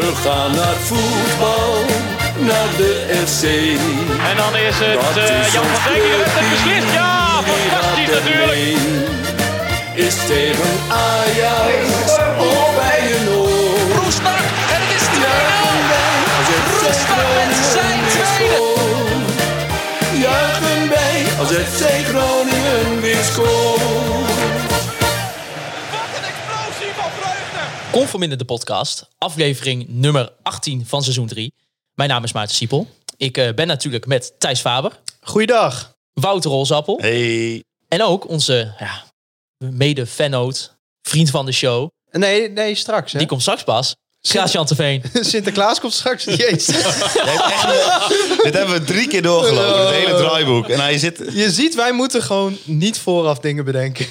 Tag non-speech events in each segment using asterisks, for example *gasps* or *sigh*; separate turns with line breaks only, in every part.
We gaan naar het voetbal, naar de FC.
En dan is het
Dat
eh
is
Jan
ons
van Dijk die de wedstrijd beslist. Ja,
clubteam, die
fantastisch
gaat ermee.
natuurlijk.
Is tegen Ajax of bij een oor.
Roestak en het is 2-0.
Als het
Roestak met zijn tweede.
Juichen bij als FC Groningen weer scoort.
Wat een explosie van vreugde.
Conforminder de podcast, aflevering nummer 18 van seizoen 3. Mijn naam is Maarten Siepel. Ik eh, ben natuurlijk met Thijs Faber,
Goeiedag.
Wouter Rolsappel
Hey.
en ook onze ja, mede-fanoot, vriend van de show.
Nee, nee, straks hè.
Die komt straks pas. Gracian Teveen.
*laughs* Sinterklaas komt
*laughs*
straks. Jezus.
Dit hebben we drie keer doorgelopen, het hele draaiboek. En hij zit...
Je ziet, wij moeten gewoon niet vooraf dingen bedenken.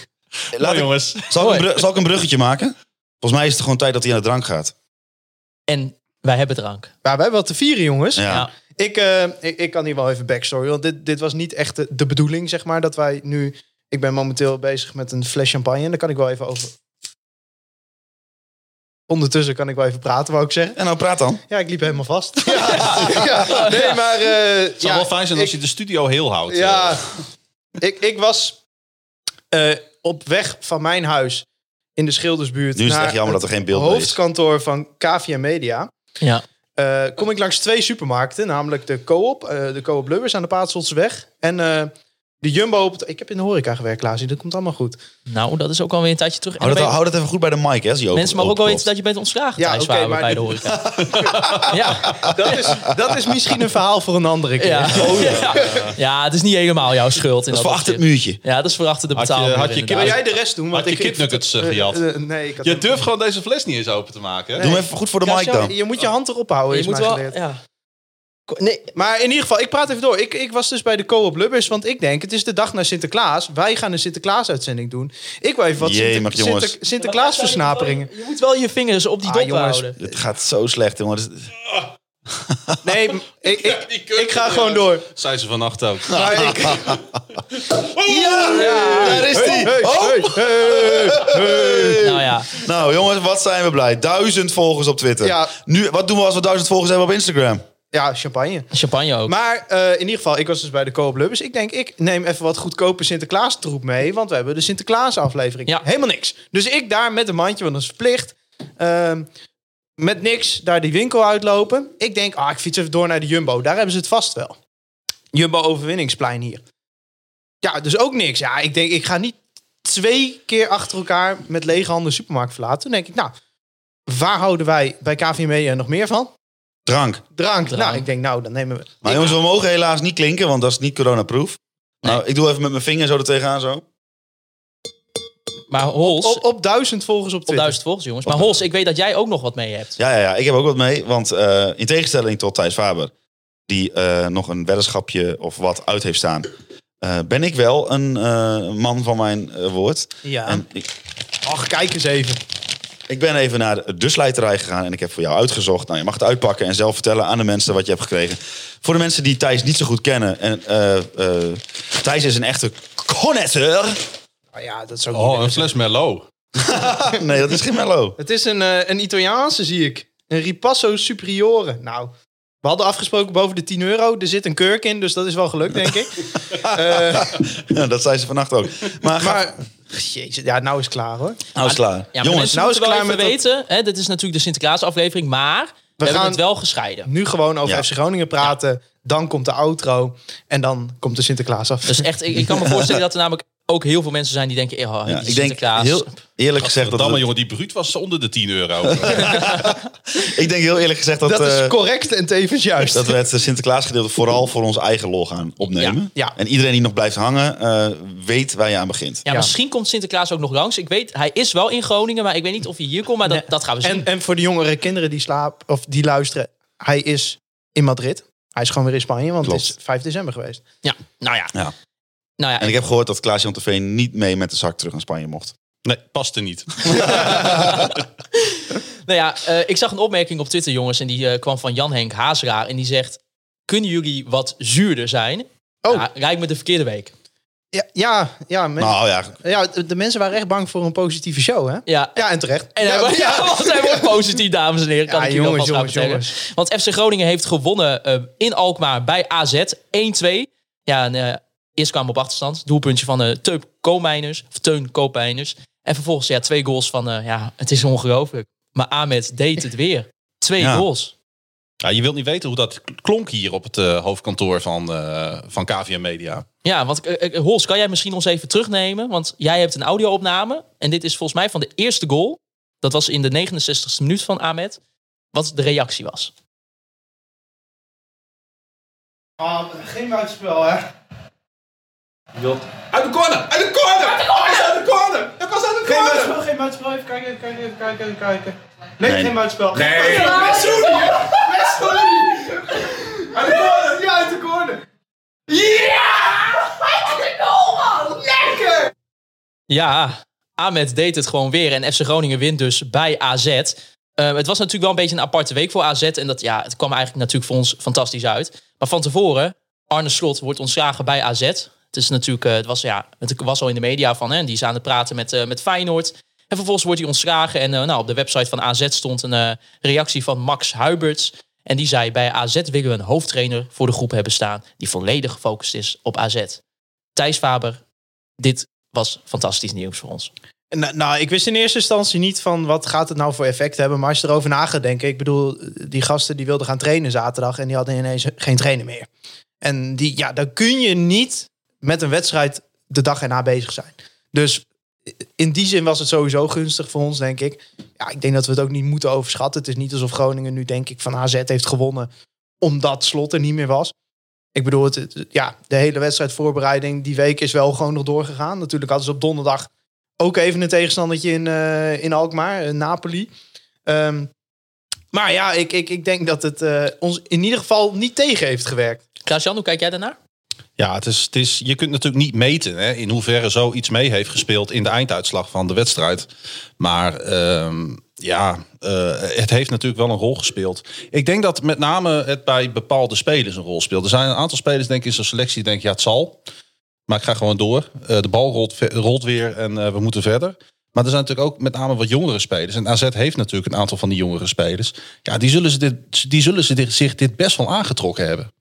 Laat ik-
jongens.
zal, ik een bru- zal ik een bruggetje maken? Volgens mij is het gewoon tijd dat hij aan de drank gaat.
En wij hebben drank.
Maar wij hebben wat te vieren, jongens.
Ja.
Ja.
Ik, eh, ik, ik kan hier wel even backstory. Want dit, dit was niet echt de, de bedoeling, zeg maar. Dat wij nu... Ik ben momenteel bezig met een fles champagne. En daar kan ik wel even over... Ondertussen kan ik wel even praten, wou ik zeggen.
En nou, praat dan.
Ja, ik liep helemaal vast. *laughs* Ja.
*laughs*
Ja. Nee, maar... eh,
Het zou
ja,
wel fijn zijn als
ik-
je de studio heel houdt.
Ja, ik, ik was eh, op weg van mijn huis in de Schildersbuurt.
Nu is het
naar
echt jammer dat er geen beeld bij is.
hoofdkantoor van KVM Media.
Ja.
Eh,
*laughs*
kom ik langs twee supermarkten, namelijk de Coop, eh, de Coop Lubbers aan de Paatsholtseweg en eh, de Jumbo. Op het- ik heb in de horeca gewerkt, Klaas, dat komt allemaal goed.
Nou, dat is ook alweer een tijdje terug. En
Hou
dan
Oh, dat,
ben je-
hou oh, dat even goed bij de mic, hè. als je open-
mensen mogen ook wel
openklopt.
weten dat je bent ontslagen,
Ja,
Thijs
oké,
Faber,
maar
bij de
dit-
horeca. ja.
Dat is, dat is misschien een verhaal voor een andere keer.
Ja.
*laughs*
Ja. ja, het is niet helemaal jouw schuld. In
Oh, Dat is
dat
voor achter
opzicht.
het muurtje.
Ja, dat is voor achter de
Had je-
betaalmuur.
had je
inderdaad.
Wil
kip-
jij de rest doen?
Had je
ik- ik-
kipnuggets eh,
eh,
gehad?
eh, nee, ik had
Je durft gewoon deze fles niet eens open te maken. hè?
Doe hem even goed voor de
Ja,
mic
zo,
dan.
Je moet je hand erop houden,
Je
is
moet
mij
wel...
geleerd.
Ja.
Nee, maar in ieder geval, ik praat even door. Ik, ik was dus bij de co-op Lubbers, want ik denk, het is de dag naar Sinterklaas. Wij gaan een Sinterklaas-uitzending doen. Ik wil even wat
Jee,
Sinter-
mag jongens.
Sinter- Sinterklaas-versnaperingen.
Je moet wel je vingers op die
Ah,
dop
jongens.
houden.
Het gaat zo slecht, jongens. *laughs*
Nee, m- ik, ik,
Die kut-
ik ga gewoon door.
Zei ze vannacht
*laughs*
ook.
Maar ik,
Oh, Ja, daar is Oh. hij.
Hey, hey, hey. Eh.
Nou ja,
Nou, jongens, wat zijn we blij. Duizend volgers op Twitter.
Ja.
Nu, wat doen we als we duizend volgers hebben op Instagram?
Ja, champagne.
champagne ook.
Maar eh, in ieder geval, ik was dus bij de co-op Lubbers. Ik denk, ik neem even wat goedkope Sinterklaas-troep mee, want we hebben de Sinterklaas-aflevering.
Ja.
Helemaal niks. Dus ik daar met een mandje, want dat is verplicht. ehm, met niks daar die winkel uitlopen. Ik denk, ah, ik fiets even door naar de Jumbo. Daar hebben ze het vast wel. Jumbo Overwinningsplein hier. Ja, dus ook niks. Ja, ik denk, ik ga niet twee keer achter elkaar met lege handen de supermarkt verlaten. Toen denk ik, nou, waar houden wij bij KVM Media E nog meer van?
Drank.
Drank.
Drank.
Nou, ik denk, nou, dan nemen we...
Maar jongens, we mogen helaas niet klinken, want dat is niet coronaproof. Nou, ik doe even met mijn vinger zo er tegenaan zo.
Maar Hols, op,
Op, op duizend volgers op Twitter.
duizend volgers jongens. Maar Hols, ik weet dat jij ook nog wat mee hebt.
Ja, ja, ja, ik heb ook wat mee. Want eh, in tegenstelling tot Thijs Faber, die eh, nog een weddenschapje of wat uit heeft staan, eh, ben ik wel een eh, man van mijn eh, woord.
Ja.
En ik,
Ach, kijk eens even.
ik ben even naar de slijterij gegaan en ik heb voor jou uitgezocht. Nou, je mag het uitpakken en zelf vertellen aan de mensen wat je hebt gekregen. Voor de mensen die Thijs niet zo goed kennen. En, eh, eh, Thijs is een echte connoisseur. *laughs*
Nou ja, dat is ook niet
Oh,
erg.
een fles Merlot.
Nee, dat is geen mello. *laughs*
Het is een, eh, een Italiaanse, zie ik. Een Ripasso Superiore. Nou, we hadden afgesproken boven de 10 euro. Er zit een kurk in, dus dat is wel gelukt, denk ik. Eh,
dat zei ze vannacht ook. Maar, ga-
maar, jezus, ja, nou is het klaar hoor.
nou is klaar.
Ja, maar
Jongens,
mensen
nou is
moeten wel
klaar
even
met dat-
weten. Hè, dit is natuurlijk de Sinterklaas aflevering, maar we, hebben
gaan-
het wel gescheiden.
Nu gewoon over
Ja.
FC Groningen praten. Dan komt de outro. En dan komt de Sinterklaas af.
Dus echt, ik, ik kan me voorstellen dat er namelijk ook heel veel mensen zijn die denken... Oh,
ja,
die
ik denk
Sinterklaas.
heel eerlijk gezegd dat
Verdamme
het-
jongen, die bruut was onder de 10 euro. *laughs*
Ik denk heel eerlijk gezegd
*laughs*
dat,
dat
eh,
is correct en tevens juist.
dat we het Sinterklaasgedeelte vooral voor ons eigen lol gaan opnemen.
Ja, ja.
En iedereen die nog blijft hangen, eh, weet waar je aan begint.
Ja,
Ja.
misschien komt Sinterklaas ook nog langs. Ik weet, hij is wel in Groningen, maar ik weet niet of hij hier komt. Maar dat,
Nee.
dat gaan we zien.
en, en voor de jongere kinderen die slaap of die luisteren. Hij is in Madrid. Hij is gewoon weer in Spanje, want
Klopt.
het is 5 december geweest.
ja, nou ja.
Ja.
Nou ja,
En ik heb gehoord dat Klaas-Jan Terveen niet mee met de zak terug naar Spanje mocht.
Nee, paste niet.
Nou ja, eh, ik zag een opmerking op Twitter, jongens. En die eh, kwam van Jan-Henk Hazelaar. En die zegt, kunnen jullie wat zuurder zijn?
Oh.
Ja, lijkt me de verkeerde week.
Ja, ja, ja, men-
Nou ja,
ja, de mensen waren echt bang voor een positieve show, hè?
Ja.
Ja, en terecht.
En hij,
ja,
wordt- ja, want *laughs* hij wordt positief, dames en heren. Kan
Ja,
ik jullie
jongens,
alvast gaan
jongens,
vertellen. Want FC Groningen heeft gewonnen eh, in Alkmaar bij AZ 1-2. Ja, en, eh, eerst kwamen we op achterstand. Doelpuntje van eh Teup Koopmeiners. Of Teun Koopmeiners. En vervolgens ja, twee goals van... eh, ja, het is ongelooflijk. Maar Ahmed deed het weer. Twee
Ja.
goals.
Ja, je wilt niet weten hoe dat klonk hier op het eh, hoofdkantoor van, eh van KVM Media.
Ja, want eh, eh, Hols, kan jij misschien ons even terugnemen? Want jij hebt een audio-opname. En dit is volgens mij van de eerste goal. Dat was in de 69ste minuut van Ahmed. Wat de reactie was.
geen buitenspel, hè?
Uit de corner! Uit de corner! Hij is uit de corner! Hij was uit de
Geen
corner!
buitenspel, geen buitenspel. Even kijken, even kijken, even kijken, even kijken. Nee, geen buitenspel.
Nee! Messoudi! Messoudi! Uit de corner! Ja, uit de corner!
Ja, Ahmed deed het gewoon weer. En FC Groningen wint dus bij AZ. Eh, het was natuurlijk wel een beetje een aparte week voor AZ. En dat, ja, het kwam eigenlijk natuurlijk voor ons fantastisch uit. Maar van tevoren, Arne Slot wordt ontslagen bij AZ. Het, is natuurlijk, eh, het, was, ja, het was al in de media van, hè, die is aan het praten met, eh, met Feyenoord. En vervolgens wordt hij ontslagen. En eh, nou, op de website van AZ stond een eh, reactie van Max Huiberts. En die zei, bij AZ willen we een hoofdtrainer voor de groep hebben staan... die volledig gefocust is op AZ. Thijs Faber, dit was fantastisch nieuws voor ons.
Nou, nou, ik wist in eerste instantie niet van wat gaat het nou voor effect hebben. Maar als je erover na gaat denken. Ik bedoel, die gasten die wilden gaan trainen zaterdag. En die hadden ineens geen trainen meer. En die, ja, dan kun je niet met een wedstrijd de dag erna bezig zijn. Dus in die zin was het sowieso gunstig voor ons, denk ik. Ja, ik denk dat we het ook niet moeten overschatten. Het is niet alsof Groningen nu, denk ik, van AZ heeft gewonnen. Omdat Slot er niet meer was. Ik bedoel, het, het- ja, de hele wedstrijdvoorbereiding die week is wel gewoon nog doorgegaan. Natuurlijk hadden ze op donderdag ook even een tegenstandertje in, eh, in Alkmaar, eh, Napoli. Ehm, maar ja, ik, ik, ik denk dat het eh, ons in ieder geval niet tegen heeft gewerkt.
Klaas-Jan, hoe kijk jij daarnaar?
Ja, het is, het is, je kunt natuurlijk niet meten hè, in hoeverre zoiets mee heeft gespeeld in de einduitslag van de wedstrijd. Maar ehm, ja, eh, het heeft natuurlijk wel een rol gespeeld. Ik denk dat met name het bij bepaalde spelers een rol speelt. Er zijn een aantal spelers denk ik in zo'n selectie die denken, ja het zal. Maar ik ga gewoon door. Eh, de bal rolt, ve- rolt weer en eh, we moeten verder. Maar er zijn natuurlijk ook met name wat jongere spelers. En AZ heeft natuurlijk een aantal van die jongere spelers. Ja, die zullen, ze dit, die zullen ze dit, zich dit best wel aangetrokken hebben.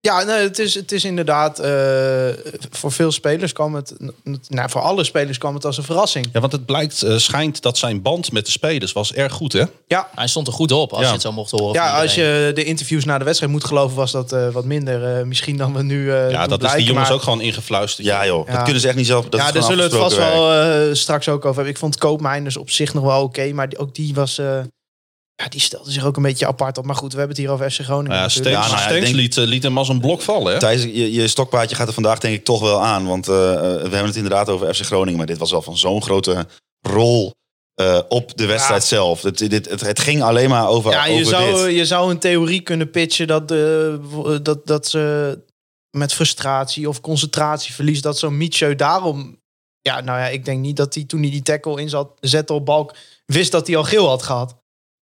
Ja, nee, het, is, het is inderdaad, eh, voor veel spelers kwam het, nou, voor alle spelers kwam het als een verrassing.
Ja, want het blijkt, eh, schijnt dat zijn band met de spelers was erg goed, hè?
Ja,
Hij stond er goed op, als
Ja.
je het zo mocht horen. van
ja als
iedereen.
je de interviews na de wedstrijd moet geloven, was dat eh, wat minder eh, misschien dan we nu. eh,
Ja,
doen
dat is die
blijken,
jongens
maar-
ook gewoon ingefluisterd.
ja joh,
Ja.
dat kunnen ze echt niet zelf. Dat
ja,
is
daar
gewoon
zullen we het vast
afgesproken werk.
wel eh, straks ook over hebben. Ik vond Koopmijners op zich nog wel oké, maar die- ook die was... eh, ja, die stelde zich ook een beetje apart op. Maar goed, we hebben het hier over FC Groningen
Nou ja,
natuurlijk.
Stenks,
Ja, nou ja, ik
Stenks
denk-
liet, eh, liet hem als een blok vallen, hè?
eh,
Thijs, je, je stokpaardje gaat er vandaag denk ik toch wel aan. Want eh, eh, we hebben het inderdaad over FC Groningen. Maar dit was wel van zo'n grote rol eh, op de wedstrijd zelf. Het, dit, het, het ging alleen maar over,
Ja, je
over
zou, eh,
dit.
je zou een theorie kunnen pitchen dat, de dat, dat ze met frustratie of concentratieverlies... dat zo'n Mietje daarom... Ja, nou ja, ik denk niet dat hij toen hij die tackle in zat, zette op balk... wist dat hij al geel had gehad.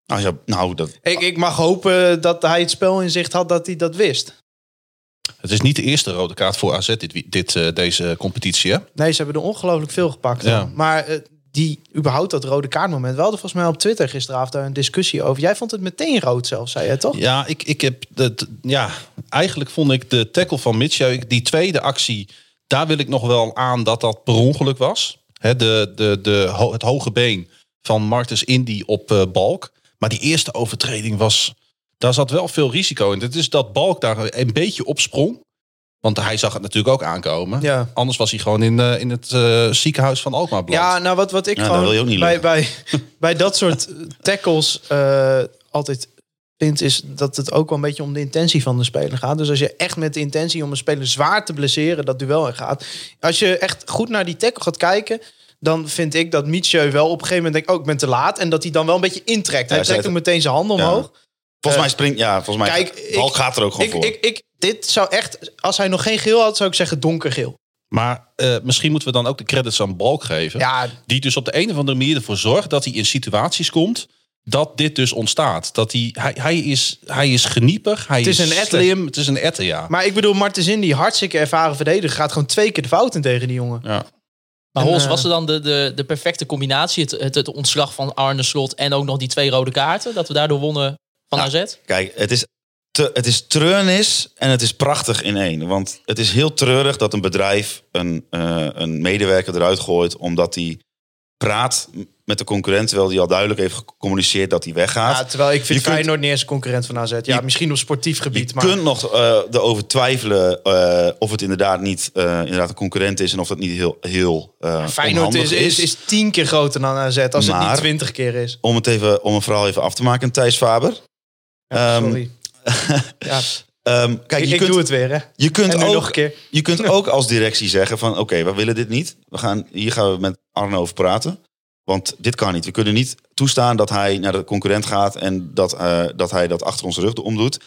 Nou, ja, nou, dat,
Ik, ik mag hopen dat hij het spel in zicht had dat hij dat wist.
Het is niet de eerste rode kaart voor AZ dit, wie- dit, eh, deze competitie, hè?
Nee, ze hebben er ongelooflijk veel gepakt.
Ja.
Maar eh, die, überhaupt dat rode kaartmoment. We hadden volgens mij op Twitter gisteravond daar een discussie over. Jij vond het meteen rood zelf, zei je toch?
Ja, ik, ik heb dat, ja, eigenlijk vond ik de tackle van Mitchell, die tweede actie, daar wil ik nog wel aan dat dat per ongeluk was. Hè, de, de, de, ho- het hoge been van Martens Indy op eh, Balk. Maar die eerste overtreding was, daar zat wel veel risico in. Het is dat Balk daar een beetje op sprong. Want hij zag het natuurlijk ook aankomen.
Ja.
Anders was hij gewoon in, eh, in het eh, ziekenhuis van Alkmaar beland.
Ja, nou wat, wat ik
Ja,
gewoon
dat wil je ook niet
bij, bij,
*laughs*
bij dat soort tackles eh, altijd vind, is dat het ook wel een beetje om de intentie van de speler gaat. Dus als je echt met de intentie om een speler zwaar te blesseren, dat duel in gaat. Als je echt goed naar die tackle gaat kijken, dan vind ik dat Mietje wel op een gegeven moment denkt, oh ik ben te laat. En dat hij dan wel een beetje intrekt. Hij
Ja,
trekt
zij-
ook meteen zijn handen
Ja.
omhoog.
volgens mij springt... Ja, volgens mij...
eh, kijk, ik-
Balk gaat er ook gewoon
Ik,
voor.
ik, ik, dit zou echt, als hij nog geen geel had, zou ik zeggen donkergeel.
Maar eh, misschien moeten we dan ook de credits aan Balk geven.
Ja,
Die dus op de een of andere manier ervoor zorgt dat hij in situaties komt dat dit dus ontstaat. Dat hij, hij, hij, is, hij is geniepig, hij het
is
is,
een
slim,
atleet.
Het is een etter, ja.
Maar ik bedoel, Martensin, die hartstikke ervaren verdediger, gaat gewoon twee keer de fouten tegen die jongen.
ja.
Maar
En,
Hols,
eh,
was er dan de, de, de perfecte combinatie? Het, het, het ontslag van Arne Slot en ook nog die twee rode kaarten. Dat we daardoor wonnen van
Ja.
AZ.
Kijk, het is, te, het is treurnis en het is prachtig in één. Want het is heel treurig dat een bedrijf een, eh, een medewerker eruit gooit... omdat hij praat met de concurrent... terwijl hij al duidelijk heeft gecommuniceerd dat hij weggaat.
Ja, terwijl ik
Je
vind
kunt-
Feyenoord niet eens een concurrent van AZ. Ja,
Je-
misschien op sportief
Je
gebied, maar...
kunt nog eh erover twijfelen eh, of het inderdaad niet eh, inderdaad een concurrent is... en of dat niet heel, heel eh
Feyenoord
onhandig
is, is, is tien keer groter dan AZ, als het niet
Maar-
twintig keer is.
Om, het even, om een verhaal even af te maken, Thijs Faber.
Ja,
Ehm, *laughs*
sorry. ja,
Ehm, kijk,
ik,
je
ik
kunt,
doe het weer, hè.
Je kunt,
En nu
ook,
nog een keer.
je kunt ook als directie zeggen van... oké, we willen dit niet. We gaan, hier gaan we met Arno over praten. Want dit kan niet. We kunnen niet toestaan dat hij naar de concurrent gaat... en dat, eh, dat hij dat achter onze rug omdoet.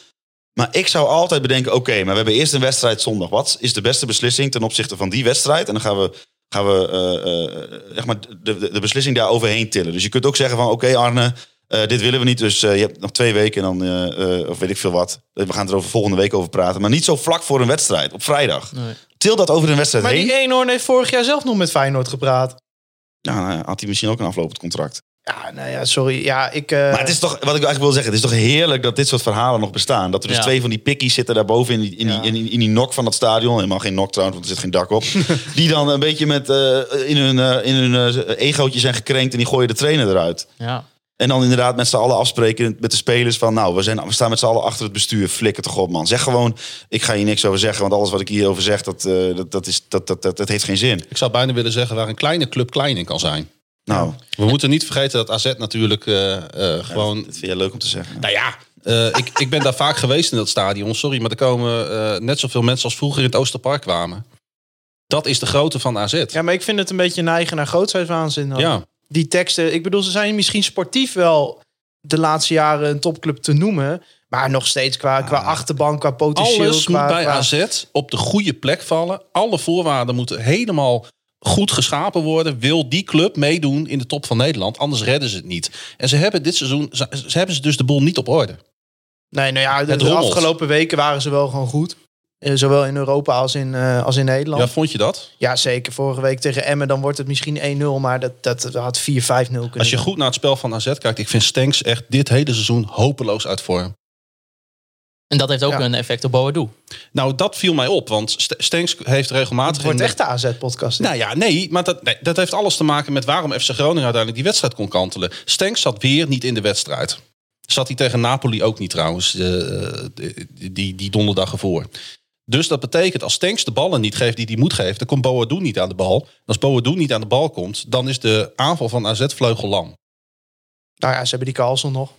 Maar ik zou altijd bedenken... oké, maar we hebben eerst een wedstrijd zondag. Wat is de beste beslissing ten opzichte van die wedstrijd? En dan gaan we, gaan we eh, eh, zeg maar de, de, de beslissing daar overheen tillen. Dus je kunt ook zeggen van... oké, Arne... eh, dit willen we niet, dus eh, je hebt nog twee weken en dan, eh, eh, of weet ik veel wat. We gaan er over volgende week over praten. Maar niet zo vlak voor een wedstrijd, op vrijdag. Til dat over een wedstrijd
Maar
heen.
die Eenhoorn heeft vorig jaar zelf nog met Feyenoord gepraat.
Nou, nou ja, had hij misschien ook een aflopend contract.
Ja, nou ja, sorry. Ja, ik... eh,
maar het is toch, wat ik eigenlijk wil zeggen, het is toch heerlijk dat dit soort verhalen nog bestaan. Dat er dus
Ja.
twee van die pikkies zitten daarboven in die, in, die, in, die, in die nok van dat stadion. Helemaal geen nok trouwens, want er zit geen
*laughs*
dak op. die dan een beetje met, eh, in hun, eh, in hun eh, egootje zijn gekrenkt en die gooien de trainer eruit.
Ja.
En dan inderdaad met z'n allen afspreken met de spelers van... nou, we, zijn, we staan met z'n allen achter het bestuur, flikker toch op man. Zeg gewoon, ik ga hier niks over zeggen, want alles wat ik hierover zeg, dat, eh, dat, dat, is, dat, dat, dat, dat heeft geen zin.
Ik zou bijna willen zeggen waar een kleine club klein in kan zijn.
Nou,
We moeten niet vergeten dat AZ natuurlijk eh, eh, gewoon...
dat vind jij leuk om te zeggen.
Nou ja, eh, ik, ik ben daar vaak geweest in dat stadion. Sorry, maar er komen eh, net zoveel mensen als vroeger in het Oosterpark kwamen. Dat is de grootte van AZ.
Ja, maar ik vind het een beetje neigen naar grootheidswaanzin. dan.
Ja.
Die teksten, ik bedoel, ze zijn misschien sportief wel de laatste jaren een topclub te noemen. Maar nog steeds qua, qua achterban, qua potentieel.
Alles
qua,
moet bij
qua-
AZ op de goede plek vallen. Alle voorwaarden moeten helemaal goed geschapen worden. Wil die club meedoen in de top van Nederland? Anders redden ze het niet. En ze hebben dit seizoen, ze, ze hebben ze dus de boel niet op orde.
Nee, nou ja, de,
Het
de
rommelt.
afgelopen weken waren ze wel gewoon goed. Eh, Zowel in Europa als in, eh, als in Nederland.
Ja,
Ja.
vond je dat?
zeker. Vorige week tegen Emmen, dan wordt het misschien 1-0. Maar dat, dat, dat had 4-5-0 kunnen
Als je
worden.
goed naar het spel van AZ kijkt, ik vind Stenks echt dit hele seizoen hopeloos uit vorm.
En dat heeft ook
Ja.
een effect op Boadu.
Nou, dat viel mij op, want St- Stenks heeft regelmatig...
Het wordt
in de-
echt de AZ-podcast.
Nou ja, nee, maar dat, nee, dat heeft alles te maken met waarom FC Groningen uiteindelijk die wedstrijd kon kantelen. Stenks zat weer niet in de wedstrijd. Zat hij tegen Napoli ook niet trouwens, eh, die, die donderdag ervoor. Dus dat betekent, als Stenks de ballen niet geeft die hij moet geven, dan komt Boadu niet aan de bal. En als Boadu niet aan de bal komt, dan is de aanval van AZ vleugel lam.
Nou ja, ze hebben die Carlson nog.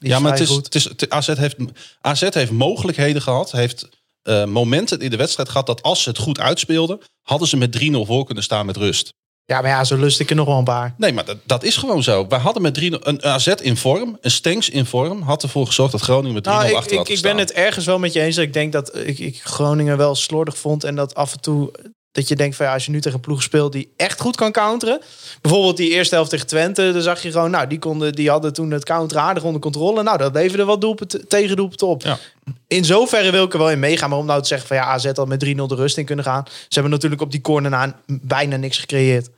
Die
Ja, maar het
vrij
is,
goed.
het is, het- AZ, heeft, AZ heeft mogelijkheden gehad, heeft eh, momenten in de wedstrijd gehad dat als ze het goed uitspeelden, hadden ze met 3-0 voor kunnen staan met rust.
Ja, maar ja, zo lust ik er nog wel een paar.
Nee, maar dat, dat is gewoon zo. Wij hadden met 3-0 een AZ in vorm, een Stenks in vorm, had ervoor gezorgd dat Groningen met 3-0
Nou, ik,
achter
ik,
had
ik ben
gestaan.
het ergens wel met je eens. dat Ik denk dat ik, ik Groningen wel slordig vond. En dat af en toe dat je denkt van ja, als je nu tegen een ploeg speelt die echt goed kan counteren. Bijvoorbeeld die eerste helft tegen Twente. Dan zag je gewoon, nou, die, konden, die hadden toen het counter aardig onder controle. Nou, dat leverde wat doelpunten, tegendoelpunten op.
Ja.
In zoverre wil ik er wel in meegaan. Maar om nou te zeggen van ja, AZ had met 3-0 de rust in kunnen gaan. Ze hebben natuurlijk op die corner na bijna niks gecreëerd.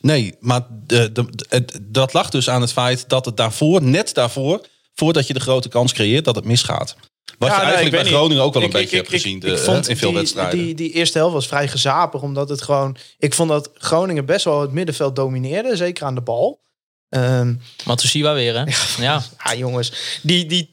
Nee, maar de, de- de- het- dat lag dus aan het feit dat het daarvoor, net daarvoor, voordat je de grote kans creëert, dat het misgaat.
Ja, nee,
Wat je
ik
eigenlijk
weet
bij
niet.
Groningen ook wel een
Ik-
beetje
ik-
hebt gezien
ik,
de-
ik vond
hè, in veel
die,
wedstrijden.
Die, die eerste helft was vrij gezapig, omdat het gewoon... Ik vond dat Groningen best wel het middenveld domineerde, zeker aan de bal. Ehm
Matsushima weer, hè? Ja.
ja, jongens, die... die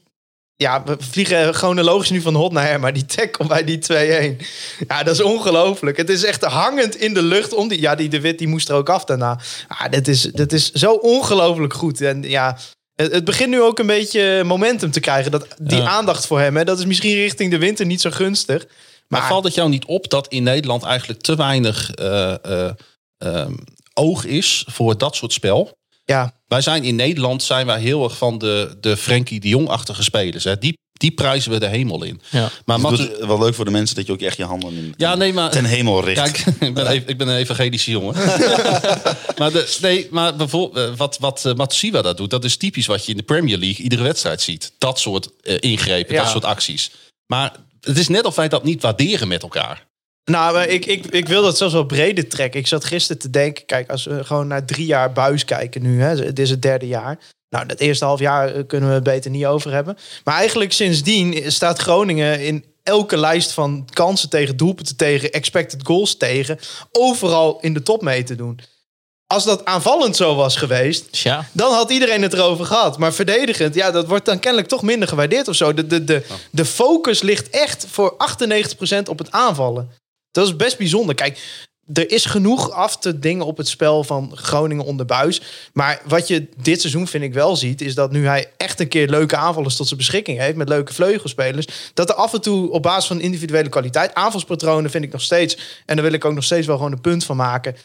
ja, we vliegen chronologisch nu van hot naar her, maar die tackle bij die 2-1. Ja, dat is ongelooflijk. Het is echt hangend in de lucht. Om die, ja, die De Wit die moest er ook af daarna. Ah, dit, is, dit is zo ongelooflijk goed. En ja, het, het begint nu ook een beetje momentum te krijgen. Dat, die
Ja.
aandacht voor hem, hè, dat is misschien richting de winter niet zo gunstig.
Maar, valt het jou niet op dat in Nederland eigenlijk te weinig eh, eh, ehm, oog is voor dat soort spel?
Ja,
Wij zijn in Nederland zijn wij heel erg van de, de Frenkie de Jong-achtige spelers. Hè. Die, die prijzen we de hemel in.
Ja.
Maar
Dus
Matu-
het is wel leuk voor de mensen dat je ook echt je handen in,
Ja, nee, maar...
ten hemel richt.
Ja, ik, *laughs* ik ben, ev- ik ben een evangelische jongen. maar de, nee, maar bijvoorbeeld, eh, wat, wat eh, Matsushima dat doet, dat is typisch wat je in de Premier League iedere wedstrijd ziet. Dat soort eh, ingrepen,
Ja.
dat soort acties. Maar het is net of wij dat niet waarderen met elkaar.
Nou, maar ik, ik, ik wil dat zelfs wel breder trekken. Ik zat gisteren te denken, kijk, als we gewoon naar drie jaar buis kijken nu, hè, het is het derde jaar. Nou, dat eerste half jaar eh, kunnen we het beter niet over hebben. Maar eigenlijk sindsdien staat Groningen in elke lijst van kansen tegen doelpunten tegen, expected goals tegen, overal in de top mee te doen. Als dat aanvallend zo was geweest,
Dus ja.
dan had iedereen het erover gehad. Maar verdedigend, ja, dat wordt dan kennelijk toch minder gewaardeerd of zo. De, de, de, de focus ligt echt voor 98% op het aanvallen. Dat is best bijzonder. Kijk, er is genoeg af te dingen op het spel van Groningen onder buis. Maar wat je dit seizoen, vind ik wel ziet, is dat nu hij echt een keer leuke aanvallers tot zijn beschikking heeft. Met leuke vleugelspelers. Dat er af en toe op basis van individuele kwaliteit, aanvalspatronen vind ik nog steeds. En daar wil ik ook nog steeds wel gewoon een punt van maken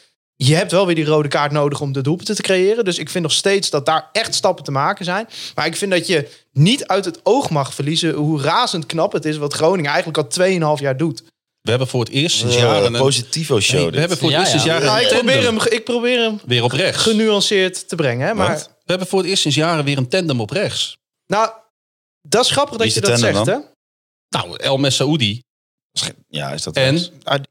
je hebt wel weer die rode kaart nodig om de doelpunten te creëren. Dus ik vind nog steeds dat daar echt stappen te maken zijn. Maar ik vind dat je niet uit het oog mag verliezen hoe razend knap het is wat Groningen eigenlijk al 2,5 jaar doet.
We hebben voor het eerst sinds
Eh,
jaren... een-
positivo show.
Nee, we
dit.
hebben voor het
Ja,
eerst sinds
ja.
jaren
Ja,
een
ik, probeer
tandem
hem, ik probeer hem
weer op rechts.
genuanceerd te brengen. Hè? Maar
Wat? We hebben voor het eerst sinds jaren weer een tandem op rechts.
nou, dat is grappig dat
Wie
je
is
dat
de
zegt.
tandem
Hè?
Nou, El Messaoudi
Ja, is dat
en...
rechts?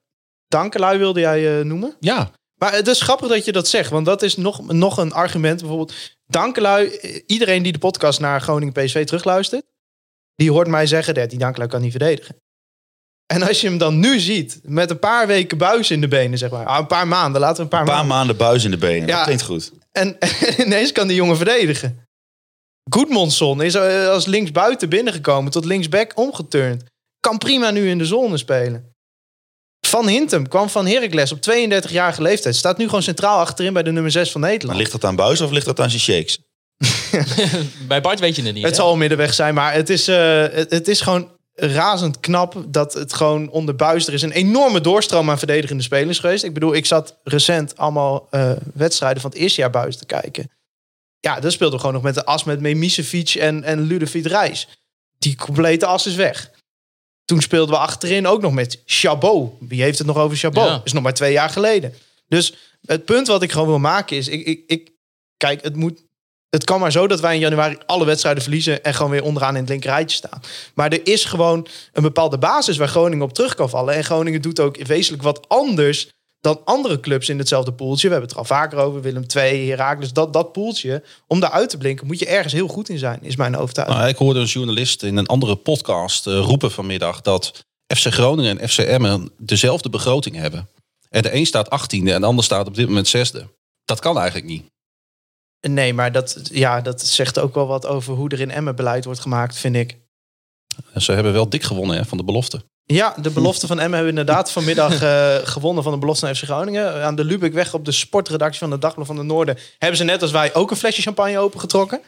Dankelui wilde jij eh, noemen.
Ja,
Maar het is grappig dat je dat zegt, want dat is nog, nog een argument. Bijvoorbeeld, Dankelui, eh, iedereen die de podcast naar Groningen PSV terugluistert, die hoort mij zeggen dat die Dankelui kan niet verdedigen. En als je hem dan nu ziet, met een paar weken buis in de benen, zeg maar. Ah, een paar maanden, laten we een paar,
Een paar
maanden.
maanden buis in de benen.
Ja.
Dat klinkt goed.
En, *laughs* ineens kan die jongen verdedigen. Goedmondson is eh, als linksbuiten binnengekomen, tot linksback omgeturnd. Kan prima nu in de zone spelen. Van Hintem kwam van Heracles op 32-jarige leeftijd. Staat nu gewoon centraal achterin bij de nummer 6 van Nederland.
Maar ligt dat aan buis of ligt dat aan zijn shakes?
Bij Bart weet je het niet.
Het
hè?
zal middenweg zijn, maar het is, eh, het, het is gewoon razend knap dat het gewoon onder buis. Er is een enorme doorstroom aan verdedigende spelers geweest. Ik bedoel, ik zat recent allemaal eh, wedstrijden van het eerste jaar buis te kijken. Ja, dan speelden we gewoon nog met de as met Memisevic en, en Ludovic Reis. Die complete as is weg. Toen speelden we achterin ook nog met Chabot. Wie heeft het nog over Chabot?
Ja.
Is nog maar twee jaar geleden. Dus het punt wat ik gewoon wil maken is... Ik, ik, ik, kijk, het moet het kan maar zo dat wij in januari alle wedstrijden verliezen en gewoon weer onderaan in het linkerrijtje staan. Maar er is gewoon een bepaalde basis waar Groningen op terug kan vallen. En Groningen doet ook wezenlijk wat anders dan andere clubs in hetzelfde poeltje. We hebben het er al vaker over, Willem II, Heracles, dat, dat poeltje. Om daar uit te blinken moet je ergens heel goed in zijn, is mijn overtuiging.
Nou, ik hoorde een journalist in een andere podcast eh, roepen vanmiddag dat FC Groningen en FC Emmen dezelfde begroting hebben. En de een staat 18e en de ander staat op dit moment zesde. Dat kan eigenlijk niet.
Nee, maar dat, ja, dat zegt ook wel wat over hoe er in Emmen beleid wordt gemaakt, vind ik.
En Ze hebben wel dik gewonnen hè, van de belofte.
Ja, de belofte van Emmen hebben we inderdaad
*laughs*
vanmiddag eh, gewonnen van de belofte van FC Groningen. Aan de Lubeckweg op de sportredactie van de Dagblad van de Noorden hebben ze net als wij ook een flesje champagne opengetrokken.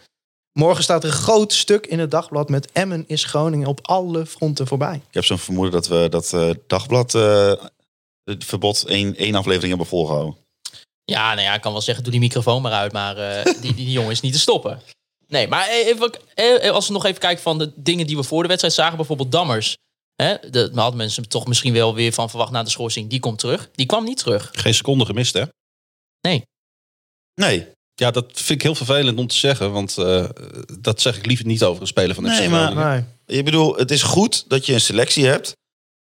Morgen staat er een groot stuk in het dagblad met Emmen is Groningen op alle fronten voorbij.
Ik heb zo'n vermoeden dat we dat eh, dagblad eh, het verbod één, één aflevering hebben volgehouden.
Ja, nou ja, ik kan wel zeggen, doe die microfoon maar uit. Maar eh, die, die jongen is niet te stoppen. Nee, maar even, eh, als we nog even kijken van de dingen die we voor de wedstrijd zagen. Bijvoorbeeld Dammers. Hè, dat hadden mensen toch misschien wel weer van verwacht na de schorsing. Die komt terug. Die kwam niet terug.
Geen seconde gemist, hè?
Nee,
Ja, dat vind ik heel vervelend om te zeggen, want eh, dat zeg ik liever niet over een speler van FC
Nee, maar-
Groningen.
Nee.
ik bedoel, het is goed dat je een selectie hebt.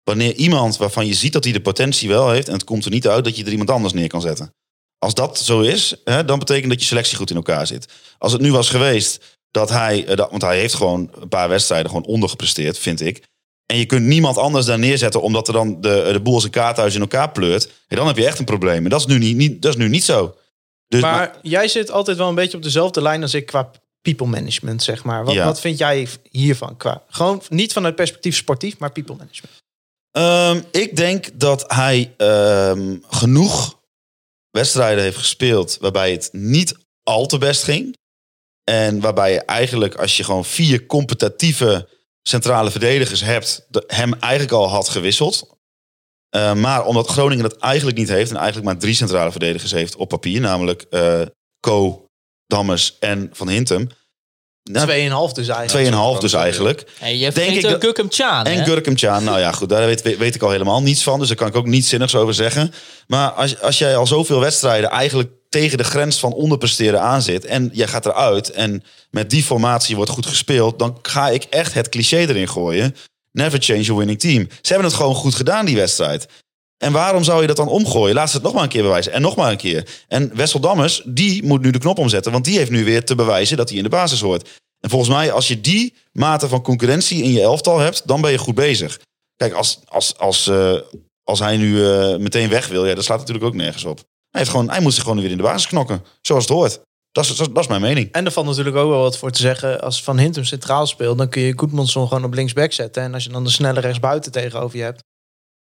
Wanneer iemand waarvan je ziet dat hij de potentie wel heeft... en het komt er niet uit dat je er iemand anders neer kan zetten. Als dat zo is, hè, dan betekent dat je selectie goed in elkaar zit. Als het nu was geweest dat hij... eh, dat, want hij heeft gewoon een paar wedstrijden gewoon ondergepresteerd, vind ik. En je kunt niemand anders daar neerzetten... omdat er dan de, de boel als een kaarthuis in elkaar pleurt. En dan heb je echt een probleem. En dat is nu niet, niet, dat is nu niet zo. Dus,
Maar, jij zit altijd wel een beetje op dezelfde lijn als ik qua people management, zeg maar. Wat,
Ja.
wat vind jij hiervan? Qua, gewoon niet vanuit perspectief sportief, maar people management.
Ehm, ik denk dat hij ehm, genoeg wedstrijden heeft gespeeld waarbij het niet al te best ging. En waarbij je eigenlijk, als je gewoon vier competitieve centrale verdedigers hebt, de- hem eigenlijk al had gewisseld. Eh, maar omdat Groningen dat eigenlijk niet heeft en eigenlijk maar drie centrale verdedigers heeft op papier, namelijk eh, Co, Dammers en Van Hintem, Nou,
2,5 dus eigenlijk.
2,5 dus eigenlijk.
Hey, je
Denk
vergeet
ik
een
dat-
Gukum Tjaan,
En
hè?
Gurkum Tjaan, nou ja, goed, daar weet, weet ik al helemaal niets van. Dus daar kan ik ook niets zinnigs over zeggen. Maar als, als jij al zoveel wedstrijden eigenlijk tegen de grens van onderpresteren aan zit... en jij gaat eruit en met die formatie wordt goed gespeeld... dan ga ik echt het cliché erin gooien. Never change your winning team. Ze hebben het gewoon goed gedaan, die wedstrijd. En waarom zou je dat dan omgooien? Laat ze het nog maar een keer bewijzen. En nog maar een keer. En Wessel Dammers, die moet nu de knop omzetten. Want die heeft nu weer te bewijzen dat hij in de basis hoort. En volgens mij, als je die mate van concurrentie in je elftal hebt, dan ben je goed bezig. Kijk, als, als, als, eh, als hij nu eh, meteen weg wil, ja, dat slaat natuurlijk ook nergens op. Hij, heeft gewoon, hij moet zich gewoon weer in de basis knokken. Zoals het hoort. Dat is, dat is- dat is mijn mening.
En er valt natuurlijk ook wel wat voor te zeggen. Als Van Hintem centraal speelt, dan kun je Goedmanson gewoon op linksback zetten. En als je dan de snelle rechtsbuiten tegenover je hebt,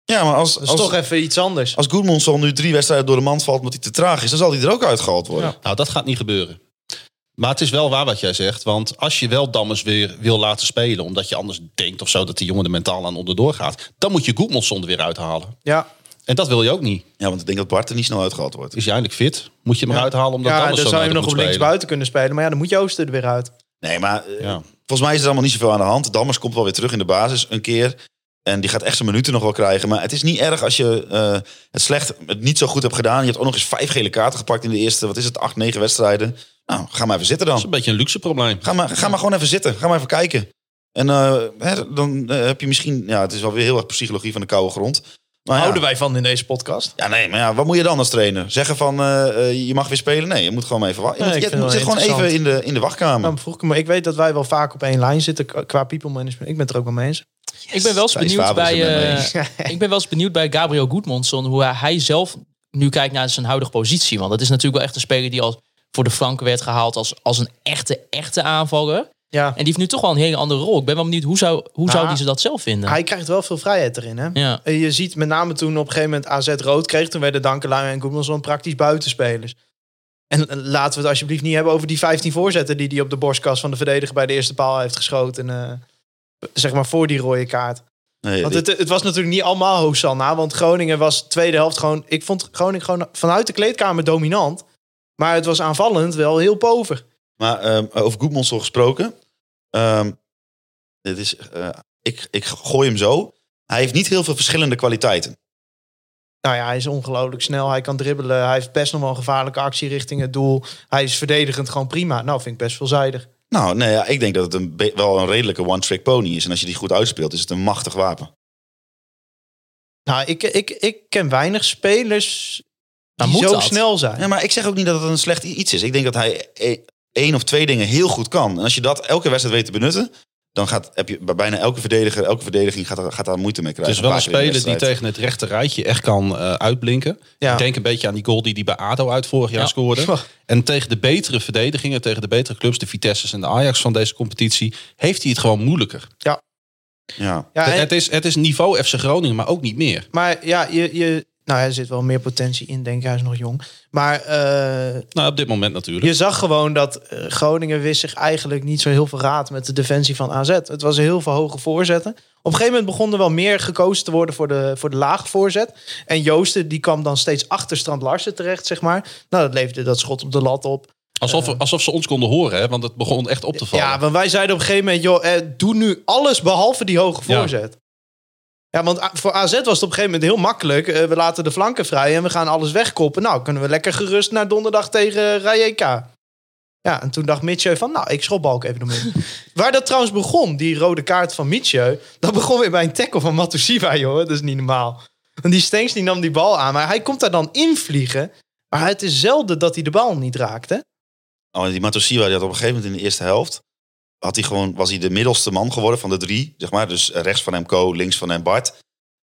Ja, maar als,
dat is
als,
Dus toch even iets anders.
als Goedmundsson nu drie wedstrijden door de mand valt omdat hij te traag is, dan zal hij er ook uitgehaald worden.
Nou, dat gaat niet gebeuren. Maar het is wel waar wat jij zegt. Want als je wel Dammers weer wil laten spelen... omdat je anders denkt of zo dat die jongen er mentaal aan onderdoor gaat... dan moet je Goedmanson er weer uithalen.
Ja,
En dat wil je ook niet.
Ja, want ik denk dat Bart er niet snel uitgehaald wordt.
Is je eindelijk fit? Moet je hem eruit halen omdat
ja dan
Dammers zo
zou je hem
naar
nog op
moet spelen.
linksbuiten kunnen spelen. Maar ja, dan moet je Ooster er weer uit.
Nee, maar eh,
Ja.
volgens mij is er allemaal niet zoveel aan de hand. Dammers komt wel weer terug in de basis een keer. En die gaat echt zijn minuten nog wel krijgen. Maar het is niet erg als je eh, het slecht, het niet zo goed hebt gedaan. Je hebt ook nog eens vijf gele kaarten gepakt in de eerste, wat is het, acht, negen wedstrijden. Nou, ga maar even zitten
Dat is
dan.
een beetje een luxe probleem.
Ga maar, ga maar gewoon even zitten. Ga maar even kijken. En eh, hè, dan eh, heb je misschien, ja, het is wel weer heel erg psychologie van de koude grond. Maar ja.
Houden wij van in deze podcast.
Ja, nee, maar ja, wat moet je dan als trainer? Zeggen van, eh, eh, je mag weer spelen? Nee, je moet gewoon maar even wachten. Je,
Nee,
moet-
ik
je
vind het
zit
wel
gewoon even in de, in de wachtkamer.
Nou, vroeg ik, me, ik weet dat wij wel vaak op één lijn zitten qua- qua people management. Ik ben het er ook wel mee eens.
Ik ben wel eens
Thijs
benieuwd
Faber is
bij,
er net mee
eh,
eens.
*laughs* ik ben wel eens benieuwd bij Gabriel Goedmonson hoe hij- hij zelf nu kijkt naar zijn huidige positie. Want dat is natuurlijk wel echt een speler die al voor de flanken werd gehaald als, als een echte, echte aanvaller.
Ja,
En die heeft nu toch wel een hele andere rol. Ik ben wel benieuwd hoe zou, hoe zou die ze dat zelf vinden.
hij krijgt wel veel vrijheid erin. Hè?
ja.
En Je ziet met name toen op een gegeven moment AZ rood kreeg. Toen werden Dankelui en Goedmanson praktisch buitenspelers. En eh, laten we het alsjeblieft niet hebben over die 15 voorzetten... die hij op de borstkas van de verdediger bij de eerste paal heeft geschoten. eh, zeg maar voor die rode kaart.
Nee,
Want het, het was natuurlijk niet allemaal Hosanna. Want Groningen was tweede helft gewoon... Ik vond Groningen gewoon vanuit de kleedkamer dominant. Maar het was aanvallend wel heel pover.
Maar ehm, over Goedmondsel gesproken. Ehm, dit is, eh, ik, ik gooi hem zo. Hij heeft niet heel veel verschillende kwaliteiten.
Nou ja, hij is ongelooflijk snel. Hij kan dribbelen. Hij heeft best nog wel een gevaarlijke actie richting het doel. Hij is verdedigend gewoon prima. Nou, vind ik best veelzijdig.
Nou, nee, ja, ik denk dat het een be- wel een redelijke one-trick pony is. En als je die goed uitspeelt, is het een machtig wapen.
Nou, ik, ik, ik ken weinig spelers die
Maar moet
zo
dat?
snel zijn.
Ja, maar ik zeg ook niet dat het een slecht i- iets is. Ik denk dat hij e- één of twee dingen heel goed kan. En als je dat elke wedstrijd weet te benutten... dan gaat, heb je bij bijna elke verdediger, elke verdediging gaat, daar- gaat daar moeite mee
Het
krijgen.
is Dus wel een
Vaak weer in de
speler die
wedstrijd.
tegen het rechte rijtje echt kan eh, uitblinken.
Ja.
Ik denk een beetje aan die goal die hij bij ADO uit vorig jaar
Ja.
scoorde. En tegen de betere verdedigingen, tegen de betere clubs... de Vitesse's en de Ajax van deze competitie... heeft hij het gewoon moeilijker.
Ja.
Ja, en-
het, is, het is niveau FC Groningen, maar ook niet meer.
maar ja, je, je, nou, er zit wel meer potentie in, denk ik. Hij is nog jong. Maar eh,
Nou, op dit moment natuurlijk.
je zag gewoon dat eh, Groningen wist zich eigenlijk niet zo heel veel raad met de defensie van AZ. Het was heel veel hoge voorzetten. Op een gegeven moment begon er wel meer gekozen te worden voor de, voor de lage voorzet. En Joosten die kwam dan steeds achter Strand Larsen terecht, zeg maar. Nou, dat leverde dat schot op de lat op.
Alsof, alsof ze ons konden horen, hè? want het begon echt op te vallen.
Ja, want wij zeiden op een gegeven moment, joh, eh, doe nu alles behalve die hoge
Ja.
voorzet. Ja, want A- voor AZ was het op een gegeven moment heel makkelijk. Eh, we laten de flanken vrij en we gaan alles wegkoppen. Nou, kunnen we lekker gerust naar donderdag tegen Rijeka. Ja, en toen dacht Mitchell van, nou, ik schop balk even omheen. Waar dat trouwens begon, die rode kaart van Mitchell, dat begon weer bij een tackle van Matusiwa, joh. Dat is niet normaal. Want die Stenks die nam die bal aan, maar hij komt daar dan invliegen. Maar het is zelden dat hij de bal niet raakt, hè?
Oh, en die Matosiwa die had op een gegeven moment in de eerste helft... Had hij gewoon, was hij de middelste man geworden van de drie, zeg maar. Dus eh, rechts van hem Co, links van hem Bart.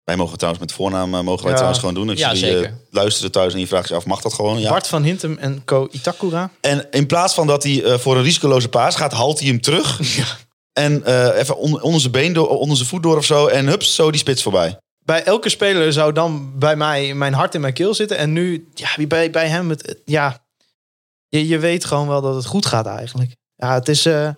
Wij mogen trouwens met voornaam eh, mogen wij
Ja.
trouwens gewoon doen. Als
Ja,
jullie eh,
zeker.
luisteren thuis en je vraagt je af, mag dat gewoon? Ja.
Bart van Hintem en Co. Itakura.
En in plaats van dat hij eh, voor een risicoloze paas gaat, haalt hij hem
*laughs*
terug. En eh, even on- onder zijn been, door, onder zijn voet door of zo. En hups, zo die spits voorbij.
bij elke speler zou dan bij mij mijn hart in mijn keel zitten. En nu, ja, bij, bij hem, het, het- ja, je, je weet gewoon wel dat het goed gaat eigenlijk. Ja, het is, eh,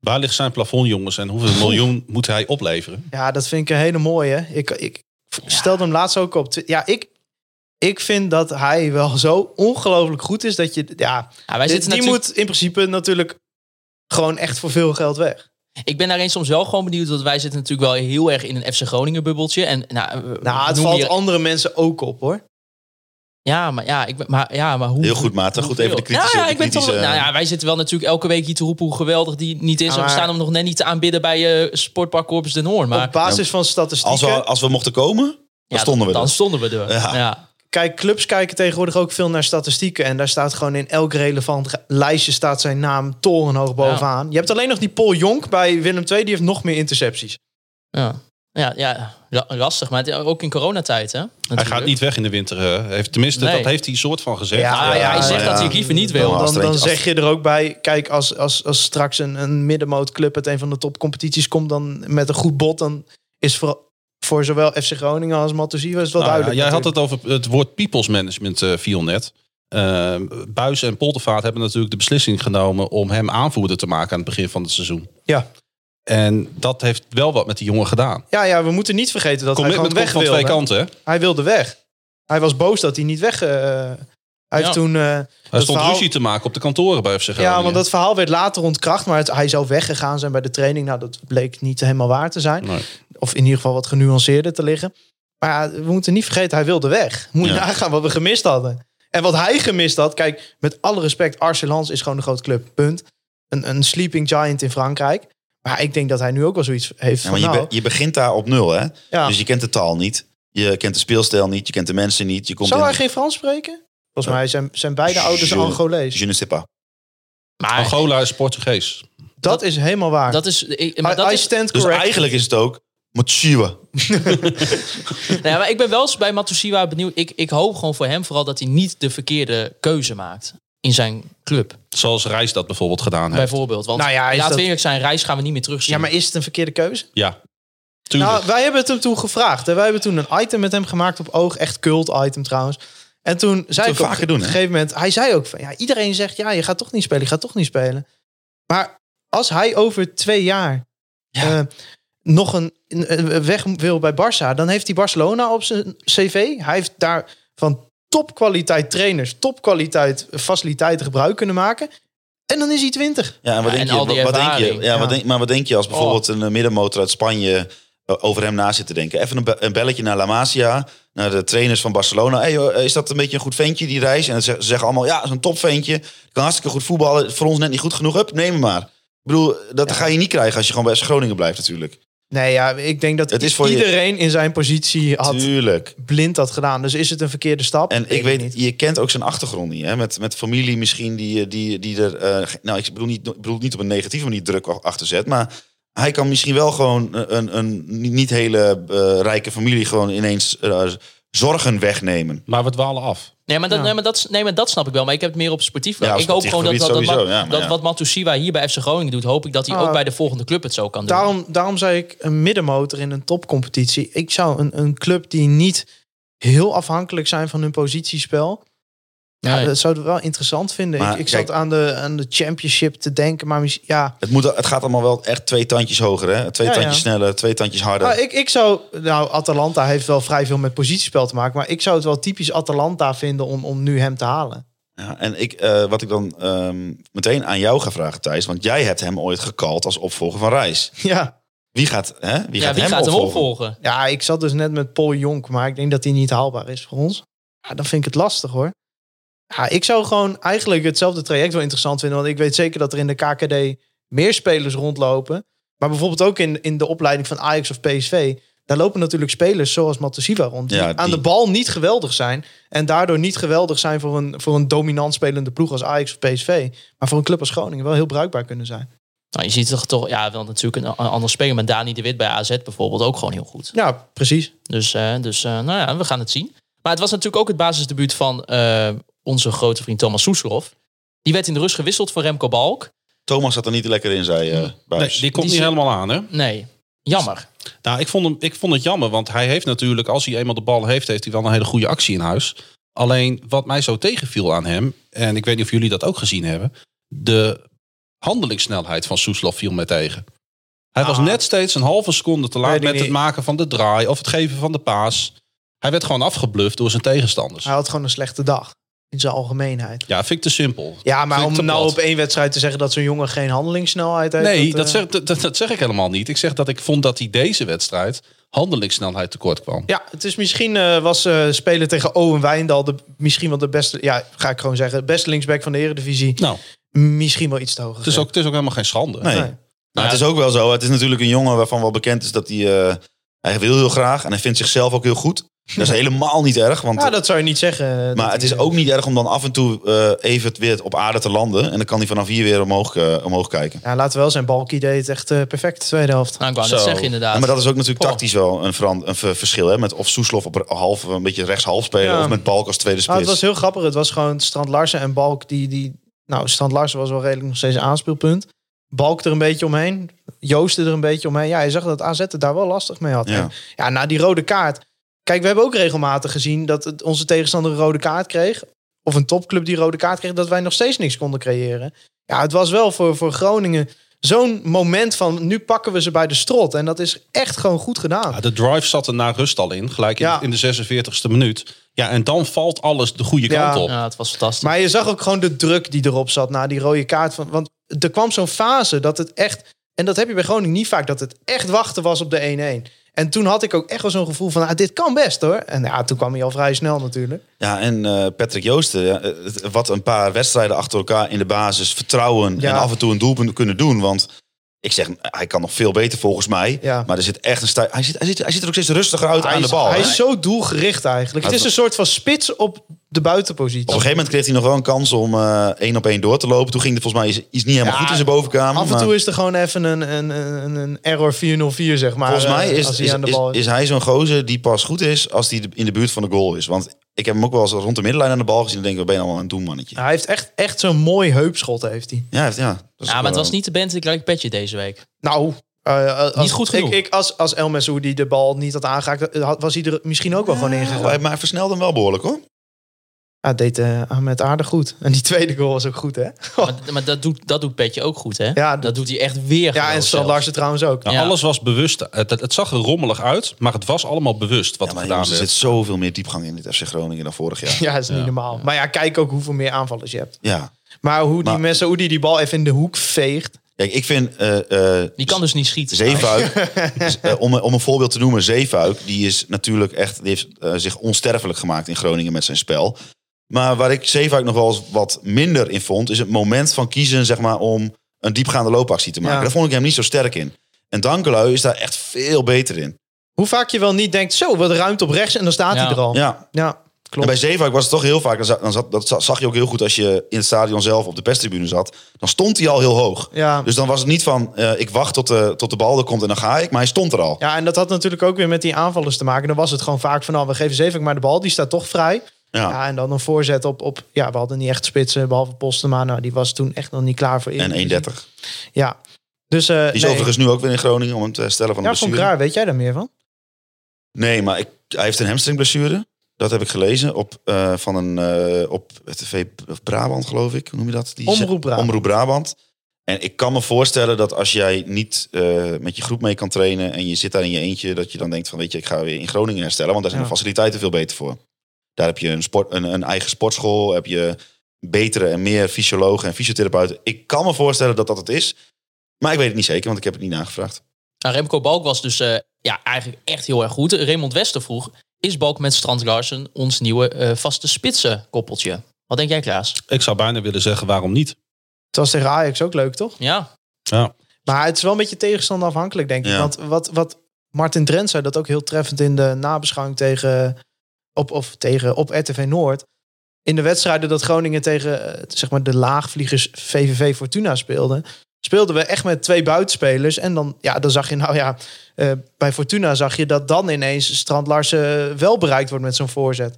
Waar ligt zijn plafond, jongens? En hoeveel miljoen moet hij opleveren?
ja, dat vind ik een hele mooie. Ik, ik stelde hem laatst ook op. Twi- Ja, ik, ik vind dat hij wel zo ongelooflijk goed is dat je, ja,
Ja, wij
dit-
zitten
die
natuurlijk...
moet in principe natuurlijk gewoon echt voor veel geld weg.
Ik ben daarin soms wel gewoon benieuwd, want wij zitten natuurlijk wel heel erg in een FC Groningen bubbeltje. En, nou, we-
Nou, het
noem
valt
hier-
andere mensen ook op hoor.
Ja, maar, ja, ik, ben- maar, ja, maar hoe...
Heel goed, Maarten. Goed, even de eh,
Ja,
kritische...
ja, ik ben toch,
kritische-
nou ja, wij zitten wel natuurlijk elke week hier te roepen hoe geweldig die niet is.
Maar-
En we staan hem nog net niet te aanbidden bij eh Sportpark Corpus de Noorn. Maar
Op basis van statistieken.
Als, we, als we mochten komen, dan
ja,
stonden we
dan
er.
stonden we er.
Ja.
Ja.
Kijk, clubs kijken tegenwoordig ook veel naar statistieken. En daar staat gewoon in elk relevant ge- lijstje staat zijn naam torenhoog bovenaan. Je hebt alleen nog die Paul Jonk bij Willem II. Die heeft nog meer intercepties.
Ja. Ja, ja, la- lastig. Maar het- ook in coronatijd, hè?
Hij
natuurlijk.
gaat niet weg in de winter. eh, heeft, tenminste,
Nee.
dat heeft hij soort van gezegd.
Ja,
Ah, ja, hij
Ja,
zegt
ja.
dat hij het liever niet wil.
Ja.
Dan,
als er
dan
eentje-
zeg je er ook bij, kijk, als, als, als straks een, een middenmootclub uit een van de topcompetities komt dan met een goed bod, dan is voor, voor zowel FC Groningen als Matusiwa is het wel
Nou ja,
duidelijk.
jij had
natuurlijk.
het over het woord people's management, eh viel net. Eh, Buis en Poldervaart hebben natuurlijk de beslissing genomen om hem aanvoerder te maken aan het begin van het seizoen.
Ja.
En dat heeft wel wat met die jongen gedaan.
ja, ja, we moeten niet vergeten dat hij gewoon
Commitment komt
weg
van
wilde.
twee kanten. hè?
Hij wilde weg. Hij was boos dat hij niet weg... eh, hij
Ja.
heeft toen... eh,
Hij
dat
stond
verhaal-
ruzie te maken op de kantoren bij FC Groningen.
Ja, want dat verhaal werd later ontkracht. Maar het- hij zou weggegaan zijn bij de training. Nou, dat bleek niet helemaal waar te zijn.
Nee.
Of in ieder geval wat genuanceerder te liggen. Maar ja, we moeten niet vergeten, hij wilde weg. Moet je
Ja.
nagaan wat we gemist hadden. En wat hij gemist had. Kijk, met alle respect, Arsenal is gewoon een groot club. Punt. Een, een sleeping giant in Frankrijk. Maar ik denk dat hij nu ook wel zoiets heeft
Ja,
van
maar je,
nou...
be- je begint daar op nul, hè?
ja.
Dus je kent de taal niet. Je kent de speelstijl niet. Je kent de mensen niet. Je komt
Zou
in...
hij geen Frans spreken? Volgens mij zijn, zijn beide ouders
Je-
Angolees.
Je ne sais pas.
Maar
Angola is Portugees.
Dat is helemaal waar.
dat is... Ik,
I,
maar dat
I
is
stand
Dus
correct.
eigenlijk is het ook... Matshiwa.
nou ja, maar ik ben wel eens bij Matusiwa benieuwd. Ik, ik hoop gewoon voor hem vooral dat hij niet de verkeerde keuze maakt in zijn club.
Zoals Reis dat bijvoorbeeld gedaan heeft.
Bijvoorbeeld. Want
Nou ja, is
laten
dat-
we eerlijk zijn, reis gaan we niet meer terugzien.
Ja, maar is het een verkeerde keuze?
Ja, tuurlijk.
Nou, wij hebben het hem toen gevraagd. Hè. Wij hebben toen een item met hem gemaakt op oog. Echt cult item trouwens. En toen zei
we
ik op
vaker doen,
een
hè?
gegeven moment... Hij zei ook van... Ja, iedereen zegt... Ja, je gaat toch niet spelen. Je gaat toch niet spelen. Maar als hij over twee jaar... eh, nog een, een- een weg wil bij Barça... Dan heeft hij Barcelona op zijn cv. Hij heeft daar van topkwaliteit trainers... topkwaliteit faciliteiten gebruik kunnen maken. En dan is hij twintig.
Ja, en wat
Ja,
denk
en al
je?
die
Wat- Wat denk je?
ervaring,
Ja,
ja.
Wat denk, maar wat denk je
Oh.
als bijvoorbeeld een eh, middenmotor uit Spanje eh, over hem na zit te denken? Even een, be- een belletje naar La Masia, naar de trainers van Barcelona. Hey, joh, is dat een beetje een goed ventje, die reis? En dan ze ze zeggen allemaal, ja, dat is een topventje. Kan hartstikke goed voetballen. Voor ons net niet goed genoeg. Hup, neem hem maar. Ik bedoel, dat ga je niet krijgen als je gewoon bij FC Groningen blijft natuurlijk.
Nee, ja, ik denk dat
Het is voor je-
iedereen in zijn positie had...
Tuurlijk.
blind had gedaan. Dus is het een verkeerde stap?
En ik weet,
het niet.
je kent ook zijn achtergrond niet. Hè? Met, met familie misschien die, eh, die, die er... eh, ge- nou, ik bedoel niet, ik bedoel niet op een negatieve manier druk achter zet. Maar hij kan misschien wel gewoon een, een, een niet- niet hele eh, rijke familie... gewoon ineens eh, zorgen wegnemen.
maar we dwalen af.
Nee, maar dat,
Ja.
nee, maar dat, is- nee, maar dat snap ik wel. Maar ik heb het meer op sportief.
Ja, op
ik hoop
sportief
gewoon dat, dat,
gebied
dat,
sowieso, ja, maar
dat
ja.
wat Matusiwa hier bij FC Groningen doet, hoop ik dat hij
Ah.
ook bij de volgende club het zo kan doen.
Daarom, daarom zei ik een middenmotor in een topcompetitie. Ik zou een, een club die niet heel afhankelijk zijn van hun positiespel.
Nee.
Dat zou ik wel interessant vinden.
Maar
ik ik
kijk-
zat aan de, aan de championship te denken. Maar misschien- ja,
Het, moet, het gaat allemaal wel echt twee tandjes hoger. Hè? Twee
Ja,
tandjes
ja.
sneller, twee tandjes harder.
Nou, ik, ik zou... Nou, Atalanta heeft wel vrij veel met positiespel te maken. Maar ik zou het wel typisch Atalanta vinden om, om nu hem te halen. *laughs*
Ja, en ik, eh, wat ik dan ehm, meteen aan jou ga vragen, Thijs... want jij hebt hem ooit gekald als opvolger van Reis.
Ja.
Wie gaat, hè? Wie
ja,
gaat,
wie
hem,
gaat hem
opvolgen?
opvolgen?
ja, ik zat dus net met Paul Jonk. Maar ik denk dat die niet haalbaar is voor ons. Ja, dan vind ik het lastig hoor. Ja, ik zou gewoon eigenlijk hetzelfde traject wel interessant vinden. Want ik weet zeker dat er in de KKD meer spelers rondlopen. Maar bijvoorbeeld ook in, in de opleiding van Ajax of PSV. Daar lopen natuurlijk spelers zoals Matosiva rond. Die,
Ja, die-
aan de bal niet geweldig zijn. En daardoor niet geweldig zijn voor een, voor een dominant spelende ploeg als Ajax of PSV. Maar voor een club als Groningen wel heel bruikbaar kunnen zijn.
Nou, je ziet toch toch, ja, wel natuurlijk een, een ander speler. Maar Dani de Wit bij AZ bijvoorbeeld ook gewoon heel goed.
Ja, precies.
Dus, eh, dus eh, nou ja, we gaan het zien. Maar het was natuurlijk ook het basisdebuut van eh, onze grote vriend Thomas Soeslof. Die werd in de rust gewisseld voor Remco Balk.
Thomas zat er niet lekker in, zei eh
Nee,
Buijs.
die komt
Die zin-
niet helemaal aan, hè?
Nee, jammer.
Nou, ik vond, hem, ik vond het jammer, want hij heeft natuurlijk, als hij eenmaal de bal heeft, heeft hij wel een hele goede actie in huis. Alleen wat mij zo tegenviel aan hem, en ik weet niet of jullie dat ook gezien hebben, de handelingssnelheid van Soeslof viel mij tegen. Hij was
Ah.
net steeds een halve seconde te
Weet
laat
ik
met
niet.
het maken van de draai of het geven van de paas. Hij werd gewoon afgebluft door zijn tegenstanders.
Ah. Hij had gewoon een slechte dag. in zijn algemeenheid.
Ja, vind ik te simpel.
Ja, maar
Vind ik
om
te
nou
plat.
op één wedstrijd te zeggen dat zo'n jongen geen handelingssnelheid heeft.
Nee, dat,
eh,
zeg, dat, dat- dat zeg ik helemaal niet. Ik zeg dat ik vond dat hij deze wedstrijd handelingssnelheid tekort kwam.
Ja, het is misschien eh, was eh, spelen tegen Owen Wijndal de, misschien wel de beste, ja, ga ik gewoon zeggen, de beste linksback van de Eredivisie.
Nou,
Misschien wel iets te hoog.
het is, ook, het is ook helemaal geen schande.
Nee.
Nee.
Maar het is ook wel zo. Het is natuurlijk een jongen waarvan wel bekend is dat hij... eh, hij wil heel graag en hij vindt zichzelf ook heel
*laughs*
goed. Dat is helemaal niet erg. Want
Ja, dat zou je niet zeggen. eh, dat
Maar het
hij-
is ook niet erg om dan af en toe eh, even het weer op aarde te landen. En dan kan hij vanaf hier weer omhoog, eh, omhoog kijken.
Ja, laten we wel zijn, Balki deed het echt eh, perfect de tweede helft.
Nou, ik wou net
Zo.
zeggen inderdaad.
Ja, maar dat is ook natuurlijk
Oh.
tactisch wel een, veran- een ver- verschil. Hè? Met of Soeslof op half, een beetje rechtshalf spelen.
Ja.
Of met Balk als tweede
Nou, het
spits.
was heel grappig. Het was gewoon Strand Larsen en Balk die, die... Nou, Strand Larsen was wel redelijk nog steeds een aanspeelpunt. Balk er een beetje omheen. Joost er een beetje omheen. Ja, je zag dat AZ het daar wel lastig mee had.
Ja.
En ja, na die rode kaart. Kijk, we hebben ook regelmatig gezien dat het, onze tegenstander een rode kaart kreeg. Of een topclub die rode kaart kreeg. Dat wij nog steeds niks konden creëren. Ja, het was wel voor, voor Groningen zo'n moment van... Nu pakken we ze bij de strot. En dat is echt gewoon goed gedaan.
Ja, de drive zat er na rust al in, gelijk in,
Ja.
in de 46e minuut. Ja, en dan valt alles de goede
Ja.
kant op.
Ja, het was fantastisch.
Maar je zag ook gewoon de druk die erop zat na die rode kaart. Van, want er kwam zo'n fase dat het echt... En dat heb je bij Groningen niet vaak. Dat het echt wachten was op de 1-1. En toen had ik ook echt wel zo'n gevoel van... Ah, dit kan best hoor. En ja, toen kwam hij al vrij snel natuurlijk.
Ja, en eh, Patrick Joosten. ja, eh, het- wat een paar wedstrijden achter elkaar in de basis. Vertrouwen
Ja.
en af en toe een doelpunt kunnen doen. Want ik zeg, hij kan nog veel beter volgens mij.
Ja.
Maar er zit echt een stij... hij, zit, hij, zit, hij zit er ook steeds rustiger uit
hij
aan
is,
de bal.
hij
hè?
is zo doelgericht eigenlijk.
Hij
het is een soort van spits op de
Op
buitenpositie.
een gegeven moment kreeg hij nog wel een kans om eh, één op één door te lopen. Toen ging het volgens mij iets- iets niet helemaal
Ja,
goed in zijn bovenkamer.
Af en
maar
toe is er gewoon even een, een, een, een error 404 zeg maar.
volgens mij
eh,
is,
als hij
is,
aan de
is,
bal is.
is hij zo'n gozer die pas goed is als hij de- in de buurt van de goal is. Want ik heb hem ook wel eens rond de middenlijn aan de bal gezien. Dan denk ik, we ben je allemaal een doelmannetje.
Hij heeft echt, echt zo'n mooi heupschot heeft hij.
Ja, hij heeft- ja, dat is
ja,
ook
maar het
wel-
was niet de band dat ik like petje deze week.
Nou, eh, eh, als,
goed genoeg.
Ik, ik, als, als El Messoudi de bal niet had aangeraakt, eh, had- was hij er misschien ook wel gewoon
Ja,
ingegaan.
maar hij- maar hij versnelde hem wel behoorlijk hoor.
Ja, deed eh, Ahmed aardig goed. En die tweede goal was ook goed, hè?
Maar, maar dat, doet, dat doet petje ook goed, hè?
Ja,
dat doet hij echt weer.
*laughs* Ja, en
geweldig
Strand
zelf.
Larsen trouwens ook.
Nou,
Ja.
Alles was bewust. Het, het, het zag er rommelig uit, maar het was allemaal bewust wat
Ja,
er
maar
gedaan
jongens, er
werd.
zit zoveel meer diepgang in dit FC Groningen dan vorig jaar.
*laughs* Ja, dat is niet normaal. Maar ja, kijk ook hoeveel meer aanvallers je hebt.
Ja.
Maar hoe die
Maar-
Messoudi die bal even in de hoek veegt.
Kijk, ik vind... eh, eh,
Die kan dus niet schieten.
Zeefuik, is, eh, om, om een voorbeeld te noemen, Zeefuik, die is natuurlijk echt, die heeft eh, zich onsterfelijk gemaakt in Groningen met zijn spel. Maar waar ik Zeefuik nog wel eens wat minder in vond, is het moment van kiezen, zeg maar, om een diepgaande loopactie te maken.
Ja.
Daar vond ik hem niet zo sterk in. En Dankelui is daar echt veel beter in.
Hoe vaak je wel niet denkt, zo, wat ruimte op rechts en dan staat
Ja.
hij er al. Ja,
Ja. En
klopt.
bij Zeefuik was het toch heel vaak, dan za- dan zat, dat za- zag je ook heel goed als je in het stadion zelf op de pestribune zat, dan stond hij al heel hoog.
Ja.
Dus dan was het niet van, eh, ik wacht tot de, tot de bal er komt en dan ga ik, maar hij stond er al.
ja, en dat had natuurlijk ook weer met die aanvallers te maken. Dan was het gewoon vaak van, nou, we geven zeven maar de bal, die staat toch vrij. Ja. en dan een voorzet op, op, ja, we hadden niet echt spitsen, behalve Postema. Nou, die was toen echt nog niet klaar voor
En 1,30.
1,30. Ja, dus... eh
Die is
nee.
overigens nu ook weer in Groningen om hem te herstellen van de
Ja, van
blessure.
Kraar, weet jij daar meer van?
Nee, maar ik, hij heeft een hamstringblessure. Dat heb ik gelezen op, eh, van een, eh, op TV Brabant, geloof ik. Hoe noem je dat? Die
Omroep Brabant.
Omroep Brabant. En ik kan me voorstellen dat als jij niet eh, met je groep mee kan trainen... en je zit daar in je eentje, dat je dan denkt van... weet je, ik ga weer in Groningen herstellen, want daar zijn
Ja.
de faciliteiten veel beter voor. Daar heb je een, sport, een, een eigen sportschool, heb je betere en meer fysiologen en fysiotherapeuten. Ik kan me voorstellen dat dat het is, maar ik weet het niet zeker, want ik heb het niet nagevraagd.
Nou, Remco Balk was dus eh, ja, eigenlijk echt heel erg goed. Raymond Wester vroeg, is Balk met Strand Larsen ons nieuwe eh, vaste spitsen koppeltje? Wat denk jij, Klaas?
Ik zou bijna willen zeggen, waarom niet?
Het was tegen Ajax ook leuk, toch?
Ja,
Ja.
Maar het is wel een beetje tegenstander afhankelijk, denk ik.
Ja.
Want wat, wat Martin Drent zei, dat ook heel treffend in de nabeschouwing tegen op, of tegen, op RTV Noord. In de wedstrijden dat Groningen tegen eh, zeg maar de laagvliegers VVV Fortuna speelde, speelden we echt met twee buitenspelers. En dan, ja, dan zag je, nou ja, eh, bij Fortuna zag je dat dan ineens Strand Larsen wel bereikt wordt met zo'n voorzet.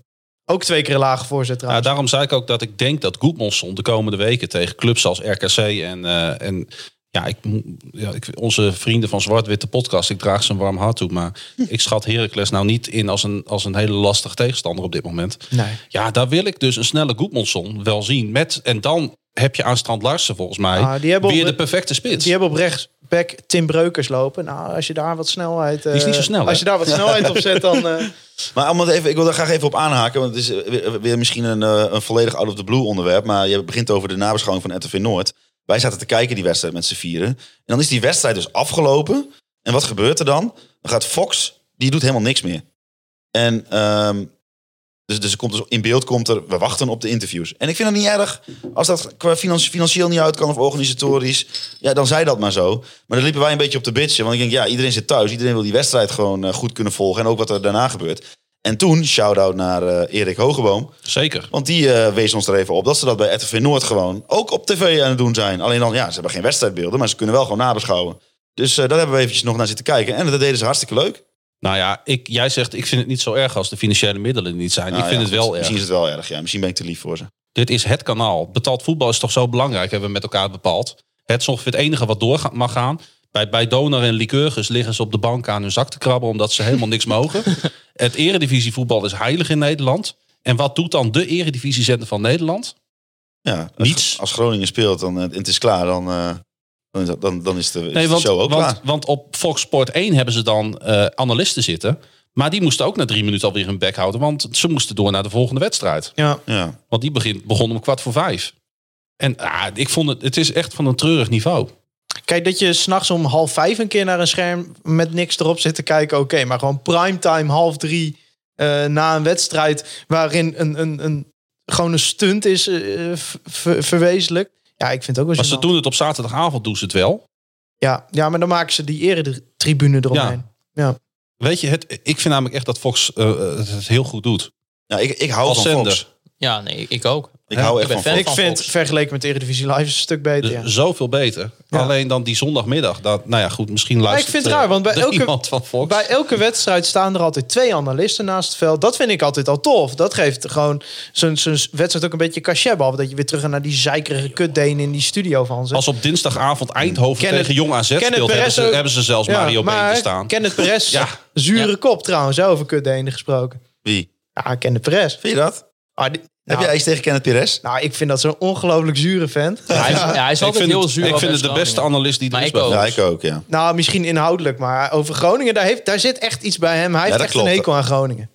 Ook twee keer een lage voorzet
Ja,
trouwens.
Nou, daarom zei ik ook dat ik denk dat Goedmonsson de komende weken tegen clubs als RKC en... eh, en ja, ik, mo- ja ik, onze vrienden van Zwart-Witte Podcast, ik draag ze een warm hart toe. Maar
Hm.
ik schat Heracles nou niet in als een, als een hele lastige tegenstander op dit moment.
nee.
Ja, daar wil ik dus een snelle Goedmonsson wel zien. Met, en dan heb je aan Strand Larsen volgens mij
Ah, die hebben op-
weer de perfecte spits.
Die hebben op rechts rechtsback Tim Breukers lopen. Nou, als je daar wat snelheid... eh,
is niet zo snel, hè?
Als je daar wat snelheid op zet, dan...
*laughs*
eh,
Maar om het even, ik wil daar graag even op aanhaken. Want het is eh, weer, weer misschien een, eh, een volledig out of the blue onderwerp. Maar je begint over de nabeschouwing van RTV Noord. Wij zaten te kijken die wedstrijd met z'n vieren. En dan is die wedstrijd dus afgelopen. En wat gebeurt er dan? Dan gaat Fox, die doet helemaal niks meer. En ehm, dus, dus, er komt dus in beeld komt er, we wachten op de interviews. En ik vind het niet erg als dat qua financi- financieel niet uit kan of organisatorisch. Ja, dan zei dat maar zo. Maar dan liepen wij een beetje op de bitchen. Want ik denk, ja, iedereen zit thuis. Iedereen wil die wedstrijd gewoon eh, goed kunnen volgen. En ook wat er daarna gebeurt. En toen, shout-out naar eh, Erik Hogeboom.
Zeker.
Want die eh, wees ons er even op dat ze dat bij RTV Noord gewoon ook op tv aan het doen zijn. Alleen dan, ja, ze hebben geen wedstrijdbeelden, maar ze kunnen wel gewoon nabeschouwen. Dus eh daar hebben we eventjes nog naar zitten kijken. En dat deden ze hartstikke leuk.
Nou ja, ik, jij zegt ik vind het niet zo erg als de financiële middelen er niet zijn.
Nou
ik vind
ja,
het wel
goed,
erg.
Misschien is het wel erg, ja. Misschien ben ik te lief voor ze.
Dit is het kanaal. Betaald voetbal is toch zo belangrijk, hebben we met elkaar bepaald. Het is ongeveer het enige wat door gaat- mag gaan. Bij, bij Donar en Lycurgus liggen ze op de bank aan hun zak te krabben... omdat ze helemaal niks mogen.
*laughs*
Het eredivisievoetbal is heilig in Nederland. En wat doet dan de eredivisiezender van Nederland?
Ja, als-
Niets.
Als Groningen speelt dan, eh, en het is klaar, dan, eh, dan, is dat- dan, dan is de, is
Nee,
de
want,
show ook
want,
klaar.
want op Fox Sport 1 hebben ze dan eh, analisten zitten. Maar die moesten ook na drie minuten alweer hun bek houden. Want ze moesten door naar de volgende wedstrijd.
ja.
Ja.
Want die begint, begon om kwart voor vijf. En ah, ik vond het, het is echt van een treurig niveau.
Kijk, dat je s'nachts om half vijf een keer naar een scherm met niks erop zit te kijken, oké. maar gewoon primetime, half drie, eh, na een wedstrijd waarin een, een, een, gewoon een stunt is eh, eh, ver- ver- verwezenlijk. Ja, ik vind het ook wel
Maar ze
gênant.
doen het op zaterdagavond, doen ze het wel.
ja, ja, maar dan maken ze die eretribune eromheen.
Weet je, het, ik vind namelijk echt dat Fox eh, eh, het heel goed doet.
ja, ik, ik hou
Als
van
zender.
Fox.
Ja, nee, ik ook.
Ik
Ja,
hou
ik
echt
ben
van Fox.
fan.
Ik
van
vind,
Fox.
vergeleken met de Eredivisie Live, is het een stuk beter.
Dus
ja.
Zoveel beter.
Ja.
Alleen dan die zondagmiddag. Dat, nou ja, goed, misschien luistert
vind het
eh,
raar, want bij
er
elke-
iemand van Fox.
Bij elke wedstrijd staan er altijd twee analisten naast het veld. Dat vind ik altijd al tof. Dat geeft gewoon zo'n zo'n wedstrijd ook een beetje cachet. Behalve dat je weer terug gaat naar die zeikerige kutdeen in die studio van ze.
Als op dinsdagavond Eindhoven
Kenneth-
tegen Jong AZ
Kenneth
speelt, hebben
Perez
ze,
ook-
hebben ze zelfs Mario Been te staan.
Kenneth Perez,
*laughs* Ja.
zure kop trouwens, hè, over kutdenen gesproken.
Wie?
Ja, Kenneth Perez.
Vind je dat?
Ah, die-
Heb
nou,
jij iets tegen Kenneth Perez?
nou, ik vind dat zo'n ongelooflijk zure
*laughs*
vent.
Hij is, ja, hij is
Ik
altijd
vind,
heel
het,
zuur.
ik
op
vind het de
Groningen.
beste analist die er
Maar
is
ik
bij
ook.
Fox.
Ja, ik ook, ja.
Nou, misschien inhoudelijk, maar over Groningen, daar, heeft, daar zit echt iets bij hem. Hij heeft
dat
echt
klopt.
een hekel aan Groningen.
Ja,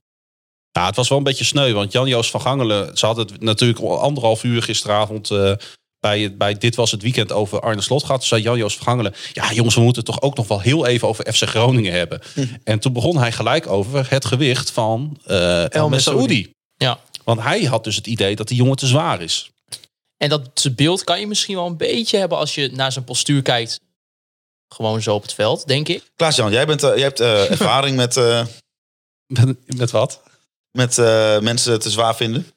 Nou, het was wel een beetje sneu, want Jan-Joos van Gangelen... ze hadden het natuurlijk al anderhalf uur gisteravond... eh, bij, het- bij Dit Was Het Weekend over Arne Slot gehad. Toen zei Jan-Joos van Gangelen... ja jongens, we moeten het toch ook nog wel heel even over FC Groningen hebben. En toen begon hij gelijk over het gewicht van eh El Messaoudi.
Ja.
Want hij had dus het idee dat die jongen te zwaar is. *laughs*
En dat beeld kan je misschien wel een beetje hebben als je naar zijn postuur kijkt. Gewoon zo op het veld, denk ik.
Klaas-Jan, jij, bent, eh, jij hebt eh, ervaring met, eh,
Met, met wat?
met eh, mensen te zwaar vinden.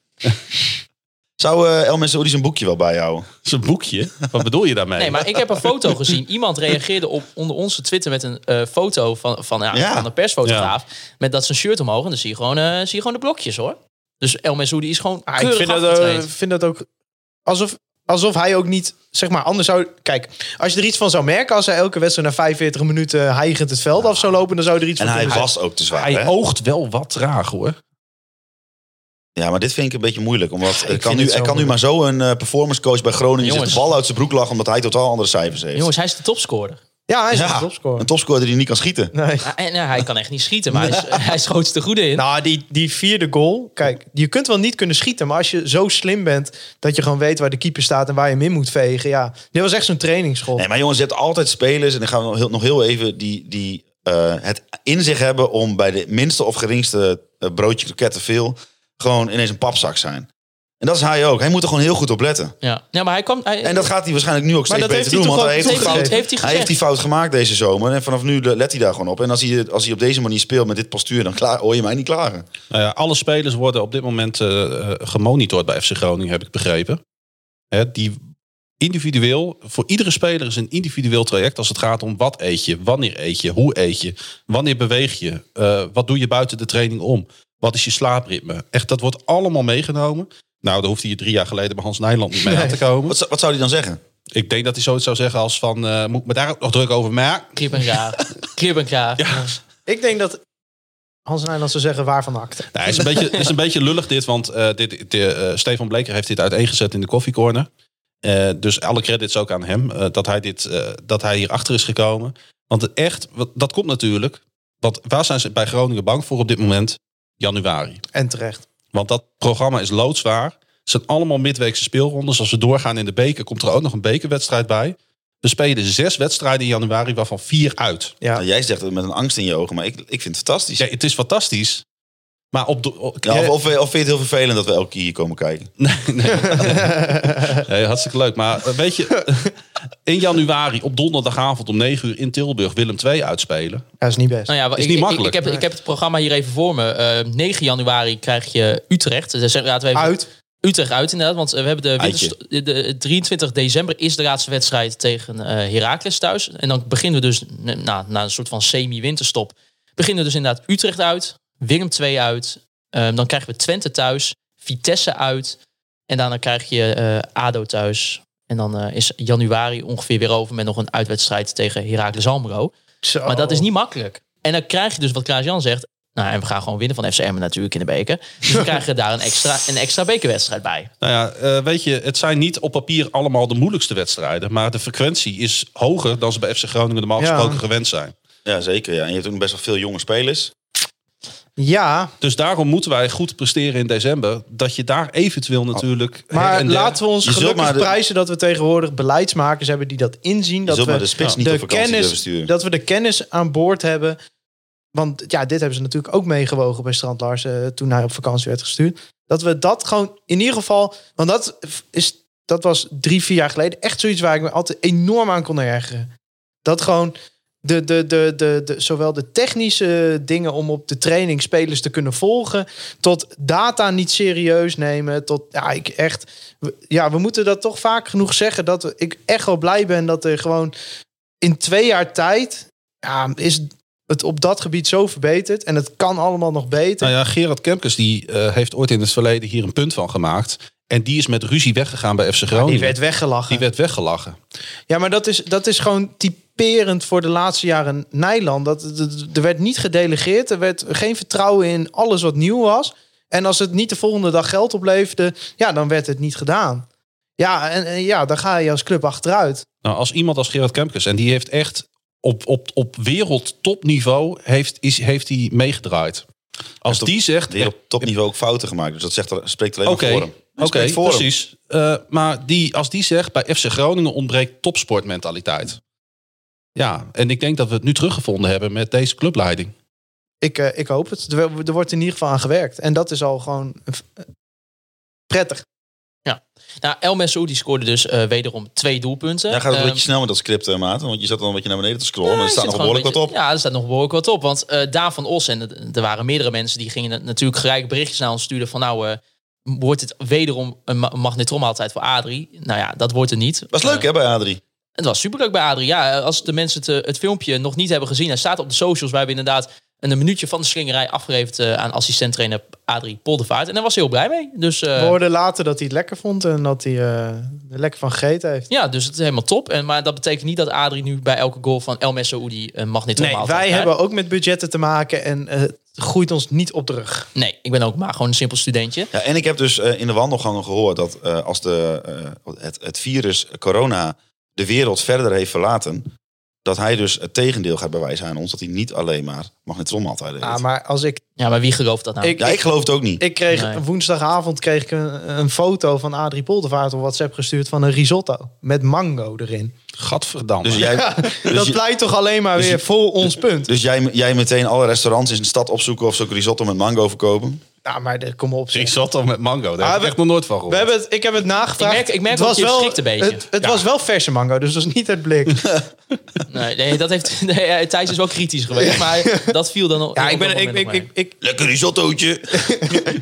Zou eh El Messaoudi zijn boekje wel bijhouden?
Zijn boekje? Wat bedoel je daarmee?
Nee, maar ik heb een foto gezien. Iemand reageerde op onder onze Twitter met een eh, foto van, van, ja,
Ja.
van een persfotograaf. Met dat zijn shirt omhoog. En dan zie je gewoon, eh, zie je gewoon de blokjes hoor. Dus El Messoudi is gewoon
Ah, ik
keurig
vind dat, eh,
afgetraind.
vind dat ook alsof, alsof hij ook niet, zeg maar, anders zou... Kijk, als je er iets van zou merken, als hij elke wedstrijd na 45 minuten hijgend het veld af zou lopen, dan zou je er iets
En
van
hij
kunnen
was ook te zwaar,
Hij
hè?
oogt wel wat traag hoor.
Ja, maar dit vind ik een beetje moeilijk. Omdat er kan,
vind
nu,
het
er
zo
kan nu maar zo een eh, performance coach bij Groningen... zitten
Jongens.
de bal uit zijn broek lachen omdat hij totaal andere cijfers heeft.
Jongens, hij is de topscorer.
Ja, hij is
Ja,
een topscorer.
Een topscorer die niet kan schieten.
Nee.
Ja, En ja, hij kan echt niet schieten, maar hij, is, hij is grootste goede in.
Nou, die, die vierde goal. Kijk, je kunt wel niet kunnen schieten. Maar als je zo slim bent dat je gewoon weet waar de keeper staat en waar je hem in moet vegen. Ja, dit was echt zo'n trainingsschool.
Nee, maar jongens, je hebt altijd spelers. En dan gaan we nog heel, nog heel even die, die eh, het in zich hebben om bij de minste of geringste eh, broodje kroket te veel. gewoon ineens een papzak zijn. En dat is hij ook. Hij moet er gewoon heel goed op letten.
ja. ja, maar hij kwam... Hij,
En dat gaat hij waarschijnlijk nu ook steeds
dat
beter
heeft hij
doen.
toch
Want hij
ook
heeft, die
heeft,
fout,
toegegeven?
heeft hij
hij
gezegd.
heeft die fout gemaakt deze zomer. En vanaf nu eh, let hij daar gewoon op. En als hij, als hij op deze manier speelt met dit postuur, dan klaar, hoor je mij niet klagen.
Nou ja, alle spelers worden op dit moment eh, eh, gemonitord bij FC Groningen, heb ik begrepen. Hè, die individueel, voor iedere speler is een individueel traject als het gaat om wat eet je, wanneer eet je, hoe eet je, wanneer beweeg je, eh, wat doe je buiten de training om, wat is je slaapritme. Echt, dat wordt allemaal meegenomen. Nou, daar hoefde je drie jaar geleden bij Hans Nijland niet mee aan te komen.
Wat, zou- wat zou hij dan zeggen?
Ik denk dat hij zoiets zou zeggen als van, eh, moet ik me daar ook nog druk over maken?
Krip en graaf. Krip en graaf.
Ik denk dat Hans Nijland zou zeggen waar van acte.
Nee, het Nou, is, een beetje, het is een beetje lullig dit, want eh, dit, de, eh, Stefan Bleker heeft dit uiteengezet in de koffiecorner. Eh, dus alle credits ook aan hem eh, dat, hij dit, eh, dat hij hierachter is gekomen. Want het echt, wat- dat komt natuurlijk. Want waar zijn ze bij Groningen bang voor op dit moment? Januari.
En terecht.
Want dat programma is loodzwaar. Het zijn allemaal midweekse speelrondes. Als we doorgaan in de beker, komt er ook nog een bekerwedstrijd bij. We spelen zes wedstrijden in januari, waarvan vier uit.
Ja.
Nou, jij zegt het met een angst in je ogen, maar ik, ik vind het fantastisch.
Ja, het is fantastisch. Maar op de. op-
Nou, of, of, of vind je het heel vervelend dat we elke keer hier komen kijken?
*laughs* Nee,
*laughs*
nee. Nee, hartstikke leuk. Maar eh, weet je, *laughs* in januari op donderdagavond om 9 uur in Tilburg Willem 2 uitspelen.
Dat is niet best.
Nou ja,
Is
ik,
niet
ik-
makkelijk.
Ik, heb, ik heb het programma hier even voor me. Eh, 9 januari krijg je Utrecht. Dus zeggen- laten we even
Uit.
Utrecht uit inderdaad. Want eh, we hebben de,
Uitje.
winterst- de, de 23 december is de laatste wedstrijd tegen eh Heracles thuis. En dan beginnen we dus n- na, na een soort van semi-winterstop. Beginnen we dus inderdaad Utrecht uit. Willem 2 uit. Ehm, dan krijgen we Twente thuis. Vitesse uit. En daarna krijg je eh, ADO thuis. En dan eh, is januari ongeveer weer over met nog een uitwedstrijd tegen Heracles Almelo.
Zo.
Maar dat
Oh.
is niet makkelijk. En dan krijg je dus wat Klaas-Jan zegt. Nou, en we gaan gewoon winnen van FCM natuurlijk in de beker. Dus
*laughs*
we krijgen daar een extra, een extra bekerwedstrijd bij.
Nou ja, eh, weet je, het zijn niet op papier allemaal de moeilijkste wedstrijden. Maar de frequentie is hoger dan ze bij FC Groningen normaal
Ja.
gesproken gewend zijn.
Ja, zeker. Ja. En je hebt ook nog best wel veel jonge spelers.
Ja,
Dus daarom moeten wij goed presteren in december. Dat je daar eventueel natuurlijk. her
Oh, maar
en der-
laten we ons
Je zult
gelukkig
maar de-
prijzen dat we tegenwoordig beleidsmakers hebben die dat inzien. Dat
zult
we
maar de spits niet op vakantie durven
kennis,
sturen.
Dat we de kennis aan boord hebben. Want ja, dit hebben ze natuurlijk ook meegewogen bij Strand Larsen eh, toen hij op vakantie werd gestuurd. Dat we dat gewoon in ieder geval. Want dat, is, dat was drie, vier jaar geleden echt zoiets waar ik me altijd enorm aan kon ergeren. Dat gewoon de, de, de, de, de, zowel de technische dingen om op de training spelers te kunnen volgen, tot data niet serieus nemen, tot ja, ik echt, we- ja, we moeten dat toch vaak genoeg zeggen dat we, ik echt wel blij ben dat er gewoon in twee jaar tijd ja, is het op dat gebied zo verbeterd en het kan allemaal nog beter.
Nou ja, Gerard Kemkes die eh, heeft ooit in het verleden hier een punt van gemaakt. En die is met ruzie weggegaan bij FC Groningen.
Die werd weggelachen.
Die werd weggelachen.
Ja, maar dat is, dat is gewoon typerend voor de laatste jaren Nijland. Dat, dat- er werd niet gedelegeerd. Er werd geen vertrouwen in alles wat nieuw was. En als het niet de volgende dag geld opleverde, ja, dan werd het niet gedaan. Ja, en, en ja, dan ga je als club achteruit.
Nou, als iemand als Gerard Kemkes, en die heeft echt op, op, op wereldtopniveau heeft, is, heeft hij meegedraaid. Als
op
die zegt,
Die op topniveau ook fouten gemaakt. Dus dat zegt, er- spreekt alleen maar
Oké,
voor hem.
oké,
Dat spreekt voor hem.
precies. Eh, maar die, als die zegt, bij FC Groningen ontbreekt topsportmentaliteit. Ja, en ik denk dat we het nu teruggevonden hebben met deze clubleiding.
Ik, eh, ik hoop het. Er, er wordt in ieder geval aan gewerkt. En dat is al gewoon eh, prettig.
Nou, El Messoudi scoorde dus eh, wederom twee doelpunten.
Ja, gaat het een
Ehm,
beetje snel met dat script, eh, Maarten. Want je zat dan een beetje naar beneden te scrollen.
ja,
maar er
er
staat nog
zit gewoon
behoorlijk
een
wat
beetje-
op.
Ja, er staat nog behoorlijk wat op. Want eh Daan van Os, en het- er waren meerdere mensen die gingen het natuurlijk gelijk berichtjes naar ons sturen van nou, eh, wordt het wederom een ma- magnetronmaaltijd voor Adrie? Nou ja, dat wordt het niet.
Was leuk, hè, bij Adrie?
Het was superleuk bij Adrie. Ja, als de mensen het, eh, het filmpje nog niet hebben gezien, hij staat op de socials. Wij hebben inderdaad een, minuutje van de slingerij afgegeven eh, aan assistent-trainer Adrie Poldervaart. En daar was hij heel blij mee. Dus, eh,
We hoorden later dat hij het lekker vond en dat hij eh, er lekker van gegeten heeft.
ja, dus het is helemaal top. En, maar dat betekent niet dat Adrie nu bij elke goal van El Messoudi een
Nee,
magnetronmaaltijd
wij
krijgt.
hebben ook met budgetten te maken en eh, het groeit ons niet op de rug.
Nee, ik ben ook maar gewoon een simpel studentje.
Ja, en ik heb dus eh, in de wandelgangen gehoord dat eh, als de, eh, het, het virus corona de wereld verder heeft verlaten, dat hij dus het tegendeel gaat bewijzen aan ons. Dat hij niet alleen maar magnetronmaaltijden eet.
Ah, maar als ik
Ja, maar wie gelooft dat nou?
Ik-
ja, ik geloof het ook niet.
Ik kreeg
Nee.
woensdagavond kreeg ik een, een foto van Adrie Poldervaart op WhatsApp gestuurd van een risotto met mango erin. *laughs*
Gadverdamme.
dus
*laughs*
jij,
dat
je-
pleit toch alleen maar
dus
weer
je-
voor ons punt.
dus jij, jij meteen alle restaurants in de stad opzoeken of ze ook risotto met mango verkopen?
nou, maar de- kom op. zeg.
Risotto met mango, daar
Ah,
heb ik
we-
echt nog nooit van gehoord.
We hebben het, ik heb het nagevraagd.
Ik merk- ik merk
het
ook, je schrikt een beetje.
Het, het was wel verse mango, dus dat was niet het
*laughs*
blik.
Nee, nee, dat heeft, *laughs* nee, eh, Thijs is wel kritisch
*laughs*
geweest, maar dat viel dan
ja, ik, ben, ik, ik, ik, ik,
Lekker risottootje!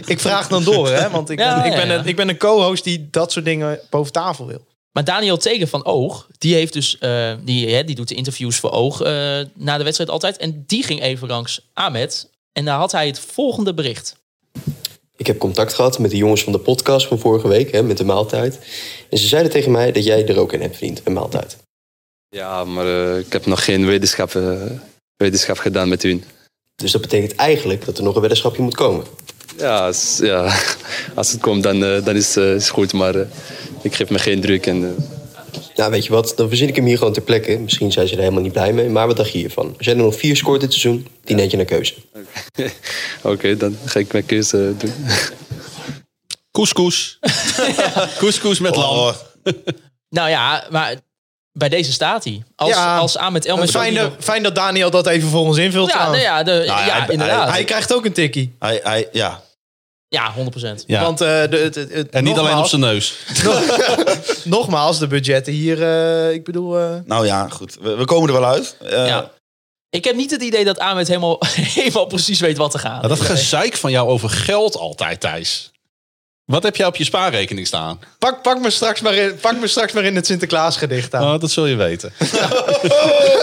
ik vraag
*laughs*
dan door, hè, want ik,
Ja,
ik,
ja,
ben
ja.
Een, ik ben een co-host die dat soort dingen boven tafel wil.
Maar Daniel Tegen van Oog, die, heeft dus, eh, die, hè, die doet de interviews voor Oog eh, na de wedstrijd altijd. En die ging even langs Ahmed en daar had hij het volgende bericht.
Ik heb contact gehad met de jongens van de podcast van vorige week, hè, met de maaltijd. En ze zeiden tegen mij dat jij er ook in hebt, vriend, een maaltijd.
Ja, maar eh, ik heb nog geen wetenschap, eh, wetenschap gedaan met hun.
Dus dat betekent eigenlijk dat er nog een weddenschapje moet komen.
Ja, als, ja, *laughs* als het komt, dan, eh, dan is het goed. Maar eh, ik geef me geen druk. En, eh,
Nou, weet je wat, dan verzin ik hem hier gewoon ter plekke. Misschien zijn ze er helemaal niet blij mee, maar wat dacht je hiervan? Als jij er nog vier scoort dit seizoen, die neemt je naar keuze.
Oké, dan ga ik mijn keuze eh, doen. *laughs*
Couscous. Couscous met lam.
Oh,
Nou ja, maar bij deze staat hij. Als,
Ja.
als Ahmed El Messaoudi
Fijn,
nog-
dat- fijn dat Daniel dat even voor ons invult.
Ja, nou
trouwens.
ja, de, ja,
hij-
inderdaad.
Hij krijgt ook een tikkie. *laughs*
hij, hij, ja.
ja, 100%.
Ja.
Want, eh, de, het- het- het-
en niet alleen op
nogmaals-
zijn
*laughs*
neus.
Nogmaals, de budgetten hier, eh, ik bedoel... eh,
Nou ja, goed. We, we komen er wel uit. Eh,
Ja. Ik heb niet het idee dat Ahmed helemaal, *laughs* helemaal precies weet wat te gaan.
Nou, dat gezeik van jou over geld altijd, Thijs. Wat heb jij op je spaarrekening staan?
Pak, pak, me straks maar in, pak me straks maar in het Sinterklaasgedicht *laughs* aan.
Oh, dat zul je weten.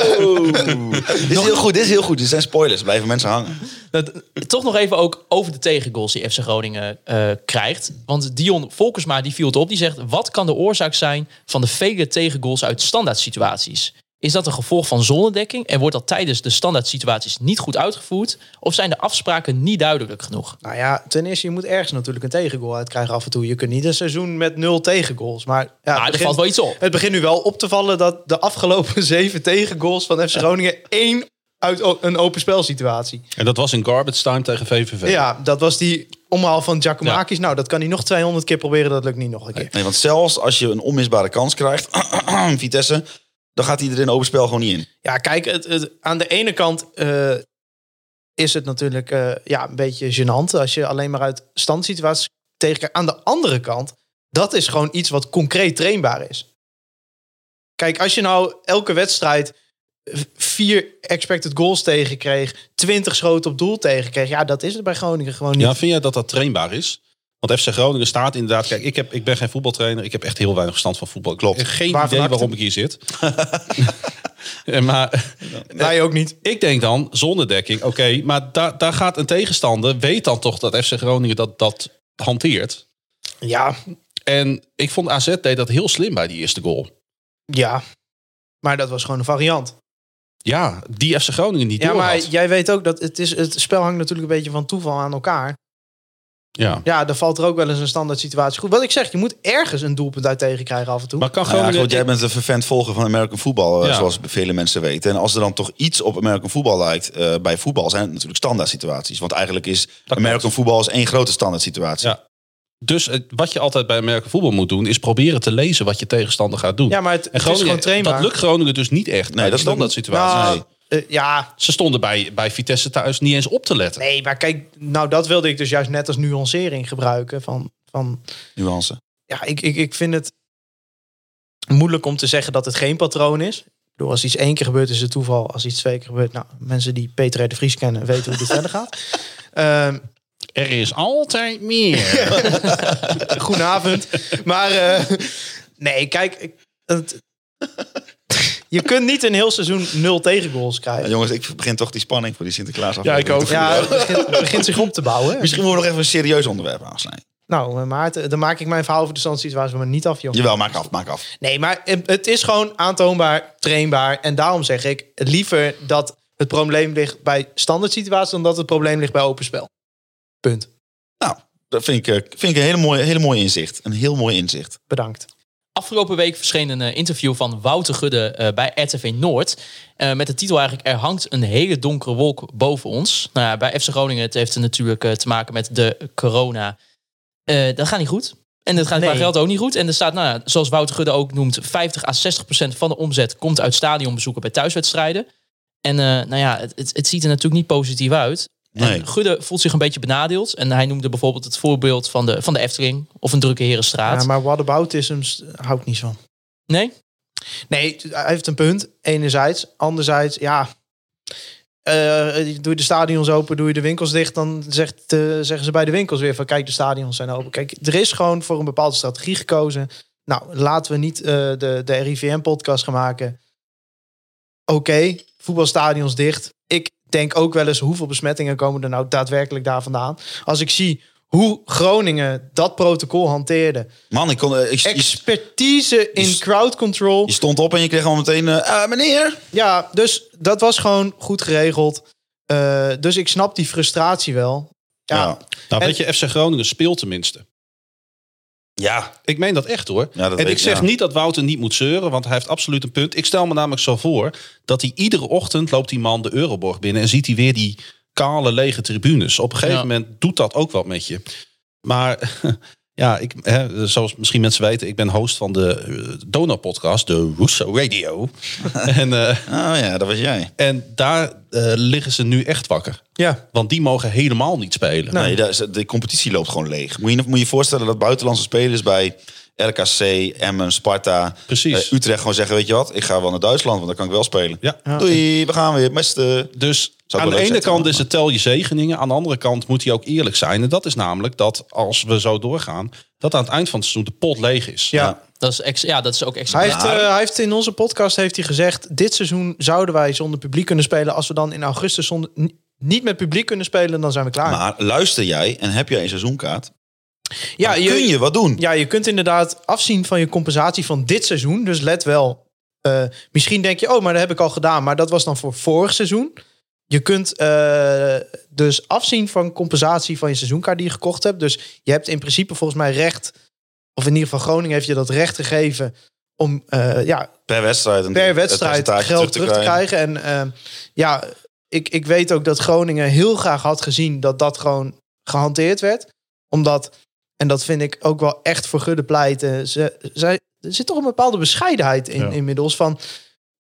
Dit is heel goed, dit is heel goed. Dit zijn spoilers. Blijven mensen hangen.
Dat- toch nog even ook over de tegengoals die FC Groningen eh, krijgt. Want Dion Volkersma die viel het op. Die zegt, wat kan de oorzaak zijn van de vele tegengoals uit standaard situaties? Is dat een gevolg van zonnedekking? En wordt dat tijdens de standaard situaties niet goed uitgevoerd? Of zijn de afspraken niet duidelijk genoeg?
Nou ja, ten eerste, je moet ergens natuurlijk een tegengoal uitkrijgen af en toe. Je kunt niet een seizoen met nul tegengoals. Maar ja, het
Maar Nou, er
begint-
valt wel iets op.
Het begint nu wel op te vallen dat de afgelopen *laughs* zeven tegengoals van FC Groningen één uit o- een open spelsituatie.
En dat was in garbage time tegen VVV.
Ja, dat was die omhaal van Giacomakis. Nou, dat kan hij nog 200 keer proberen. Dat lukt niet nog een keer.
Nee, want zelfs als je een onmisbare kans krijgt, *clears throat* Vitesse, dan gaat hij er in open spel gewoon niet in.
Ja, kijk, het, het- aan de ene kant eh, is het natuurlijk eh, ja, een beetje gênant als je alleen maar uit standsituaties tegenkijkt. Aan de andere kant, dat is gewoon iets wat concreet trainbaar is. Kijk, als je nou elke wedstrijd v- vier expected goals tegenkreeg, twintig schoten op doel tegenkreeg, ja, dat is het bij Groningen gewoon niet.
Ja, vind jij dat dat trainbaar is? Want FC Groningen staat inderdaad... Kijk, ik, heb, ik ben geen voetbaltrainer. Ik heb echt heel weinig verstand van voetbal. Klopt. Geen
Waarvan
idee
acte?
waarom ik hier zit. *laughs* En maar eh,
Wij ook niet.
ik denk dan, zonder dekking, oké. maar daar daar gaat een tegenstander... Weet dan toch dat FC Groningen dat, dat hanteert.
Ja,
En ik vond AZ deed dat heel slim bij die eerste goal.
ja. Maar dat was gewoon een variant.
Ja, die FC Groningen niet
Ja,
door
maar
had.
jij weet ook dat het, is, het spel hangt natuurlijk een beetje van toeval aan elkaar.
Ja.
Ja, dan valt er ook wel eens een standaard situatie. Goed, wat ik zeg, je moet ergens een doelpunt uit tegenkrijgen af en toe.
Maar kan
Nou ja,
Groningen...
goed, jij bent een vervent volger van American Football, eh,
Ja.
zoals vele mensen weten. En als er dan toch iets op American Football lijkt eh, bij voetbal, zijn het natuurlijk standaard situaties. Want eigenlijk is American Football is één grote standaard situatie.
Ja. Dus het- wat je altijd bij Amerika voetbal moet doen, is proberen te lezen wat je tegenstander gaat doen.
ja, maar het, het
en
is gewoon
Groningen,
trainbaar.
dat lukt Groningen dus niet echt.
Nee, dat is
standaard situatie.
Nou,
Nee.
eh, ja,
Ze stonden bij, bij Vitesse thuis niet eens op te letten.
nee, maar kijk, nou dat wilde ik dus juist net als nuancering gebruiken. Van, van
Nuance.
ja, ik, ik, ik vind het moeilijk om te zeggen dat het geen patroon is. Ik bedoel, als iets één keer gebeurt is het toeval. Als iets twee keer gebeurt, nou, mensen die Peter R. de Vries kennen weten hoe dit verder
*laughs*
gaat. Ehm,
Er is altijd
*laughs*
meer.
Goedenavond. Maar eh, nee, kijk. ik- het- je kunt niet een heel seizoen nul tegengoals
Ja,
krijgen.
jongens, ik begin toch die spanning voor die Sinterklaas af.
Ja, het begint, het begint zich op te bouwen.
Misschien moeten we nog even een serieus onderwerp aansnijden.
Nou, eh, Maarten, dan maak ik mijn verhaal over de standsituatie maar niet af, jongen.
Jawel, maak af, maak af.
Nee, maar het- het is gewoon aantoonbaar, trainbaar. En daarom zeg ik liever dat het probleem ligt bij standaard situaties... dan dat het probleem ligt bij open spel. Punt.
Nou, dat vind ik, eh, vind ik een hele mooie, hele mooie inzicht. Een heel mooi inzicht.
Bedankt.
Afgelopen week verscheen een eh, interview van Wouter Gudde eh, bij RTV Noord. Eh, met de titel eigenlijk Er hangt een hele donkere wolk boven ons. Nou ja, bij FC Groningen het heeft het natuurlijk eh, te maken met de corona. Eh, dat gaat niet goed. En dat gaat
Nee.
qua geld ook niet goed. En er staat, nou, ja, zoals Wouter Gudde ook noemt, 50 à 60 procent van de omzet komt uit stadionbezoeken bij thuiswedstrijden. En eh, nou ja, het, het, het ziet er natuurlijk niet positief uit.
Nee.
En Gudde voelt zich een beetje benadeeld. En hij noemde bijvoorbeeld het voorbeeld van de, van de Efteling of een drukke herenstraat.
Ja, maar whataboutisms hou ik niet van.
Nee?
Nee, hij heeft een punt. Enerzijds. Anderzijds, ja. eh, doe je de stadions open, doe je de winkels dicht. Dan zegt, eh, zeggen ze bij de winkels weer van... kijk, de stadions zijn open. Kijk, er is gewoon voor een bepaalde strategie gekozen. Nou, laten we niet eh, de, de RIVM-podcast gaan maken. Oké, voetbalstadions dicht. Ik denk ook wel eens hoeveel besmettingen komen er nou daadwerkelijk daar vandaan. Als ik zie hoe Groningen dat protocol hanteerde.
Man, ik kon, eh, ik, je,
Expertise in
je-
crowd control.
je stond op en je kreeg al meteen... eh, ah, meneer!
Ja, dus dat was gewoon goed geregeld. Eh, dus ik snap die frustratie wel.
Ja.
Nou,
En-
weet je, FC Groningen speelt tenminste.
Ja.
Ik meen dat echt hoor.
Ja, dat
en
weet
ik
ik,
zeg
ja.
niet dat Wouter niet moet zeuren, want hij heeft absoluut een punt. Ik stel me namelijk zo voor dat hij iedere ochtend loopt die man de Euroborg binnen en ziet hij weer die kale lege tribunes. Op een gegeven
Ja.
moment doet dat ook wat met je. Maar *laughs* ja, ik, hè, zoals misschien mensen weten, ik ben host van de eh, Donau-podcast, de Russo
*laughs*
Radio. en, eh,
Oh ja, dat was jij.
en daar eh, liggen ze nu echt wakker.
Ja.
Want die mogen helemaal niet spelen.
Nee, daar is- de competitie loopt gewoon leeg. Moet je moet je voorstellen dat buitenlandse spelers bij RKC, Emmen, Sparta,
Precies.
eh, Utrecht gewoon zeggen, weet je wat, ik ga wel naar Duitsland, want dan kan ik wel spelen.
Ja.
Doei, we gaan weer. Beste.
Dus
wel
aan de
leuk
ene
zijn,
kant
maar-
is het tel je zegeningen. Aan de andere kant moet hij ook eerlijk zijn. En dat is namelijk dat als we zo doorgaan, dat aan het eind van het seizoen de pot leeg is. Nou,
Ja.
Dat is, ex- ja, dat is ook extra.
Hij, heeft, eh, hij heeft in onze podcast heeft hij gezegd... dit seizoen zouden wij zonder publiek kunnen spelen... als we dan in augustus zonder, ni- niet met publiek kunnen spelen... dan zijn we klaar.
Maar luister jij en heb jij een seizoenkaart,
ja,
dan kun je wat doen.
ja, je kunt inderdaad afzien van je compensatie van dit seizoen. Dus let wel. eh, misschien denk je, oh, maar dat heb ik al gedaan. Maar dat was dan voor vorig seizoen. Je kunt eh, dus afzien van compensatie van je seizoenkaart die je gekocht hebt. Dus je hebt in principe volgens mij recht... of in ieder geval Groningen heeft je dat recht gegeven... om eh, ja,
Per wedstrijd. een-
per
het
wedstrijd
percentage
geld terug te krijgen. En eh, ja, ik, ik weet ook dat Groningen heel graag had gezien dat dat gewoon gehanteerd werd. Omdat, en dat vind ik ook wel echt voor Gudde pleiten, ze, zij, er zit toch een bepaalde bescheidenheid in
Ja.
inmiddels van...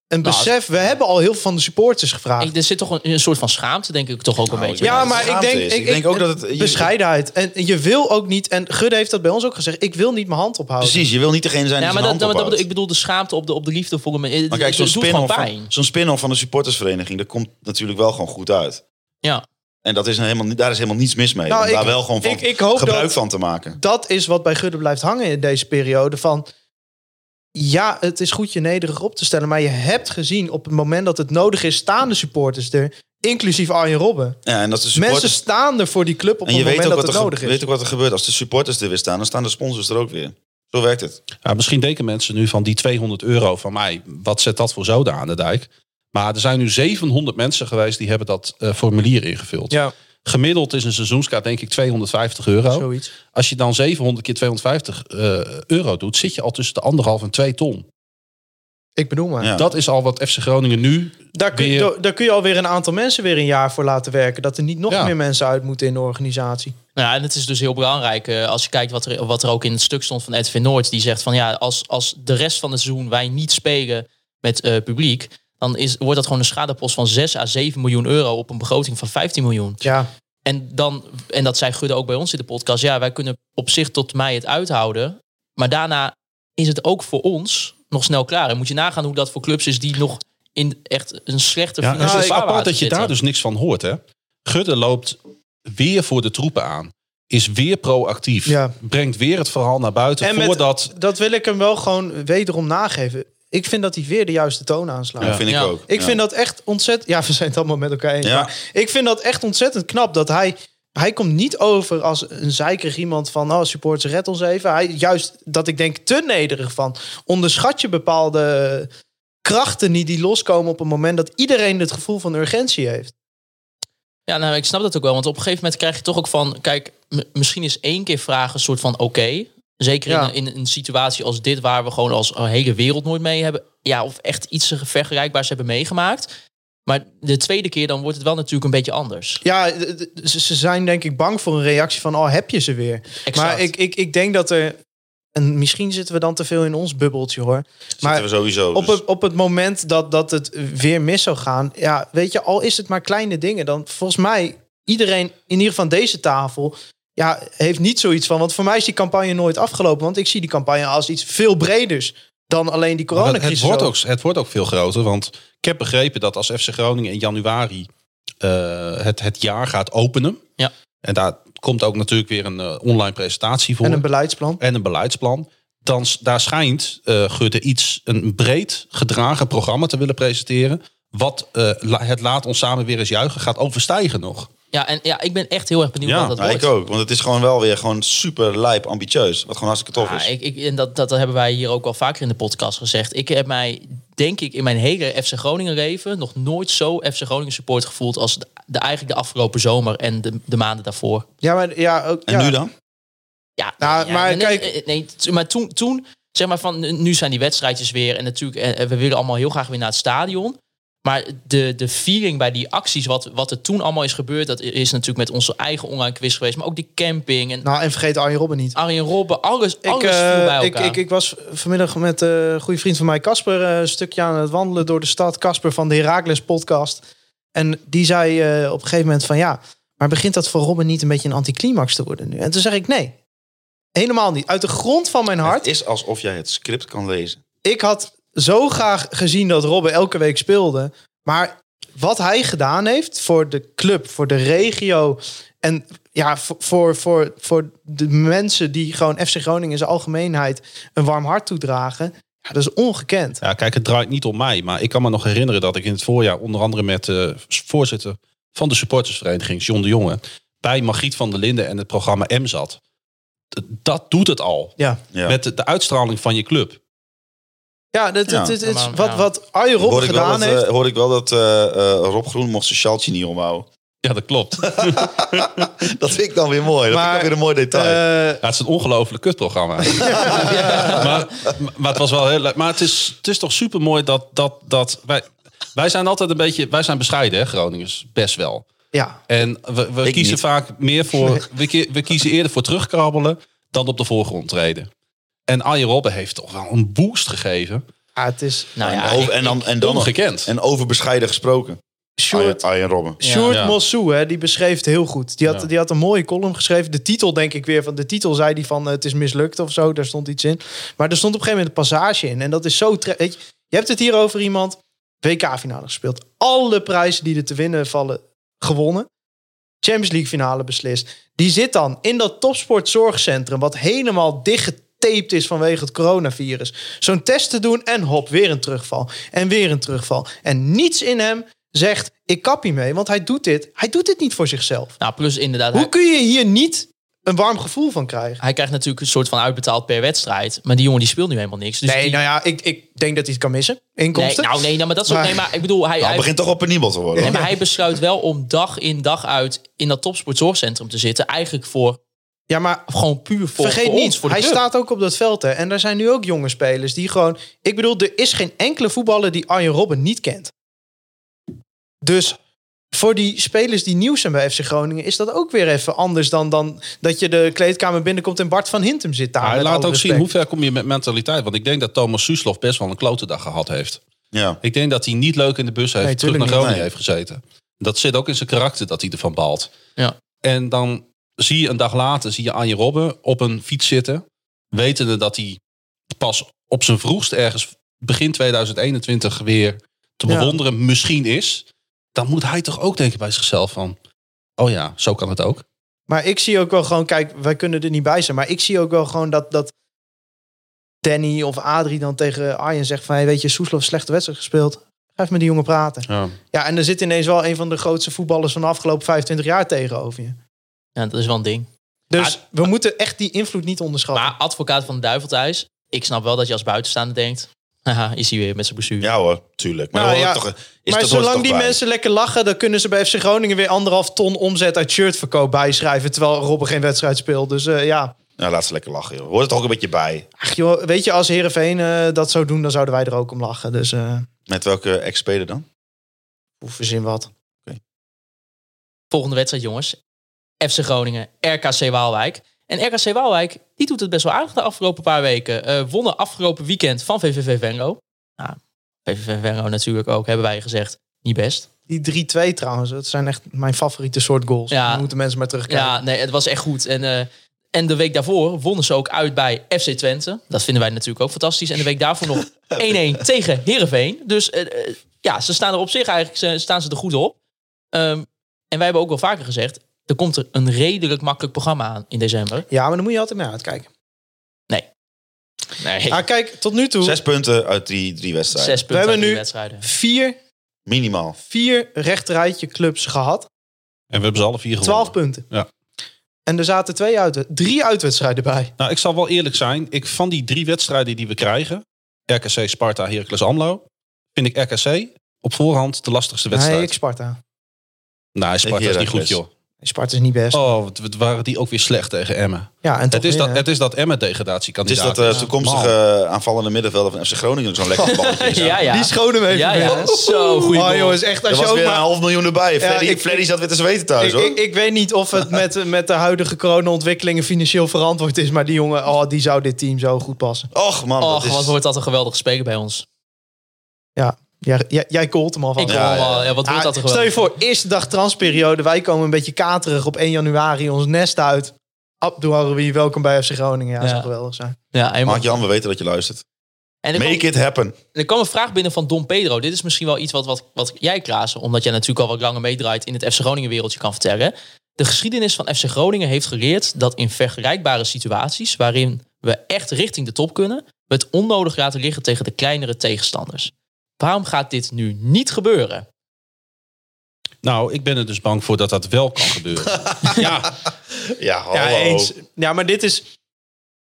Een besef, we hebben al heel veel van de supporters gevraagd.
Ik, er zit toch een, een soort van schaamte, denk ik, toch ook een
Nou,
beetje.
Ja,
Ja,
maar ik
schaamte
denk,
is.
ik, denk ook dat het...
je-
Bescheidenheid. En je wil ook niet... En Gudde heeft dat bij ons ook gezegd. Ik wil niet mijn hand ophouden.
Precies, je wil niet degene zijn die
Ja, maar
zijn
dat,
hand
dat, dat,
ophoudt.
ik bedoel de schaamte op de, op de liefde voor hem.
Maar kijk, zo'n
het doet gewoon
spin-off
pijn.
van, zo'n spin-off van de supportersvereniging, dat komt natuurlijk wel gewoon goed uit.
Ja.
En dat is een helemaal, niet- daar is helemaal niets mis mee.
Nou,
om
ik-
daar wel gewoon van
ik- ik hoop
gebruik
dat-
van te maken.
dat is wat bij Gudde blijft hangen in deze periode. Van ja, het is goed je nederig op te stellen. Maar je hebt gezien op het moment dat het nodig is, staan de supporters er. Inclusief Arjen Robben.
Ja, en dat de
Mensen
supporters...
staan er voor die club op
En
het
je
moment
weet ook,
dat
wat
het
er, ge-
nodig is.
weet ook wat er gebeurt. Als de supporters er weer staan, dan staan de sponsors er ook weer. Zo werkt het.
Ja, nou, misschien denken mensen nu van die 200 euro van mij, wat zet dat voor zoden aan de dijk? Maar er zijn nu 700 mensen geweest die hebben dat eh, formulier ingevuld.
Ja,
Gemiddeld is een seizoenskaart denk ik 250 euro.
zoiets.
Als je dan 700 keer 250 eh, euro doet, zit je al tussen de anderhalf en twee ton.
Ik bedoel maar.
Ja.
Dat is al wat FC Groningen nu
Daar, kun je,
Weer-
daar- daar kun je alweer een aantal mensen weer een jaar voor laten werken. Dat er niet nog
Ja.
meer mensen uit moeten in de organisatie.
Nou, ja, en het is dus heel belangrijk eh, als je kijkt wat er, wat er ook in het stuk stond van Edwin Noord. Die zegt van ja, als, als de rest van het seizoen wij niet spelen met eh, publiek, dan is, wordt dat gewoon een schadepost van 6 à 7 miljoen euro op een begroting van 15 miljoen.
Ja,
En, dan, en dat zei Gudde ook bij ons in de podcast. Ja, wij kunnen op zich tot mei het uithouden. Maar daarna is het ook voor ons nog snel klaar. En moet je nagaan hoe dat voor clubs is die nog in echt een slechte
Ja,
financiële
het is
vaarwater
apart dat je
zitten.
daar dus niks van hoort, hè? Gudde loopt weer voor de troepen aan. Is weer proactief.
Ja.
Brengt weer het verhaal naar buiten
En met-
voordat...
dat wil ik hem wel gewoon wederom nageven. Ik vind dat hij weer de juiste toon aanslaat.
Dat vind
Ja.
ik ook.
Ik
Ja.
vind dat echt ontzettend. Ja, we zijn het allemaal met elkaar eens.
Ja.
Maar ik vind dat echt ontzettend knap dat hij. Hij komt niet over als een zeikerig iemand van. Oh, supporters, red ons even. Hij, juist dat ik denk te nederig van. Onderschat je bepaalde krachten niet die loskomen op het moment dat iedereen het gevoel van urgentie heeft.
Ja, nou, ik snap dat ook wel. Want op een gegeven moment krijg je toch ook van... Kijk, m- misschien is één keer vragen een soort van oké. Zeker
Ja.
in, in een situatie als dit... waar we gewoon als hele wereld nooit mee hebben... Ja, of echt iets vergelijkbaars hebben meegemaakt. Maar de tweede keer dan wordt het wel natuurlijk een beetje anders.
Ja, d- d- ze ze zijn denk ik bang voor een reactie van. Oh, heb je ze weer?
Exact.
Maar ik, ik, ik denk dat er. En misschien zitten we dan te veel in ons bubbeltje hoor. Maar
Zitten we sowieso.
op
dus-
het, op het moment dat, dat het weer mis zou gaan, ja, weet je, al is het maar kleine dingen, dan volgens mij iedereen, in ieder geval aan deze tafel, ja, heeft niet zoiets van. Want voor mij is die campagne nooit afgelopen, want ik zie die campagne als iets veel breders dan alleen die
Maar Het,
coronacrisis.
het wordt ook, het wordt ook veel groter. Want ik heb begrepen dat als FC Groningen in januari... eh, het, het jaar gaat openen.
Ja.
En daar komt ook natuurlijk weer een eh, online presentatie voor.
en een beleidsplan.
en een beleidsplan. Dan, s- daar schijnt eh Gudde iets, een breed gedragen programma te willen presenteren. Wat eh, la- het Laat ons samen weer eens juichen gaat overstijgen nog.
Ja, en ja, ik ben echt heel erg benieuwd
Ja,
wat dat
Ja,
wordt.
ik ook. Want het is gewoon wel weer gewoon super lijp, ambitieus. Wat gewoon hartstikke tof
Ja,
is.
ik, ik, en dat, dat hebben wij hier ook al vaker in de podcast gezegd. Ik heb mij denk ik in mijn hele FC Groningen leven nog nooit zo FC Groningen support gevoeld als de, de- eigenlijk de afgelopen zomer en de, de maanden daarvoor.
Ja, maar ja, ook,
En
ja.
nu dan?
Ja,
Nou,
ja,
maar
nee,
kijk-
nee, nee, t- maar toen, toen, zeg maar van, nu zijn die wedstrijdjes weer en natuurlijk, eh, we willen allemaal heel graag weer naar het stadion. Maar de, de feeling bij die acties, wat, wat er toen allemaal is gebeurd, dat is natuurlijk met onze eigen online quiz geweest, maar ook die camping en
Nou, en vergeet Arjen Robben niet.
Arjen Robben, alles, alles
Ik,
viel
eh,
bij
ik,
elkaar.
ik, ik was vanmiddag met eh, een goede vriend van mij, Casper, eh, een stukje aan het wandelen door de stad. Casper van de Herakles podcast. En die zei eh, op een gegeven moment van ja, maar begint dat voor Robben niet een beetje een anticlimax te worden nu? En toen zeg ik nee, helemaal niet. Uit de grond van mijn hart.
Het is alsof jij het script kan lezen.
ik had zo graag gezien dat Robben elke week speelde. Maar wat hij gedaan heeft voor de club, voor de regio. En ja, voor, voor, voor, voor de mensen die gewoon FC Groningen in zijn algemeenheid een warm hart toedragen. Ja, dat is ongekend.
Ja, kijk, het draait niet om mij. Maar ik kan me nog herinneren dat ik in het voorjaar onder andere met de voorzitter van de supportersvereniging, John de Jonge, bij Margriet van der Linden en het programma M zat. D- Dat doet het al.
Ja,
Ja.
Met de, de uitstraling van je club.
ja, dat,
Ja.
dat- dat- dat is
Maar-
wat,
ja.
wat Arjen Robben
Hoorde ik, wel
gedaan
dat,
heeft.
eh, hoorde ik wel dat eh, eh, Rob Groen mocht zijn sjaaltje niet omhouden.
Ja, dat klopt.
*laughs*
*laughs*
Dat vind ik dan weer mooi. Dat
Maar,
vind ik dan weer een mooi detail.
eh,
Ja, het is een
*laughs*
ongelooflijk kutprogramma. maar, maar het was wel heel leuk. Maar het is, het is toch super mooi dat, dat, dat wij, wij zijn altijd een beetje, wij zijn bescheiden, hè, Groningers, best wel.
ja,
En we, we
Ik
kiezen
niet.
vaak meer
*laughs*
voor, we, ki- we kiezen eerder voor terugkrabbelen dan op de voorgrond treden. En Arjen Robben heeft toch wel een boost gegeven.
ja, het is.
nou ja,
en, over, en, dan, en, dan nog,
Ongekend.
en over bescheiden gesproken.
Sjoerd,
Arjen, Arjen Robben.
Sjoerd
Ja.
Mossou, hè, die beschreef het heel goed. Die had,
Ja.
die had een mooie column geschreven. De titel, denk ik weer, van de titel zei die van eh, het is mislukt of zo. Daar stond iets in. Maar er stond op een gegeven moment een passage in. En dat is zo... tre- Weet je, je hebt het hier over iemand, WK-finale gespeeld. Alle prijzen die er te winnen vallen, gewonnen. Champions League finale beslist. Die zit dan in dat topsportzorgcentrum... wat helemaal dichtgetaped is vanwege het coronavirus. Zo'n test te doen en hop, weer een terugval. En weer een terugval. En niets in hem zegt, ik kap hiermee. Want hij doet dit, hij doet dit niet voor zichzelf.
nou, plus inderdaad,
Hoe
hij,
kun je hier niet een warm gevoel van krijgen?
hij krijgt natuurlijk een soort van uitbetaald per wedstrijd. Maar die jongen die speelt nu helemaal niks. Dus
Nee,
die,
nou ja, ik, ik denk dat hij het kan missen.
nee,
Inkomsten.
nou nee, nou, maar dat is ook,
Maar-
nee, maar ik bedoel, hij,
Nou,
hij,
het begint toch wel penibel te worden.
nee,
hoor.
maar hij besluit wel om dag in dag uit in dat topsportzorgcentrum te zitten. Eigenlijk voor,
ja, maar
gewoon puur voor,
Vergeet
voor
niet,
ons, voor de
hij
club.
staat ook op dat veld. Hè. En daar zijn nu ook jonge spelers die gewoon... Ik bedoel, er is geen enkele voetballer die Arjen Robben niet kent. Dus voor die spelers die nieuw zijn bij FC Groningen... is dat ook weer even anders dan, dan dat je de kleedkamer binnenkomt... en Bart van Hintem zit daar.
Maar hij
Ah, met
laat
alle
ook zien
respect.
hoe ver kom je met mentaliteit. Want ik denk dat Thomas Suslof best wel een klote dag gehad heeft.
Ja.
Ik denk dat hij niet leuk in de bus heeft
Nee,
terug
tuurlijk
naar
niet.
Groningen
Nee.
heeft gezeten. Dat zit ook in zijn karakter dat hij ervan baalt.
Ja.
En dan zie je een dag later zie je Anje Robben op een fiets zitten. Wetende dat hij pas op zijn vroegst ergens begin 2021 weer te
Ja.
bewonderen misschien is. Dan moet hij toch ook denken bij zichzelf van... Oh ja, zo kan het ook.
Maar ik zie ook wel gewoon, kijk, wij kunnen er niet bij zijn. Maar ik zie ook wel gewoon dat, dat Danny of Adrie dan tegen Arjen zegt van... Hey, weet je, Soeslof slechte wedstrijd gespeeld. Ga even met die jongen praten.
Ja.
Ja, en er zit ineens wel een van de grootste voetballers... van de afgelopen 25 jaar tegenover je.
Ja, dat is wel een ding.
Dus
Ah,
we moeten echt die invloed niet onderschatten.
Maar advocaat van de duivel thuis, ik snap wel dat je als buitenstaander denkt... *laughs* Haha, is hij weer met zijn blessure.
ja hoor, tuurlijk. Maar,
Nou,
dat hoort
ja.
toch, is
maar
dat hoort
zolang
toch
die
bij.
mensen lekker lachen, dan kunnen ze bij FC Groningen weer anderhalf ton omzet uit shirtverkoop bijschrijven. Terwijl Robben geen wedstrijd speelt. Dus eh, ja,
Nou, laat ze lekker lachen. Joh. Hoort het toch ook een beetje bij.
Ach, joh, weet je, als Herenveen dat zou doen, dan zouden wij er ook om lachen. Dus eh
Met welke ex-speler dan?
hoe verzin wat.
Volgende wedstrijd, jongens. FC Groningen, RKC Waalwijk. En RKC Waalwijk, die doet het best wel aardig de afgelopen paar weken. Eh, wonnen afgelopen weekend van VVV Venlo. Nou, VVV Venlo natuurlijk ook, hebben wij gezegd. Niet best.
Die 3-2 trouwens, dat zijn echt mijn favoriete soort goals.
Ja.
Dan moeten mensen maar terugkijken.
Ja, nee, het was echt goed. En, eh, en de week daarvoor wonnen ze ook uit bij FC Twente. Dat vinden wij natuurlijk ook fantastisch. En de week daarvoor *laughs* nog 1-1 tegen Heerenveen. Dus eh, eh, ja, ze staan er op zich eigenlijk ze, staan ze er goed op. Ehm, en wij hebben ook wel vaker gezegd... er komt er een redelijk makkelijk programma aan in december.
Ja, maar dan moet je altijd mee uitkijken.
Nee,
Ah, kijk, tot nu toe
Zes punten uit drie, drie wedstrijden.
zes punten uit
hebben
drie
nu-
wedstrijden.
vier,
Minimaal.
vier rechterrijtje clubs gehad.
En we hebben ze alle vier gewonnen.
12 punten.
Ja.
En er zaten twee uit, drie uitwedstrijden bij.
Nou, ik zal wel eerlijk zijn. Ik, van die drie wedstrijden die we krijgen... RKC, Sparta, Heracles Amlo... vind ik RKC op voorhand de lastigste wedstrijd.
Nee, ik Sparta.
Nee, Sparta is niet goed,
Heracles.
joh.
Sparta is niet best.
Oh, wat, wat waren die ook weer slecht tegen Emmen.
ja, en toch
Het is, dat,
winnen.
het is dat Emmen
Het is
degradatiekandidaat.
dat eh, toekomstige eh, aanvallende middenvelder van FC Groningen
*laughs*
zo'n lekker balletje is.
Ja, ja.
Die schone mee.
Ja, ja. Zo goed.
Oh jongens, echt
Er
als je
was
ook
weer een
maar...
half miljoen erbij. Freddy,
ik-
Freddy zat weer te zweten thuis,
Ik,
hoor.
ik, ik weet niet of het met, met de huidige corona-ontwikkelingen financieel verantwoord is. Maar die jongen, oh, die zou dit team zo goed passen.
Och man, dat
Och,
is...
wat wordt dat een geweldige speler bij ons.
Jij, jij, jij called hem al van.
Ik
Ja,
ja,
ja.
ja, wat wordt
Ah,
dat er
stel je
geweldig.
voor, eerste dag transperiode. Wij komen een beetje katerig op 1 januari ons nest uit. Abdouharoui, welkom bij FC Groningen. Ja, dat zou
Ja.
geweldig zijn.
Ja, helemaal.
Mark Jan, we weten dat je luistert.
En er kwam,
Make it happen.
er kwam een vraag binnen van Don Pedro. Dit is misschien wel iets wat, wat, wat jij, Klaas, omdat jij natuurlijk al wat langer meedraait in het FC Groningen wereldje kan vertellen. De geschiedenis van FC Groningen heeft geleerd dat in vergelijkbare situaties, waarin we echt richting de top kunnen, we het onnodig laten liggen tegen de kleinere tegenstanders. Waarom gaat dit nu niet gebeuren?
Nou, ik ben er dus bang voor dat dat wel kan
*laughs*
gebeuren. ja,
Ja, hallo.
Ja, eens. Ja, maar dit is...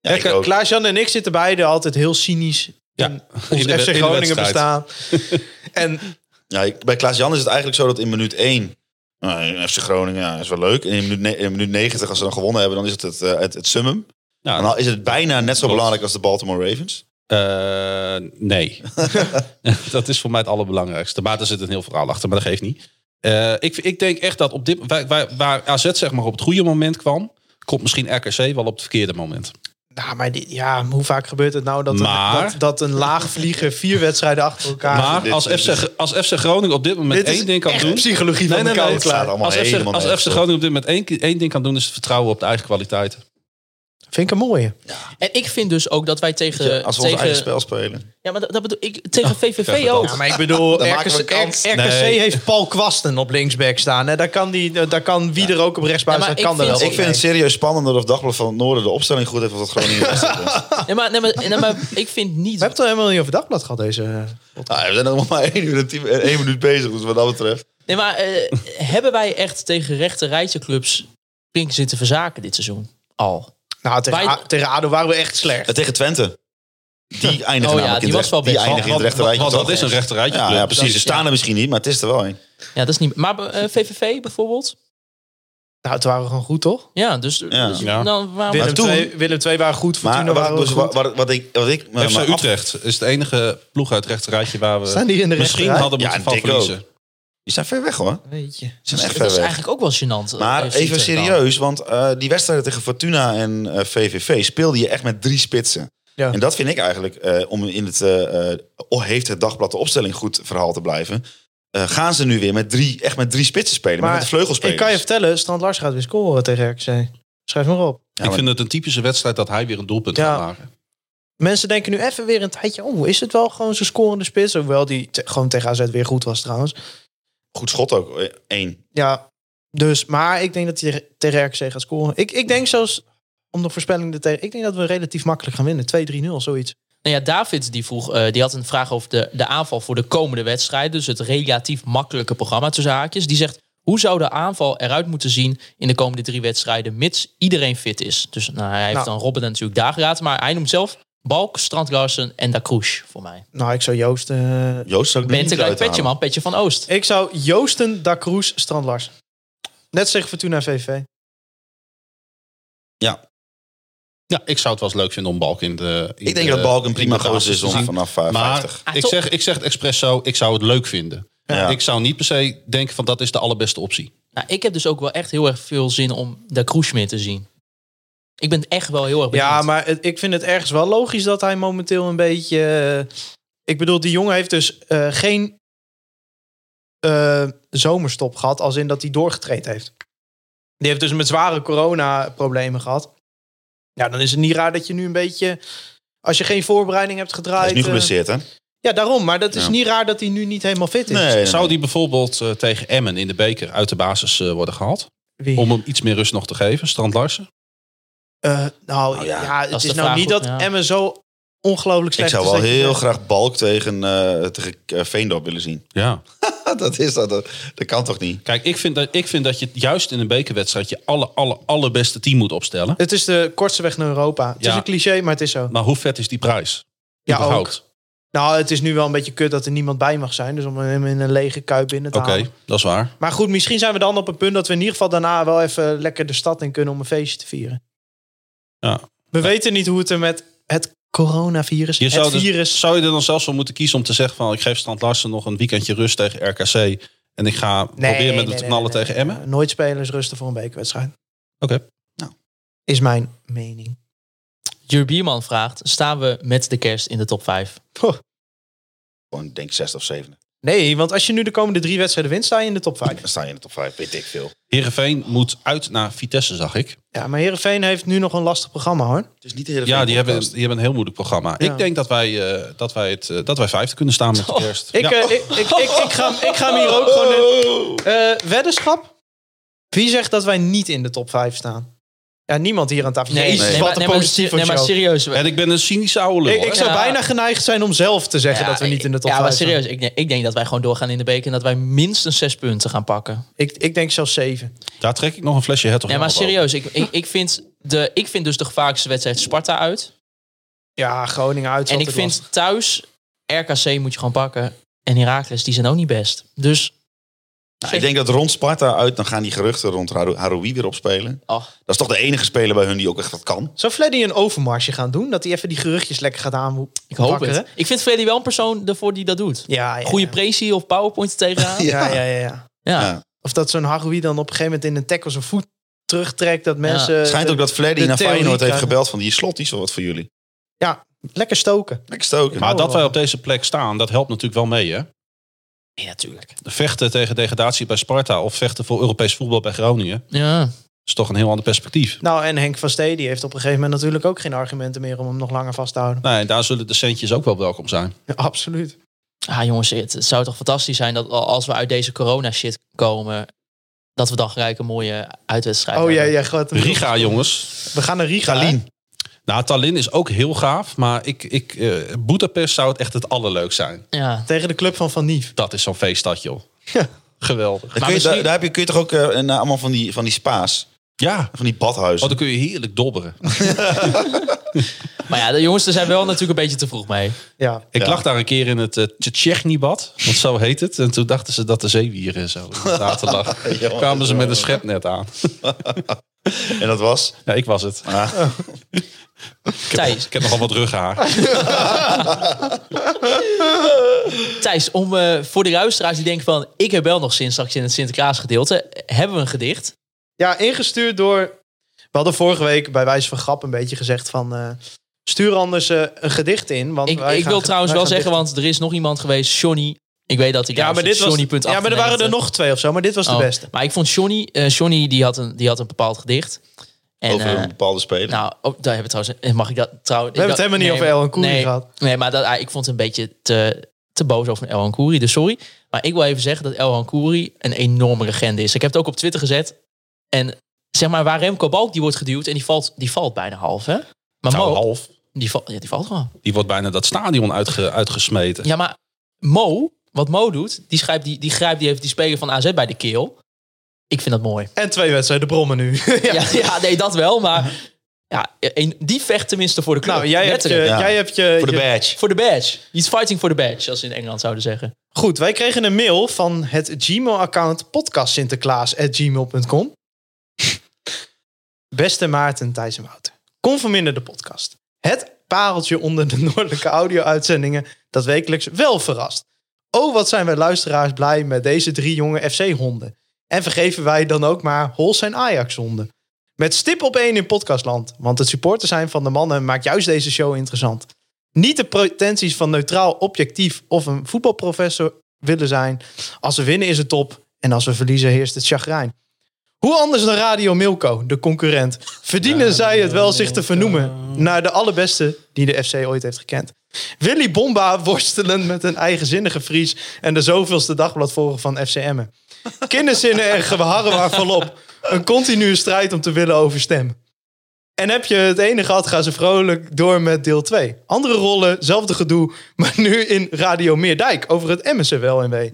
Ja, ik ook.
Klaas-Jan en ik zitten beide altijd heel cynisch
Ja,
in
in
ons
de wed-
FC
in de
Groningen
wedstrijd.
bestaan.
*laughs*
en
Ja, ik- bij Klaas-Jan is het eigenlijk zo dat in minuut 1... eh, FC Groningen ja, is wel leuk. En in minuut, ne- in minuut 90, als ze dan gewonnen hebben, dan is het het, eh, het, het summum.
Ja.
En dan is het bijna net zo
Klopt.
belangrijk als de Baltimore Ravens.
Eh, nee. *laughs* dat is voor mij het allerbelangrijkste. Maar er zit een heel verhaal achter, maar dat geeft niet. Eh, ik, ik denk echt dat op dit, waar, waar, waar AZ zeg maar op het goede moment kwam, komt misschien RKC wel op het verkeerde moment.
Nou, maar dit, ja, hoe vaak gebeurt het nou dat,
Maar-
een, dat, dat een laagvlieger vier wedstrijden achter elkaar...
maar
Ah, dit-
als
dit-
FC, Gr- als FC Groningen op dit moment
dit is
één ding kan
echt
doen.
psychologie van
Nee, nee,
de
nee,
koude
het
klaar.
staat allemaal
Als FC,
helemaal
als
nergens
FC
op.
Groningen op dit moment één, één ding kan doen, is het vertrouwen op de eigen kwaliteit.
Vind ik een mooie.
En ik vind dus ook dat wij tegen.
Als we ons
tegen
eigen spel spelen.
Ja, maar dat, dat bedoel ik. Tegen VVV
vertel.
ook.
Ja, maar ik bedoel,
Dan maken we
RKC,
een kans.
RKC
Nee.
heeft Paul Kwasten op linksback staan. Hè? Daar, kan die, daar kan wie er ook op rechtsbuiten
Ja, maar
staan, kan
ik
er wel.
vind-
Ik vind het serieus spannender of Dagblad van het Noorden de opstelling goed heeft als dat Groningen best is.
Nee, maar, nee, maar, nee, maar ik vind niet.
We hebben het er helemaal niet over dagblad gehad, deze...
Nou, we zijn nog maar één uur en tien- en één minuut bezig, dus wat dat betreft.
Nee, maar eh, hebben wij echt tegen rechte rijtje clubs pink zitten verzaken dit seizoen? Al.
Nou, tegen,
Wij-
A- tegen ADO waren we echt slecht.
Eh, Tegen Twente. Die eindigen
Oh ja,
namelijk
die
in
was
het recht-
wel best.
Die eindigen in het
Want- want-
rechterrijtje.
want dat
toch?
is een rechterrijtje
Ja,
club.
ja, precies. Ze staan er misschien niet, maar het is er wel een.
Ja, dat is niet. Maar eh, VVV bijvoorbeeld?
Nou, het waren we gewoon goed, toch?
Ja, dus.
Ja.
dus
Ja.
dan, waarom-
Willem,
toen-
II, Willem II waren goed, Fortuna
Maar
waren
wat,
we
dus,
goed.
wat, wat, wat ik, wat ik me-
FC
me af-
Utrecht is de enige ploeg uit het rechterrijtje waar we
Staan die in de
misschien
rechterrij?
hadden
Ja,
moeten
en
van
dik ook.
verliezen.
Die zijn ver weg hoor.
Weet je.
Die zijn echt
dat
ver
is
weg.
eigenlijk ook wel gênant. eh,
Maar
als je
even
het tegenhoudt.
serieus, want eh, die wedstrijden tegen Fortuna en eh, VVV speelde je echt met drie spitsen.
Ja.
En dat vind ik eigenlijk, eh, om in het, eh, eh, oh, heeft het dagblad de opstelling goed verhaal te blijven, eh, gaan ze nu weer met drie, echt met drie spitsen spelen, maar,
Maar
met de vleugelspelers.
Ik kan je vertellen, Strand Lars gaat weer scoren tegen RKC. Schrijf maar op.
Ja,
ik
maar-
vind het een typische wedstrijd dat hij weer een doelpunt
Ja.
gaat maken.
Mensen denken nu even weer een tijdje, oh, is het wel gewoon zo'n scorende spits? Hoewel die te- gewoon tegen AZ weer goed was trouwens.
Goed schot ook, eh, één.
Ja, dus, maar ik denk dat hij tegen- tegen RKC gaat scoren. Ik, ik denk zelfs, om de voorspelling er tegen, ik denk dat we relatief makkelijk gaan winnen. 2-3-0, zoiets.
Nou ja, David die vroeg, eh, die had een vraag over de, de aanval voor de komende wedstrijd. Dus het relatief makkelijke programma tussen haakjes. Die zegt, hoe zou de aanval eruit moeten zien in de komende drie wedstrijden, mits iedereen fit is? Dus nou, hij heeft
Nou.
dan Robben natuurlijk daar geraad, maar hij noemt zelf Balk, Strand Larsen en Da Cruz voor mij.
Nou, ik zou Joost... eh,
Joost zou ik er
Bent
niet
ik uit
uithalen.
Petje man, Petje van Oost.
ik zou Joosten, Da Cruz, Strand Lars. Net zeggen Fortuna VV.
Ja, ik zou het wel eens leuk vinden om Balk in de. in
Ik denk
de-
dat Balk een
in
prima
de basis
gozer is
te
om
zien.
vanaf eh,
Maar
50.
Ah,
ik
toch?
zeg, ik zeg het expres zo, ik zou het leuk vinden.
Ja.
Ik zou niet per se denken van dat is de allerbeste optie.
Nou, ik heb dus ook wel echt heel erg veel zin om Da Cruz meer te zien. Ik ben echt wel heel erg benieuwd.
Ja, maar het- ik vind het ergens wel logisch dat hij momenteel een beetje... eh, ik bedoel, die jongen heeft dus eh, geen eh, zomerstop gehad, als in dat hij doorgetraind heeft. Die heeft dus met zware corona-problemen gehad. Ja, dan is het niet raar dat je nu een beetje... Als je geen voorbereiding hebt
Hij is
gedraaid...
nu
eh,
geblesseerd, hè?
ja, daarom. Maar dat is
Ja.
niet raar dat hij nu niet helemaal fit is.
Nee,
zou die bijvoorbeeld eh, tegen Emmen in de beker uit de basis eh, worden gehaald?
Wie?
Om hem iets meer rust nog te geven, Strand Larsen?
Eh, nou,
ja,
ja,
dat
het
is
is
de
nou
vraag
niet
ook,
dat
ja.
Emmen zo ongelooflijk
Ik
slecht
zou
is.
wel
dat je
heel
zegt,
graag Balk tegen, eh tegen eh, Veendorp willen *laughs* zien.
Ja.
Ah, dat is dat. Dat, dat kan toch niet?
Kijk, ik vind, dat, ik vind dat je juist in een bekerwedstrijd je alle, alle, allerbeste team moet opstellen.
Het is de kortste weg naar Europa. Het
Ja.
is een cliché, maar het is zo.
Maar hoe vet is die prijs?
Ja,
Überhaupt.
Nou, het is nu wel een beetje kut dat er niemand bij mag zijn. Dus om hem in een lege kuip binnen te
Oké,
halen.
dat is waar.
Maar goed, misschien zijn we dan op een punt dat we in ieder geval daarna wel even lekker de stad in kunnen om een feestje te vieren.
Ja.
We weten niet hoe het er met het coronavirus,
Je
het
zou, dus-
virus...
zou je er dan zelfs voor moeten kiezen om te zeggen van... ik geef Strand Larsen nog een weekendje rust tegen RKC... en ik ga
Nee,
proberen met hem
nee,
te
nee,
knallen
nee,
tegen
nee.
Emmen?
Nooit spelers rusten voor een bekerwedstrijd.
Oké.
Is mijn mening.
Jur Bierman vraagt, staan we met de kerst in de top 5?
Gewoon denk 6 of 7.
Nee, want als je nu de komende drie wedstrijden wint, sta je in de top 5.
Dan sta je in de top 5, weet ik veel.
Heerenveen moet uit naar Vitesse, zag ik.
Ja, maar Herenveen heeft nu nog een lastig programma hoor.
Het is niet de hele
Ja, die hebben, die hebben een heel moeilijk programma.
Ja.
Ik denk dat wij, eh, dat, wij het, eh, dat wij vijfde kunnen staan met de kerst.
Ik,
Ja.
eh, ik, ik, ik, ik ga, ik ga hem hier ook gewoon. in- Eh, weddenschap? Wie zegt dat wij niet in de top 5 staan? Ja, niemand hier aan tafel. Jezus,
nee,
wat een
maar,
positief
nee, maar serieus. we-
en ik ben een cynische oude lul.
Ik, ik
hoor.
zou
Ja.
bijna geneigd zijn om zelf te zeggen
Ja,
dat we niet in de top
Ja,
5
maar
staan.
serieus. Ik, denk- ik denk dat wij gewoon doorgaan in de beker en dat wij minstens zes punten gaan pakken.
Ik, ik denk zelfs 7.
Daar trek ik nog een flesje hertog
Nee, maar
Jan op
serieus. Ik, ik, ik, vind de, ik vind dus de gevaarlijkste wedstrijd Sparta uit.
Ja, Groningen uit. is
En ik
altijd
vind
lastig.
thuis RKC moet je gewoon pakken. En Heracles, die zijn ook niet best. Dus
Nou, ik denk dat rond Sparta uit, dan gaan die geruchten rond Haru- Haroui weer opspelen.
oh,
Dat is toch de enige speler bij hun die ook echt wat kan.
Zou Fleddy een overmarsje gaan doen? Dat hij even die geruchtjes lekker gaat aanwoeken?
ik hoop het. Ik vind Freddy wel een persoon ervoor die dat doet.
Ja, ja,
Goede
ja.
presie of powerpoint er tegenaan. ja.
*laughs* Ja, ja, ja, ja.
Ja.
Of dat zo'n Haroui dan op een gegeven moment in een tackle zijn voet terugtrekt. Dat mensen...
Het schijnt ook dat Fleddy
de
naar
theorie
Feyenoord heeft
krijgen.
gebeld van die slot, die is wel wat voor jullie.
Lekker stoken.
Lekker stoken.
Maar dat wij op deze plek staan, dat helpt natuurlijk wel mee. Hè?
Nee, natuurlijk.
Vechten tegen degradatie bij Sparta of vechten voor Europees voetbal bij Groningen...
Ja.
is toch een heel ander perspectief.
Nou, en Henk van Stee die heeft op een gegeven moment natuurlijk ook geen argumenten meer om hem nog langer vast te houden.
Nou, en daar zullen de centjes ook wel welkom zijn.
Ja, absoluut.
Ah jongens, het, het zou toch fantastisch zijn dat al- als we uit deze corona shit komen, dat we dan gelijk een mooie uitwedstrijd
Oh ja,
hebben.
ja, gaat hem-
Riga, jongens.
We gaan naar Riga. hè?
Nou, Tallinn is ook heel gaaf, maar ik, ik, eh Budapest zou het echt het allerleukst zijn.
ja.
Tegen de club van Van Nief.
Dat is zo'n feeststad, joh.
Ja.
Geweldig.
Dan kun je,
misschien-
daar, daar heb je, kun je toch ook eh, naar allemaal van die, van die spa's,
Ja.
van die badhuizen.
Oh, dan kun je heerlijk dobberen.
Maar ja, de jongens, er zijn wel natuurlijk een beetje te vroeg mee.
Ja.
Ik
Ja.
lag daar een keer in het uh, bad want zo heet het. En toen dachten ze dat de zeewieren zo in het water lag.
Jongen,
kwamen ze met een schepnet aan.
En dat was?
Ja, ik was het.
Oh.
Ik heb,
Thijs.
ik heb nogal wat rughaar.
Thijs, om, eh, voor de luisteraars die denken van... ik heb wel nog zin straks in het Sinterklaasgedeelte. Hebben we een gedicht?
ja, ingestuurd door... We hadden vorige week bij wijze van grap een beetje gezegd van... eh, stuur anders eh, een gedicht in. Want
Ik,
wij
ik
gaan
wil
ge-
trouwens
wij
wel
gaan
zeggen,
dicht-
want er is nog iemand geweest, Johnny. Ik weet dat ik
Ja, maar dit was...
Johnny. Oh.
ja, maar er waren er nog twee of zo, maar dit was de beste.
Maar ik vond Johnny... eh, Johnny die had, een, die had een bepaald gedicht. En,
Over
eh,
een bepaalde speler.
nou, ook, daar hebben we trouwens... eh, Mag ik dat trouwens...
We hebben het helemaal niet over Elhan Koeri
nee,
gehad.
Nee, maar dat, ah, ik vond het een beetje te, te boos over Elhan Koeri. Dus sorry. Maar ik wil even zeggen dat Elhan Koeri een enorme legende is. Ik heb het ook op Twitter gezet. En zeg maar, waar Remco Balk die wordt geduwd... en die valt, die valt bijna half, hè? Maar
Nou,
Mo,
half.
Die, val- ja, die valt gewoon.
Die wordt bijna dat stadion uitge, uitgesmeten.
Ja, maar Mo, wat Mo doet... die, schrijft, die, die grijpt die, heeft die speler van AZ bij de keel. Ik vind dat mooi.
En twee wedstrijden brommen nu. *laughs* ja.
Ja, ja nee, dat wel. Maar ja, een- die vecht tenminste voor de club.
Nou, jij hebt eh, je...
Letterlijk.
Ja.
Jij hebt je,
voor de
je-
badge.
Voor de badge. He's fighting for the badge, als ze in Engeland zouden zeggen.
Goed, wij kregen een mail van het Gmail-account podcastsinterklaas.gmail.com. *laughs* Beste Maarten, Thijs en Wouter. Kom verminder de podcast. Het pareltje onder de noordelijke audio-uitzendingen dat wekelijks wel verrast. Oh, wat zijn wij luisteraars blij met deze drie jonge FC-honden. En vergeven wij dan ook maar Hols en Ajax-honden. Met stip op één in podcastland, want het supporter zijn van de mannen maakt juist deze show interessant niet de pretenties van neutraal, objectief of een voetbalprofessor willen zijn. Als we winnen is het top en als we verliezen heerst het chagrijn. Hoe anders dan Radio Milko, de concurrent, verdienen zij het wel zich te vernoemen naar de allerbeste die de FC ooit heeft gekend. Willy Bomba worstelend met een eigenzinnige Fries en de zoveelste dagbladvolger van FC Emmen. Kinderzinnen en geharrewar volop. Een continue strijd om te willen over stem. En heb je het ene gehad, gaan ze vrolijk door met deel 2. Andere rollen, zelfde gedoe, maar nu in Radio Meerdijk over het Emmense wel en wee.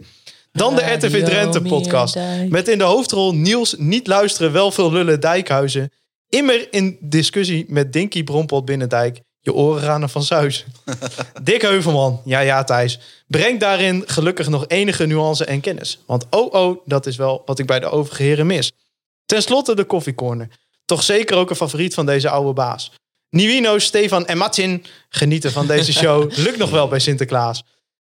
Dan de RTV Drenthe podcast. Met in de hoofdrol Niels niet luisteren, wel veel lullen Dijkhuizen. Immer in discussie met Dinky Brompot binnen Dijk. Je oren gaan er van Zeus. Dick Heuvelman, ja ja Thijs, brengt daarin gelukkig nog enige nuance en kennis. Want oh oh, dat is wel wat ik bij de overige heren mis. Ten slotte de koffiecorner. Toch zeker ook een favoriet van deze oude baas. Niwino, Stefan en Martin genieten van deze *laughs* show. Lukt nog wel bij Sinterklaas.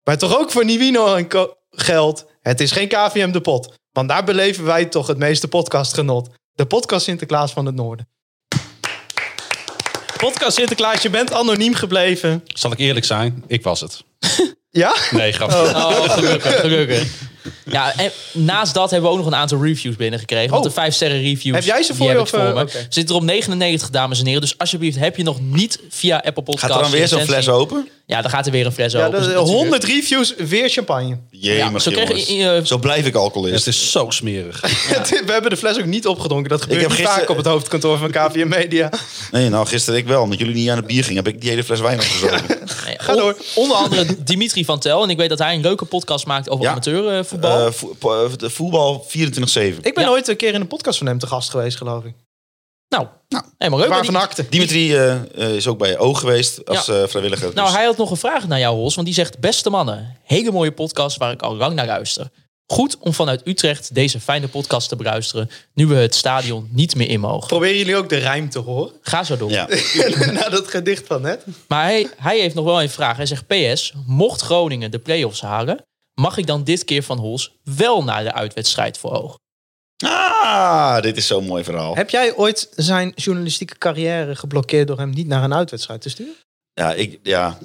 Maar toch ook voor Niwino en Co geldt, het is geen KVM de pot. Want daar beleven wij toch het meeste podcastgenot. De podcast Sinterklaas van het Noorden. Podcast Sinterklaas, je bent anoniem gebleven.
Zal ik eerlijk zijn? Ik was het.
Ja?
Nee, grapje.
Oh, gelukkig, gelukkig. Ja, en naast dat hebben we ook nog een aantal reviews binnengekregen. Want
Oh.
de 5 sterren reviews.
Heb jij ze
die
voor je
heb
of,
ik voor
eh,
me.
oké.
Zit er om 99, dames en heren. Dus alsjeblieft, heb je nog niet via Apple Podcasts...
Gaat er dan weer zo'n
recensie-
fles open?
Ja, dan gaat er weer een fles
ja
open.
dat,
Dus
100 reviews, weer champagne.
Ja,
Jemig,
zo kreeg
jongens.
je- je-
Zo blijf ik
Dus Het
alcoholist.
is zo
*laughs*
smerig.
We hebben de fles ook niet opgedronken. Dat gebeurt
heb
niet
gisteren-
vaak op het hoofdkantoor van KVM Media. *laughs*
Nee, nou, gisteren ik wel. Omdat jullie niet aan het bier gingen, heb ik die hele fles
*laughs*
wijn opgezogen. Eh,
Nee,
Ga door.
Onder andere Dimitri van Tel. En ik weet dat hij een leuke podcast maakt over
Ja.
amateurvoetbal.
Eh, vo- po- eh, de voetbal 24-7.
Ik ben
Ja.
ooit een keer in een podcast van hem te gast geweest, geloof ik.
nou, helemaal leuk.
Waarvan
Maar die-
akte.
Dimitri eh, eh, is ook bij Oog geweest als eh, vrijwilliger.
Nou,
Dus-
hij had nog een vraag naar jou, Hols. Want die zegt, beste mannen, hele mooie podcast waar ik al lang naar luister. Goed om vanuit Utrecht deze fijne podcast te beluisteren. Nu we het stadion niet meer in mogen.
Proberen jullie ook de rijm te *laughs* horen?
Ga zo door.
Ja.
Na dat gedicht van net.
Maar hij, hij heeft nog wel een vraag. Hij zegt, PS, mocht Groningen de play-offs halen... mag ik dan dit keer van Hols wel naar de uitwedstrijd voor oog?
Ah, dit is zo'n mooi verhaal.
Heb jij ooit zijn journalistieke carrière geblokkeerd door hem niet naar een uitwedstrijd te sturen?
Ja, ik, ja.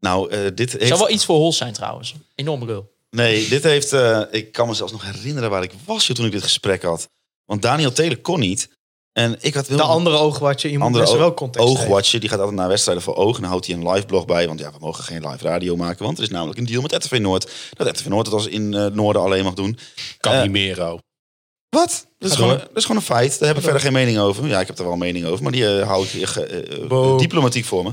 Nou, eh, dit heeft...
Zou wel iets voor Hols zijn trouwens. Enorm lul.
Nee, dit heeft... eh, ik kan me zelfs nog herinneren waar ik was joh, toen ik dit gesprek had. Want Daniel Telen kon niet. En ik had...
De andere oogwatje, je moet
andere
best
oog-
wel context geven.
oogwatcher, die gaat altijd naar wedstrijden voor oog. En dan houdt hij een live blog bij. Want ja, we mogen geen live radio maken. Want er is namelijk een deal met RTV Noord. Dat RTV Noord dat als in eh, het Noorden alleen mag doen.
Kan
Eh,
niet meer, oh.
Wat? Dat is, gewoon,
door.
dat is gewoon een feit. Daar heb ik verder geen mening over. Ja, ik heb er wel een mening over, maar die eh, hou ik eh, ge- eh, eh, diplomatiek voor me.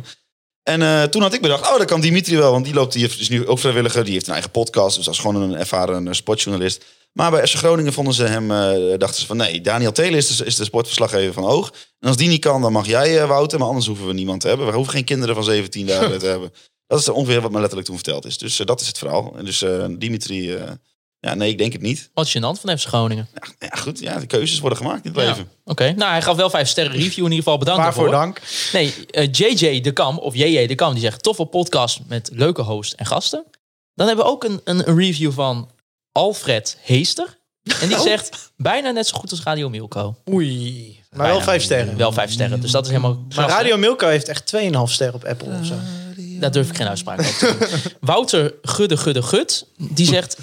En eh, toen had ik bedacht, oh, dat kan Dimitri wel. Want die loopt hier, is nu ook vrijwilliger. Die heeft een eigen podcast. Dus dat is gewoon een ervaren eh, sportjournalist. Maar bij FC Groningen vonden ze hem, eh, dachten ze van... Nee, Daniel Telen is de, is de sportverslaggever van Oog. En als die niet kan, dan mag jij, eh, Wouter. Maar anders hoeven we niemand te hebben. We hoeven geen kinderen van 17 daar te hebben. Dat is ongeveer wat me letterlijk toen verteld is. Dus eh, dat is het verhaal. En dus eh, Dimitri... eh, ja, nee, ik denk het niet.
Wat gênant van FC Groningen.
Ja, goed. Ja, de keuzes worden gemaakt in het
Ja.
leven.
Oké, nou hij gaf wel vijf sterren review in ieder geval. Bedankt
Waarvoor
daarvoor.
dank.
Nee, eh, JJ de Kam, of JJ de Kam, die zegt... toffe podcast met leuke host en gasten. Dan hebben we ook een, een een review van Alfred Heester. En
*laughs*
die zegt, bijna net zo goed als Radio Milko.
Oei. Maar wel
Bijna.
vijf sterren.
Wel vijf sterren, dus dat is helemaal...
Maar
krachtig.
Radio Milko heeft echt 2,5 sterren op Apple of zo.
Daar durf ik geen uitspraak over te doen. Wouter Gudde Gudde Gut, die zegt...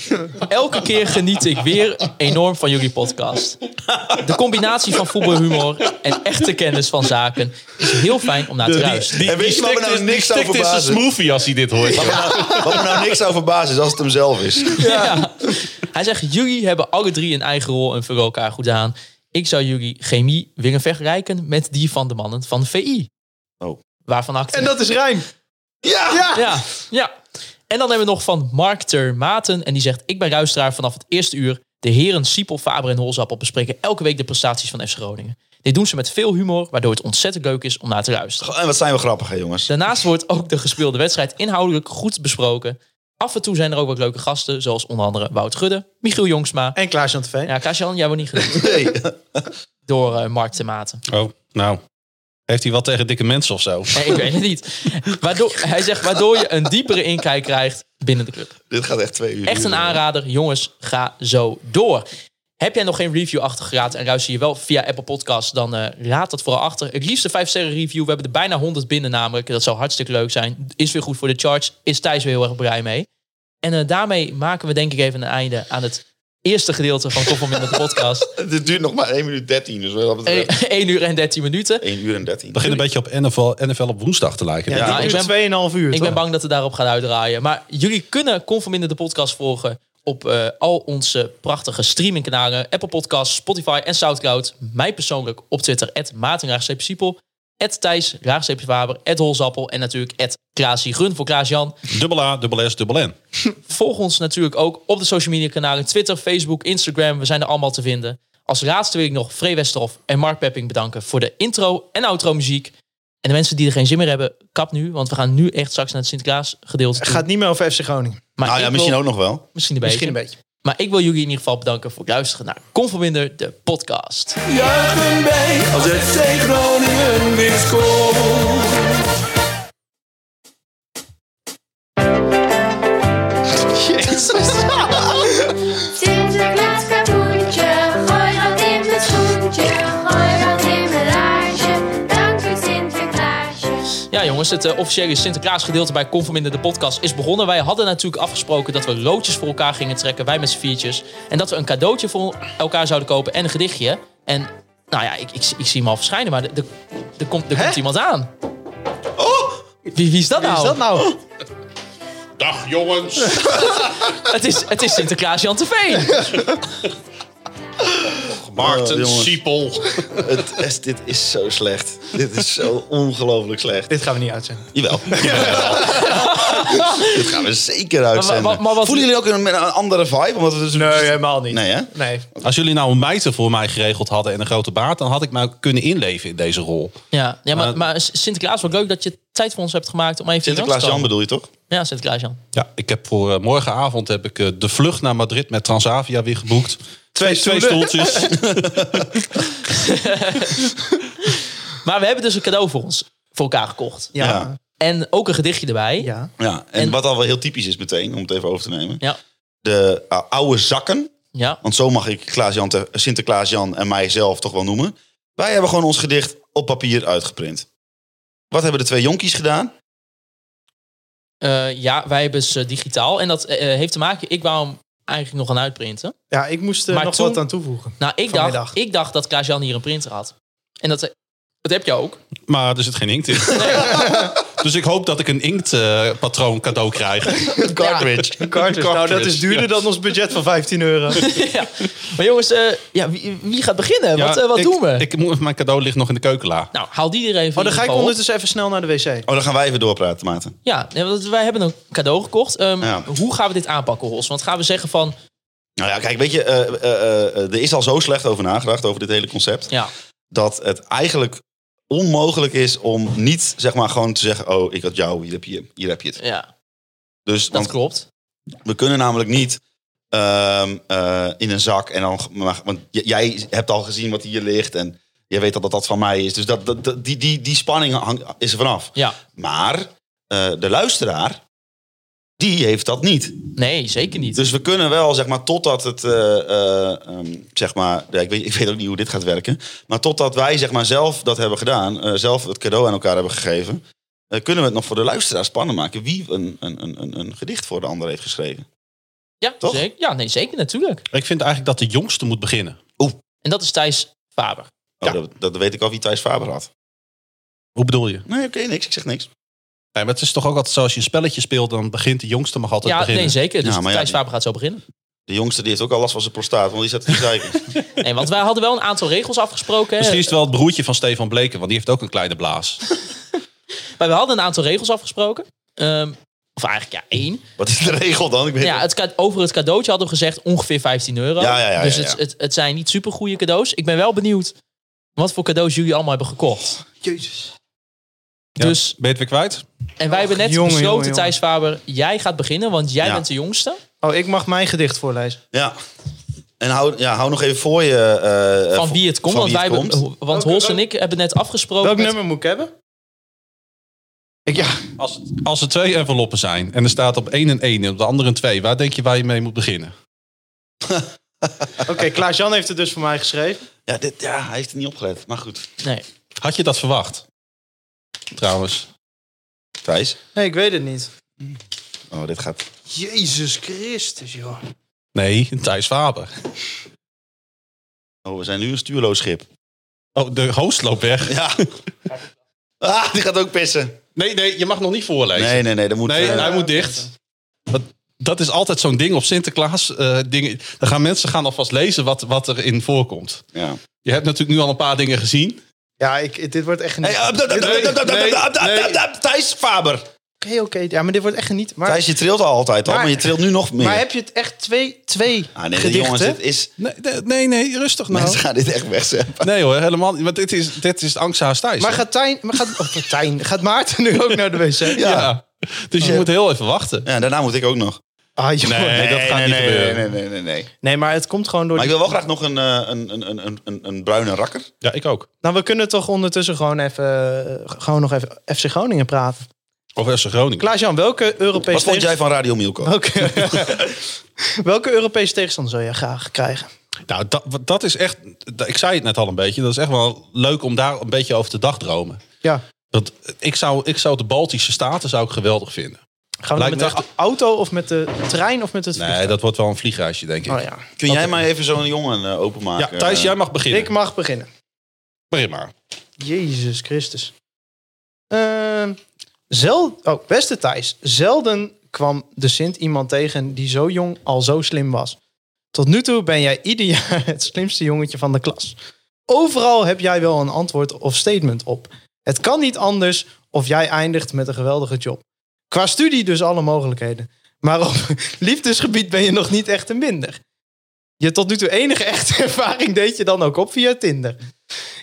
Elke keer geniet ik weer enorm van jullie podcast. De combinatie van voetbalhumor en echte kennis van zaken... is heel fijn om naar te luisteren.
En weet je wat me nou niks zou
stikt in zijn
verbazen?
smoothie als hij dit hoort.
*laughs* Wat me nou niks zou verbazen is als het hem zelf is.
Ja. Hij zegt, jullie hebben alle drie een eigen rol en vullen elkaar goed aan. Ik zou jullie chemie willen vergelijken met die van de mannen van VI.
Oh.
Waarvan acte.
En dat is Rijn.
Ja!
Ja, ja. En dan hebben we nog van Mark Ter Maten. En die zegt, ik ben luisteraar vanaf het eerste uur. De heren Siepel, Faber en Holzappel bespreken elke week de prestaties van FC Groningen. Dit doen ze met veel humor, waardoor het ontzettend leuk is om naar te luisteren.
En wat zijn we grappig, hè, jongens.
Daarnaast wordt ook de gespeelde wedstrijd inhoudelijk goed besproken. Af en toe zijn er ook wat leuke gasten, zoals onder andere Wout Gudde, Michiel Jongsma
En Klaas-Jan Teveen.
ja, Kasjan, jij wordt niet genoemd
Nee.
door eh, Mark te maten.
Oh, nou. Heeft hij wat tegen dikke mensen of zo?
Nee, ik weet het niet. Waardoor, hij zegt waardoor je een diepere inkijk krijgt binnen de club.
Dit gaat echt twee uur.
Echt een
duren.
aanrader. Jongens, ga zo door. Heb jij nog geen review achtergeraad en luister je wel via Apple Podcasts, dan eh, raad dat vooral achter. Het liefste 5 sterren review. We hebben er bijna 100 binnen namelijk. Dat zou hartstikke leuk zijn. Is weer goed voor de charts. Is Thijs weer heel erg blij mee. En eh, daarmee maken we denk ik even een einde aan het eerste gedeelte van Koffel Minder de podcast.
*laughs* Dit duurt nog maar 1 minuut 13. Dus wat dat betreft...
1 uur en 13 minuten.
1 uur en 13.
Het begint een beetje op NFL, NFL op woensdag te lijken.
Ja,
ik
ik
ben-
ben 2,5 uur.
Ik
toch?
ben bang dat het daarop gaat uitdraaien. Maar jullie kunnen Conforminder de podcast volgen op eh, al onze prachtige streamingkanalen. Apple Podcasts, Spotify en Soundcloud. Mij persoonlijk op Twitter. At Maarten-Siepel. At Thijs, Raagstreepjeswaber, at Holzappel en natuurlijk at Klaasie Grun voor Klaas-Jan.
Dubbel A, dubbel S, dubbel N.
Volg ons natuurlijk ook op de social media kanalen Twitter, Facebook, Instagram. We zijn er allemaal te vinden. Als laatste wil ik nog Free Westerhof en Mark Pepping bedanken voor de intro en outro muziek. En de mensen die er geen zin meer hebben, kap nu. Want we gaan nu echt straks naar het Sinterklaas gedeelte
Het
toe.
gaat niet meer over FC Groningen.
maar ik
nou ja,
wil-
misschien ook nog wel.
Misschien een
Misschien
beetje.
een beetje.
Maar ik wil jullie in ieder geval bedanken voor het luisteren naar Conforminder, de podcast.
Juichen bij als het FC Groningen weer scoort.
Sinterklaas kapoentje, gooi dat in het schoentje, gooi dat in mijn laarsje. Dank u Sinterklaasje.
Ja jongens, het eh, officiële Sinterklaas gedeelte bij Conforminder, de podcast, is begonnen. Wij hadden natuurlijk afgesproken dat we loodjes voor elkaar gingen trekken. Wij met z'n viertjes. En dat we een cadeautje voor elkaar zouden kopen en een gedichtje. En nou ja, ik, ik, ik zie hem al verschijnen, maar er- er er komt, er komt iemand aan. Oh! Wie, wie is dat
Wie
nou?
is dat nou?
Dag jongens.
Het is, het is Sinterklaas Jan Veen.
Maarten
Oh, jongens. *laughs*
Siepel.
Het, is- dit is zo slecht. Dit is zo ongelooflijk slecht.
*gasps* Dit gaan we niet uitzenden.
*laughs* Jawel. Dit gaan we zeker uitzenden.
Maar wa- maar wat-
Voelen jullie ook een, een andere vibe? Omdat we dus
Nee, helemaal niet.
Nee, hè?
Nee.
Als jullie nou een mijter voor mij geregeld hadden en een grote baard, dan had ik mij kunnen inleven in deze rol.
Ja, ja maar,
Maar-
maar Sinterklaas, wat leuk dat je tijd voor ons hebt gemaakt om even hier langs
Sinterklaas
te
Jan
komen.
bedoel je toch?
Ja, Sinterklaas Jan.
Ja, ik heb voor eh, morgenavond heb ik eh, de vlucht naar Madrid met Transavia weer geboekt. Twee, twee
*laughs*
stoeltjes.
Maar we hebben dus een cadeau voor ons, voor elkaar gekocht.
Ja.
Ja.
Ja.
En ook een gedichtje erbij.
Ja, en,
En-
wat al wel heel typisch is meteen, om het even over te nemen.
Ja.
De ah, oude zakken,
Ja.
want zo mag ik Klaas-Jan te- Sinterklaas-Jan en mijzelf toch wel noemen. Wij hebben gewoon ons gedicht op papier uitgeprint. Wat hebben de twee jonkies gedaan?
Eh, ja, wij hebben ze digitaal. En dat eh, heeft te maken, ik wou hem eigenlijk nog gaan uitprinten.
Ja, ik moest er
Maar
nog
toen-
wat aan toevoegen.
Nou, ik
Vanmiddag.
dacht, ik dacht dat Klaas Jan hier een printer had. En dat, eh, dat heb je
*laughs*
ook.
Maar er zit geen inkt in. Dus ik hoop dat ik een inktpatroon cadeau krijg.
Het cartridge.
Nou, dat
dus-
is duurder dan ons budget van 15 *laughs* euro. Oh,
ja. Maar jongens, eh, ja, wie, wie gaat beginnen? wat eh, wat
ik-
doen we?
Ik, moet- mijn cadeau ligt nog in de keukenla.
nou, haal die er even
Oh, dan ga ik
in ieder geval op.
ondertussen even snel naar de wc.
Oh, dan gaan wij even doorpraten, Maarten.
Ja, nee, want wij hebben een cadeau gekocht. Ehm,
Ja.
Hoe gaan we dit aanpakken, Ros? Want gaan we zeggen van...
Nou ja, kijk, weet je, eh, eh, eh, er is al zo slecht over nagedacht, over dit hele concept.
Ja,
dat het eigenlijk onmogelijk is om niet zeg maar gewoon te zeggen: Oh, ik had jou, hier heb je, hier heb je het.
ja
Dus
dat
want
klopt.
we kunnen namelijk niet ehm, eh, in een zak en dan. maar- Want j- jij hebt al gezien wat hier ligt en jij weet al dat dat van mij is. Dus dat, dat, dat- die, die, die spanning hang- is er vanaf.
Ja.
Maar eh, de luisteraar. Die heeft dat niet.
Nee, zeker niet.
Dus we kunnen wel, zeg maar, totdat het, eh, eh, ehm, zeg maar, ja, ik, weet, ik weet ook niet hoe dit gaat werken. Maar totdat wij, zeg maar, zelf dat hebben gedaan, eh, zelf het cadeau aan elkaar hebben gegeven, eh, kunnen we het nog voor de luisteraar spannend maken wie een, een, een, een, een gedicht voor de ander heeft geschreven.
ja,
toch?
zeker. Ja, nee, zeker natuurlijk.
Ik vind eigenlijk dat de jongste moet beginnen.
En dat is Thijs Faber.
Oh, dat, dat weet ik al wie Thijs Faber had.
Hoe bedoel je?
Nee, oké, niks, ik zeg niks.
Nee, maar het is toch ook altijd zo, als je een spelletje speelt, dan begint de jongste mag altijd
ja,
beginnen.
nee, zeker. Dus
Ja, maar ja,
Thijs
die-
Faber gaat zo beginnen.
De jongste die heeft ook al last van zijn prostaat, want die zat te zeiken. *laughs*
Nee, want wij hadden wel een aantal regels afgesproken. hè.
Misschien is het wel het broertje van Stefan Bleken, want die heeft ook een kleine blaas.
Maar we hadden een aantal regels afgesproken. Ehm, of eigenlijk ja, één.
Wat is de regel dan? Ik weet
Ja,
het.
het, ka- over het cadeautje hadden we gezegd ongeveer 15 euro.
Ja, ja, ja,
dus
ja,
Het,
ja.
het, het zijn niet super goede cadeaus. Ik ben wel benieuwd wat voor cadeaus jullie allemaal hebben gekocht.
Jezus.
Ja.
Dus,
Ben je het weer kwijt?
en wij hebben net
jongen,
besloten,
jongen, jongen.
Thijs Faber, jij gaat beginnen, want jij
Ja.
bent de jongste.
Oh, ik mag mijn gedicht voorlezen.
Ja. En hou, ja, hou nog even voor je. eh, eh,
Van wie het komt.
van
want wij
wie het komt.
hebben- want Hols en ik hebben net afgesproken.
Welk
met-
nummer moet ik hebben? Ik, ja,
Als, als er twee enveloppen zijn en er staat op één en één en op de andere een twee, waar denk je waar je mee moet beginnen?
oké, Klaas-Jan heeft het dus voor mij geschreven.
Ja, dit, ja, hij heeft er niet opgelet. Maar goed.
Nee.
Had je dat verwacht? Trouwens.
Thijs.
Nee, ik weet het niet.
Oh, dit gaat.
Jezus Christus, joh.
Nee, Thijs Faber.
Oh, we zijn nu een stuurloos schip.
Oh, de host loopt weg.
Ja. *laughs* ah, die gaat ook pissen.
Nee, nee, je mag nog niet voorlezen.
Nee, nee, nee. Dat moet,
Nee,
eh,
hij moet dicht. Want dat is altijd zo'n ding op Sinterklaas. eh dingen. Dan gaan mensen gaan alvast lezen wat, wat erin voorkomt.
ja.
Je hebt natuurlijk nu al een paar dingen gezien.
Ja, ik, dit wordt echt een...
eh,
Ah, Hey, up, up, up, up, up, up, up, up, up, up, up, Thijs Faber.
Oké, oké. Ja, maar dit wordt echt geniet. Maar,
Thijs, je trilt al altijd al, maar, je trilt nu nog meer.
Maar heb je het echt twee, twee
Ah, nee,
gedichten?
jongens, dit is...
Nee, nee, nee, nee, rustig
*laughs*
nou.
Mensen gaan dit echt wegzetten.
Nee hoor, helemaal niet. Want dit is, dit is angst haast Thijs.
Maar
hè?
gaat Tijn, maar gaat, oh, Tijn, gaat Maarten nu ook naar de wc?
Ja.
Ja. Dus je moet heel even wachten.
Ja, daarna moet ik ook nog.
Ah, joh.
Nee,
Nee.
dat gaat
nee,
niet
nee,
gebeuren.
Nee, nee, nee, nee, nee.
nee, maar het komt gewoon door...
Maar ik
die-
wil wel graag nog een, eh, een, een, een, een, een, een bruine rakker.
Ja, ik ook.
Nou, we kunnen toch ondertussen gewoon even, eh, gewoon nog even FC Groningen praten.
Of FC Groningen.
Klaas-Jan, welke Europese...
Wat vond jij
tegenst-
van Radio Milko?
Welke, *laughs* welke Europese tegenstander zou jij graag krijgen?
Nou, dat, wat- dat is echt... dat- Ik zei het net al een beetje. Dat is echt wel leuk om daar een beetje over te dagdromen.
Ja.
Want ik zou, ik zou de Baltische Staten zou ik geweldig vinden.
Gaan we dan
Lijkt
met de
me echt-
auto of met de trein of met het
Nee, dat wordt wel een vliegreisje, denk ik.
vliegtuig? Oh,
Kun jij mij even zo'n jongen eh,
ja,
openmaken?
Thijs,
Eh,
jij mag
ja.
beginnen.
Ik mag beginnen.
Begin maar.
Jezus Christus. Ehm, zel, oh, beste Thijs. Zelden kwam de Sint iemand tegen die zo jong al zo slim was. Tot nu toe ben jij ieder jaar het slimste jongetje van de klas. Overal heb jij wel een antwoord of statement op. Het kan niet anders of jij eindigt met een geweldige job. Qua studie dus alle mogelijkheden. Maar op *laughs* liefdesgebied ben je nog niet echt een minder. Je tot nu toe enige echte *laughs* ervaring deed je dan ook op via Tinder.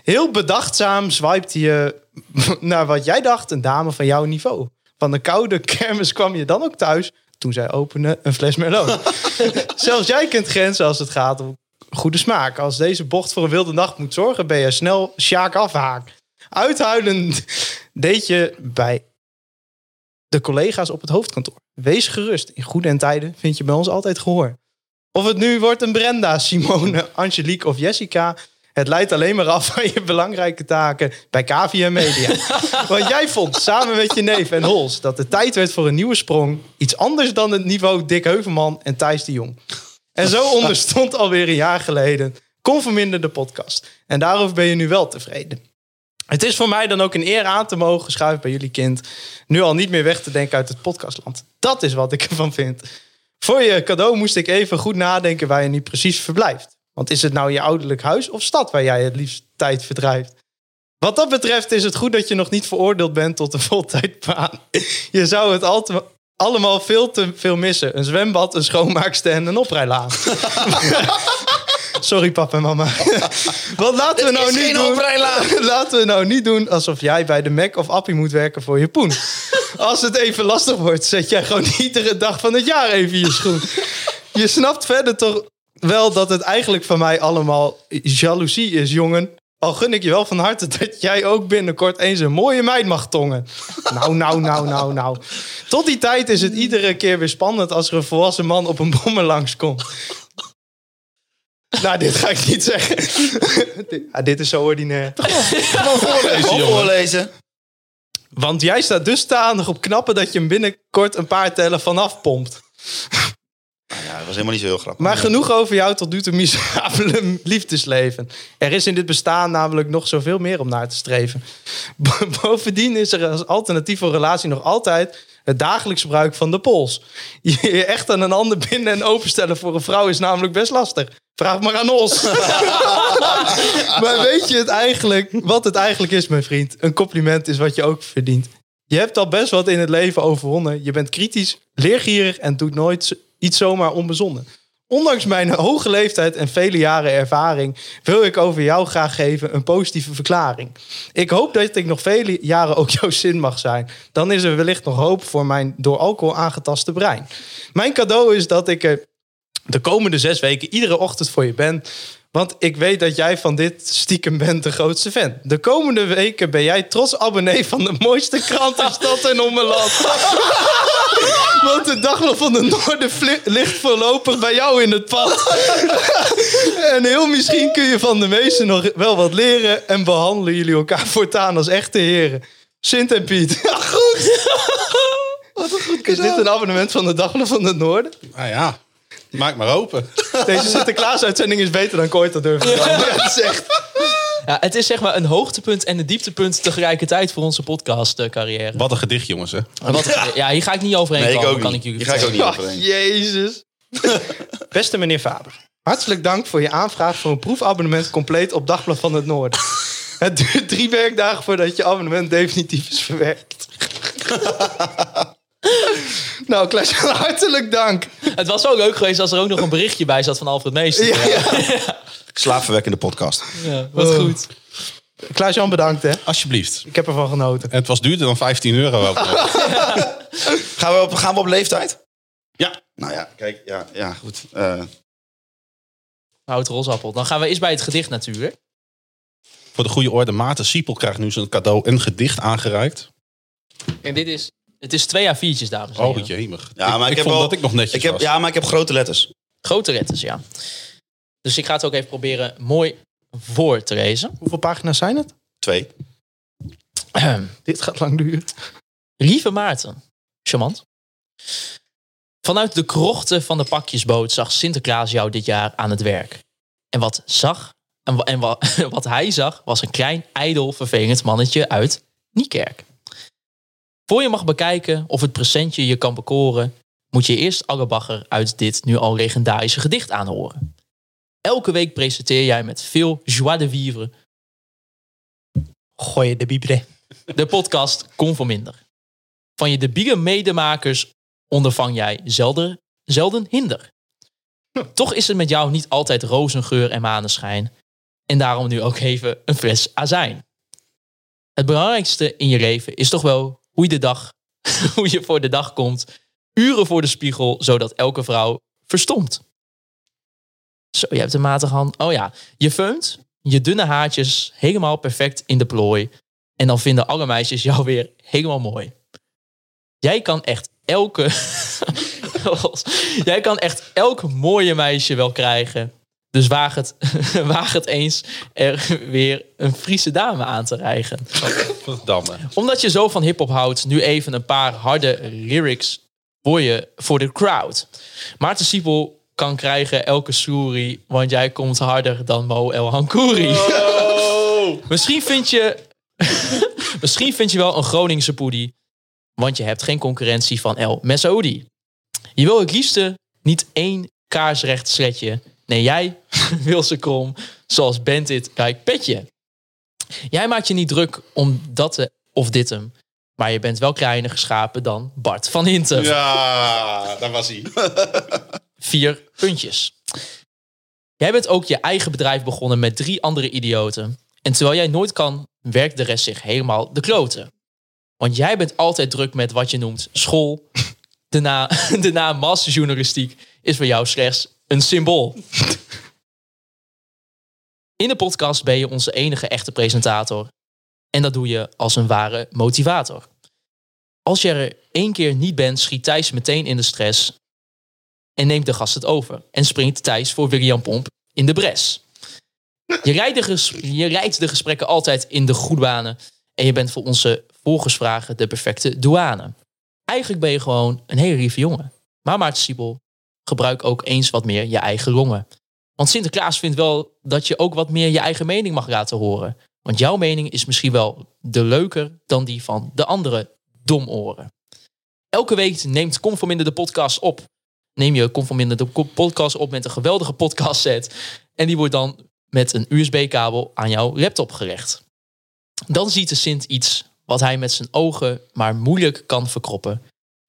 Heel bedachtzaam swipte je *laughs* naar wat jij dacht een dame van jouw niveau. Van de koude *laughs* kermis kwam je dan ook thuis toen zij opende een fles Merlot. Zelfs jij kent grenzen als het gaat om goede smaak. Als deze bocht voor een wilde nacht moet zorgen, ben je snel Sjaak afhaak. Uithuilend *laughs* deed je bij de collega's op het hoofdkantoor. Wees gerust, in goede en tijden vind je bij ons altijd gehoor. Of het nu wordt een Brenda, Simone, *laughs* Angelique of Jessica... Het leidt alleen maar af van je belangrijke taken bij KVM Media. Want jij vond samen met je neef en Hols dat de tijd werd voor een nieuwe sprong. Iets anders dan het niveau Dick Heuvelman en Thijs de Jong. En zo onderstond alweer een jaar geleden Conforminder de podcast. En daarover ben je nu wel tevreden. Het is voor mij dan ook een eer aan te mogen schuiven bij jullie kind. Nu al niet meer weg te denken uit het podcastland. Dat is wat ik ervan vind. Voor je cadeau moest ik even goed nadenken waar je nu precies verblijft. Want is het nou je ouderlijk huis of stad waar jij het liefst tijd verdrijft? Wat dat betreft is het goed dat je nog niet veroordeeld bent tot een *laughs* voltijdbaan. Je zou het al te- allemaal veel te veel missen. Een zwembad, een schoonmaakster en een oprijlaan. Sorry papa en mama. Wat laten we nou niet doen? *laughs* Laten we nou niet doen alsof jij bij de Mac of Appie moet werken voor je poen. Als het even lastig wordt, zet jij gewoon *laughs* iedere dag van het jaar even je schoen. Je snapt verder toch wel dat het eigenlijk van mij allemaal jaloezie is, jongen. Al gun ik je wel van harte dat jij ook binnenkort eens een mooie meid mag tongen. Nou, nou, nou, nou, nou. Tot die tijd is het iedere keer weer spannend als er een volwassen man op een bommen langskomt. Nou, dit ga ik niet zeggen. Dit- ah, dit is zo ordinair.
Gewoon voorlezen.
Want jij staat dusdanig op knappen dat je hem binnenkort een paar tellen vanaf pompt.
Ja, dat was helemaal niet zo heel grappig.
Maar genoeg over jou tot nu toe miserabele *laughs* liefdesleven. Er is in dit bestaan namelijk nog zoveel meer om naar te streven. *laughs* Bo- Bovendien is er als alternatief voor relatie nog altijd het dagelijks gebruik van de pols. Je echt aan een ander binden en openstellen voor een vrouw is namelijk best lastig. Vraag maar aan ons. *laughs* maar weet je het eigenlijk, wat het eigenlijk is, mijn vriend? Een compliment is wat je ook verdient. Je hebt al best wat in het leven overwonnen. Je bent kritisch, leergierig en doet nooit z- iets zomaar onbezonnen. Ondanks mijn *laughs* hoge leeftijd en vele jaren ervaring wil ik over jou graag geven een positieve verklaring. Ik hoop dat ik nog vele jaren ook *laughs* jouw zin mag zijn. Dan is er wellicht nog hoop voor mijn door alcohol aangetaste brein. Mijn cadeau is dat ik er de komende zes weken iedere ochtend voor je ben. Want ik weet dat jij van dit stiekem bent de grootste fan. De komende weken ben jij trots abonnee van de mooiste krant in stad en ommeland. *laughs* Want de dagblad van de Noorden vli- ligt voorlopig bij jou in het pad. *laughs* en heel misschien kun je van de meesten nog wel wat leren. En behandelen jullie elkaar voortaan als echte heren. Sint en Piet. *laughs* Ja, goed. Is dit een abonnement van de Dagblad van de Noorden?
Ah,
Nou ja, maak maar open.
Deze Sinterklaas-uitzending is beter dan Kooit dat durven.
Ja, het is zeg maar een hoogtepunt en een dieptepunt tegelijkertijd voor onze podcastcarrière.
*laughs* Wat een gedicht, jongens. Hè?
Wat, ja, hier ga ik niet overheen
Nee, ik
komen,
ook
kan
niet.
ik jullie
Hier ga ik ook
vertellen.
niet overheen.
Jezus. *laughs* Beste meneer Faber, hartelijk dank voor je aanvraag voor een proefabonnement compleet op Dagblad van het Noorden. Het duurt drie werkdagen voordat je abonnement definitief is verwerkt. *laughs* nou, Klaas, hartelijk dank.
Het was ook leuk geweest als er ook nog een berichtje bij zat van Alfred Meester. Ja,
Slaapverwekkende podcast.
Ja, wat
Oh.
goed.
Klaas-Jan, bedankt hè.
Alsjeblieft.
Ik heb ervan genoten.
Het was duurder dan 15 euro. ook nog.
Gaan we op, gaan we op leeftijd?
Ja.
Nou ja, kijk, ja, ja goed. Eh,
Hout rosappel. Dan gaan we eerst bij het gedicht natuurlijk.
Voor de goede orde, Maarten Siepel krijgt nu zijn cadeau een gedicht aangereikt.
En dit is... Het is twee A4'tjes, dames en heren.
Oh, jemig.
ja, maar ik, heb
vond
wel,
dat ik nog netjes
ik heb,
was.
Ja, maar ik heb grote letters.
Grote retters, ja. Dus ik ga het ook even proberen mooi voor te lezen.
Hoeveel pagina's zijn het?
Twee.
*clears throat* Dit gaat lang duren.
Lieve Maarten. Charmant. Vanuit de krochten van de pakjesboot zag Sinterklaas jou dit jaar aan het werk. En wat zag, en, wa- en wa- *laughs* wat hij zag, was een klein, ijdel, vervelend mannetje uit Niekerk. Voor je mag bekijken of het presentje je kan bekoren, moet je eerst Allebacher uit dit nu al legendarische gedicht aanhoren. Elke week presenteer jij met veel joie de vivre
Gooi je de bibre.
de podcast Kon voor Minder. Van je debiele medemakers ondervang jij zelden, zelden hinder. Toch is het met jou niet altijd rozengeur en maneschijn. En daarom nu ook even een fles azijn. Het belangrijkste in je leven is toch wel hoe je, de dag, *laughs* hoe je voor de dag komt. Uren voor de spiegel, zodat elke vrouw verstomt. Zo, je hebt een matige hand. Oh ja, je feunt je dunne haartjes helemaal perfect in de plooi. En dan vinden alle meisjes jou weer helemaal mooi. Jij kan echt elke. *laughs* Jij kan echt elk mooie meisje wel krijgen. Dus waag het, *laughs* waag het eens er weer een Friese dame aan te rijgen.
Verdamme.
*laughs* Omdat je zo van hip-hop houdt, nu even een paar harde lyrics voor je voor de crowd. Maarten Siepel kan krijgen elke soerie, want jij komt harder dan Mo El Hankouri. *laughs* Misschien vind je. Misschien vind je wel een Groningse poedie, want je hebt geen concurrentie van El Mesoudi. Je wil het liefste niet één kaarsrecht sletje. Nee, jij *laughs* wil ze krom, zoals Bandit Rijk Petje. Jij maakt je niet druk om dat te- of dit hem. Maar je bent wel kleiner geschapen dan Bart van Hintem.
Ja, daar was
*laughs*
hij.
Vier puntjes. Jij bent ook je eigen bedrijf begonnen met drie andere idioten. En terwijl jij nooit kan, werkt de rest zich helemaal de kloten. Want jij bent altijd druk met wat je noemt school. *laughs* De, na, de naam masterjournalistiek is voor jou slechts een symbool. *laughs* In de podcast ben je onze enige echte presentator. En dat doe je als een ware motivator. Als je er één keer niet bent, schiet Thijs meteen in de stress en neemt de gast het over. En springt Thijs voor William Pomp in de bres. Je rijdt de, ges- je rijdt de gesprekken altijd in de goede banen. En je bent voor onze volgersvragen de perfecte douane. Eigenlijk ben je gewoon een hele lieve jongen. Maar Maarten Siebel, gebruik ook eens wat meer je eigen longen. Want Sinterklaas vindt wel dat je ook wat meer je eigen mening mag laten horen. Want jouw mening is misschien wel de leuker dan die van de andere domoren. Elke week neemt Conforminder de podcast op neem je Conforminder de ko- podcast op met een geweldige podcast set. En die wordt dan met een USB-kabel aan jouw laptop gerecht. Dan ziet de Sint iets wat hij met zijn ogen maar moeilijk kan verkroppen.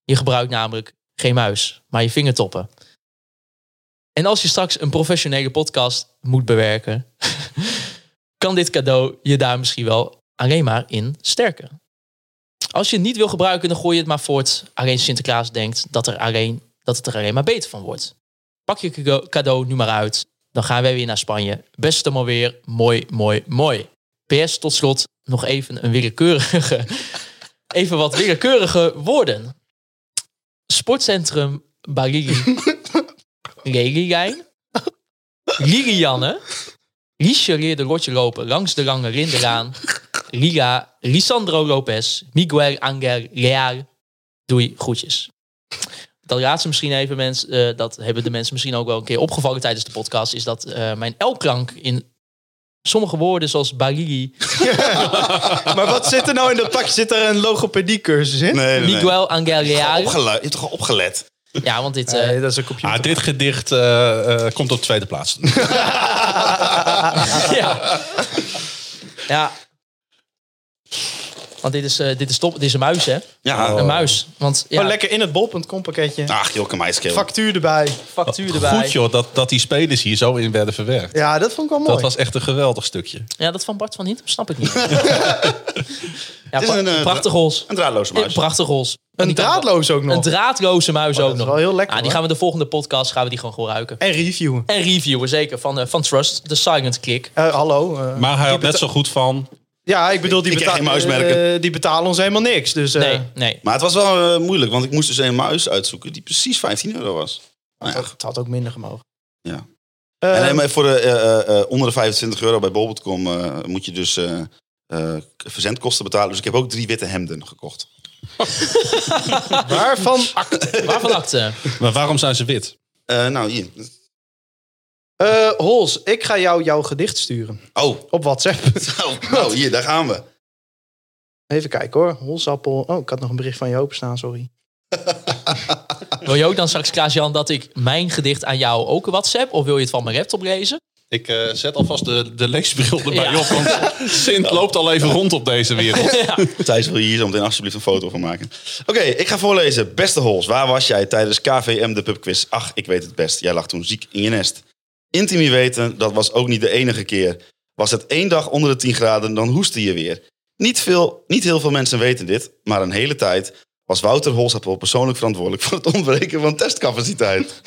Je gebruikt namelijk geen muis, maar je vingertoppen. En als je straks een professionele podcast moet bewerken, *laughs* kan dit cadeau je daar misschien wel alleen maar in sterken. Als je het niet wil gebruiken, dan gooi je het maar voort. Alleen Sinterklaas denkt dat, er alleen, dat het er alleen maar beter van wordt. Pak je cado- cadeau nu maar uit. Dan gaan wij weer naar Spanje. Best allemaal weer. Mooi, mooi, mooi. PS, tot slot nog even een willekeurige... *laughs* even wat willekeurige woorden. Sportcentrum Barili. Lelylijn. Lilianne. Liesje leerde rotje lopen langs de lange rinderaan. Liga, Lisandro Lopez, Miguel Angel Real. Doei, groetjes. Dat raadt ze misschien even, mensen. eh, dat hebben de mensen misschien ook wel een keer opgevallen tijdens de podcast. Is dat eh, mijn L-klank in sommige woorden, zoals Barili,
Maar wat zit er nou in dat pakje? Zit er een logopedie cursus in?
Nee, Oh. nee, nee.
Miguel Angel Real.
Opgelu- je hebt toch al opgelet?
Ja, want dit. eh,
Nee, dat is een
*laughs*
computer.
Ah, dit gedicht eh, eh, komt op tweede
*laughs*
plaats.
*laughs* ja. ja. Want dit is, eh, dit is top. Dit is een muis, hè?
Ja.
Een muis. Want ja,
Oh, lekker in het bol.com pakketje.
Ach, joh, kan mij schelen.
Factuur erbij.
factuur erbij.
Goed joh, dat, dat die spelers hier zo in werden verwerkt.
Ja, dat vond ik wel mooi.
Dat was echt een geweldig stukje.
Ja, dat van Bart van Hintem snap
*laughs*
ik niet. ja,
is
pra-
een, eh,
prachtig hols.
Een draadloze
Een
muis.
prachtig hols.
een draadloos ook nog.
Een draadloze muis
Oh,
ook
dat is
nog.
wel heel lekker,
Ah, die
hoor.
gaan we de volgende podcast gaan we die gewoon gebruiken.
en reviewen.
En reviewen, zeker. Van, eh, van Trust, de Silent Click.
Eh, hallo. eh,
Maar hij had net zo goed van...
ja, ik bedoel, die,
Ik krijg
betaal-
geen muismerken.
eh, die betalen ons helemaal niks. Dus, eh,
Nee, nee.
Maar het was wel eh, moeilijk, want ik moest dus een muis uitzoeken die precies 15 euro was. Nou ja,
Het had ook minder gemogen.
Ja.
Eh,
en helemaal voor de, eh, eh, eh, onder de 25 euro bij bol.com eh, moet je dus eh, eh, verzendkosten betalen. Dus ik heb ook drie witte hemden gekocht.
waarvan
Waarvan eh? acte?
Maar waarom zijn ze wit?
Eh, nou, hier.
Eh, Hols, ik ga jou jouw gedicht sturen.
Oh, *laughs*
Op WhatsApp. *laughs*
oh, nou, hier, daar gaan we.
Even kijken hoor. Holsappel. Oh, ik had nog een bericht van je openstaan, sorry.
Wil je ook dan straks, Klaas-Jan, dat ik mijn gedicht aan jou ook WhatsApp? Of wil je het van mijn laptop lezen?
Ik eh, zet alvast de, de leesbril erbij
Ja.
op,
*laughs*
want Sint loopt al even rond op deze wereld.
*laughs* Thijs, wil je hier zo meteen alsjeblieft een foto van maken? Oké, ik ga voorlezen. Beste Hols, waar was jij tijdens KVM de pubquiz? Ach, ik weet het best. Jij lag toen ziek in je nest. Intimi weten, dat was ook niet de enige keer. Was het één dag onder de 10 graden, dan hoestte je weer. Niet, veel, niet heel veel mensen weten dit, maar een hele tijd was Wouter Holsappel persoonlijk verantwoordelijk voor het ontbreken van testcapaciteit.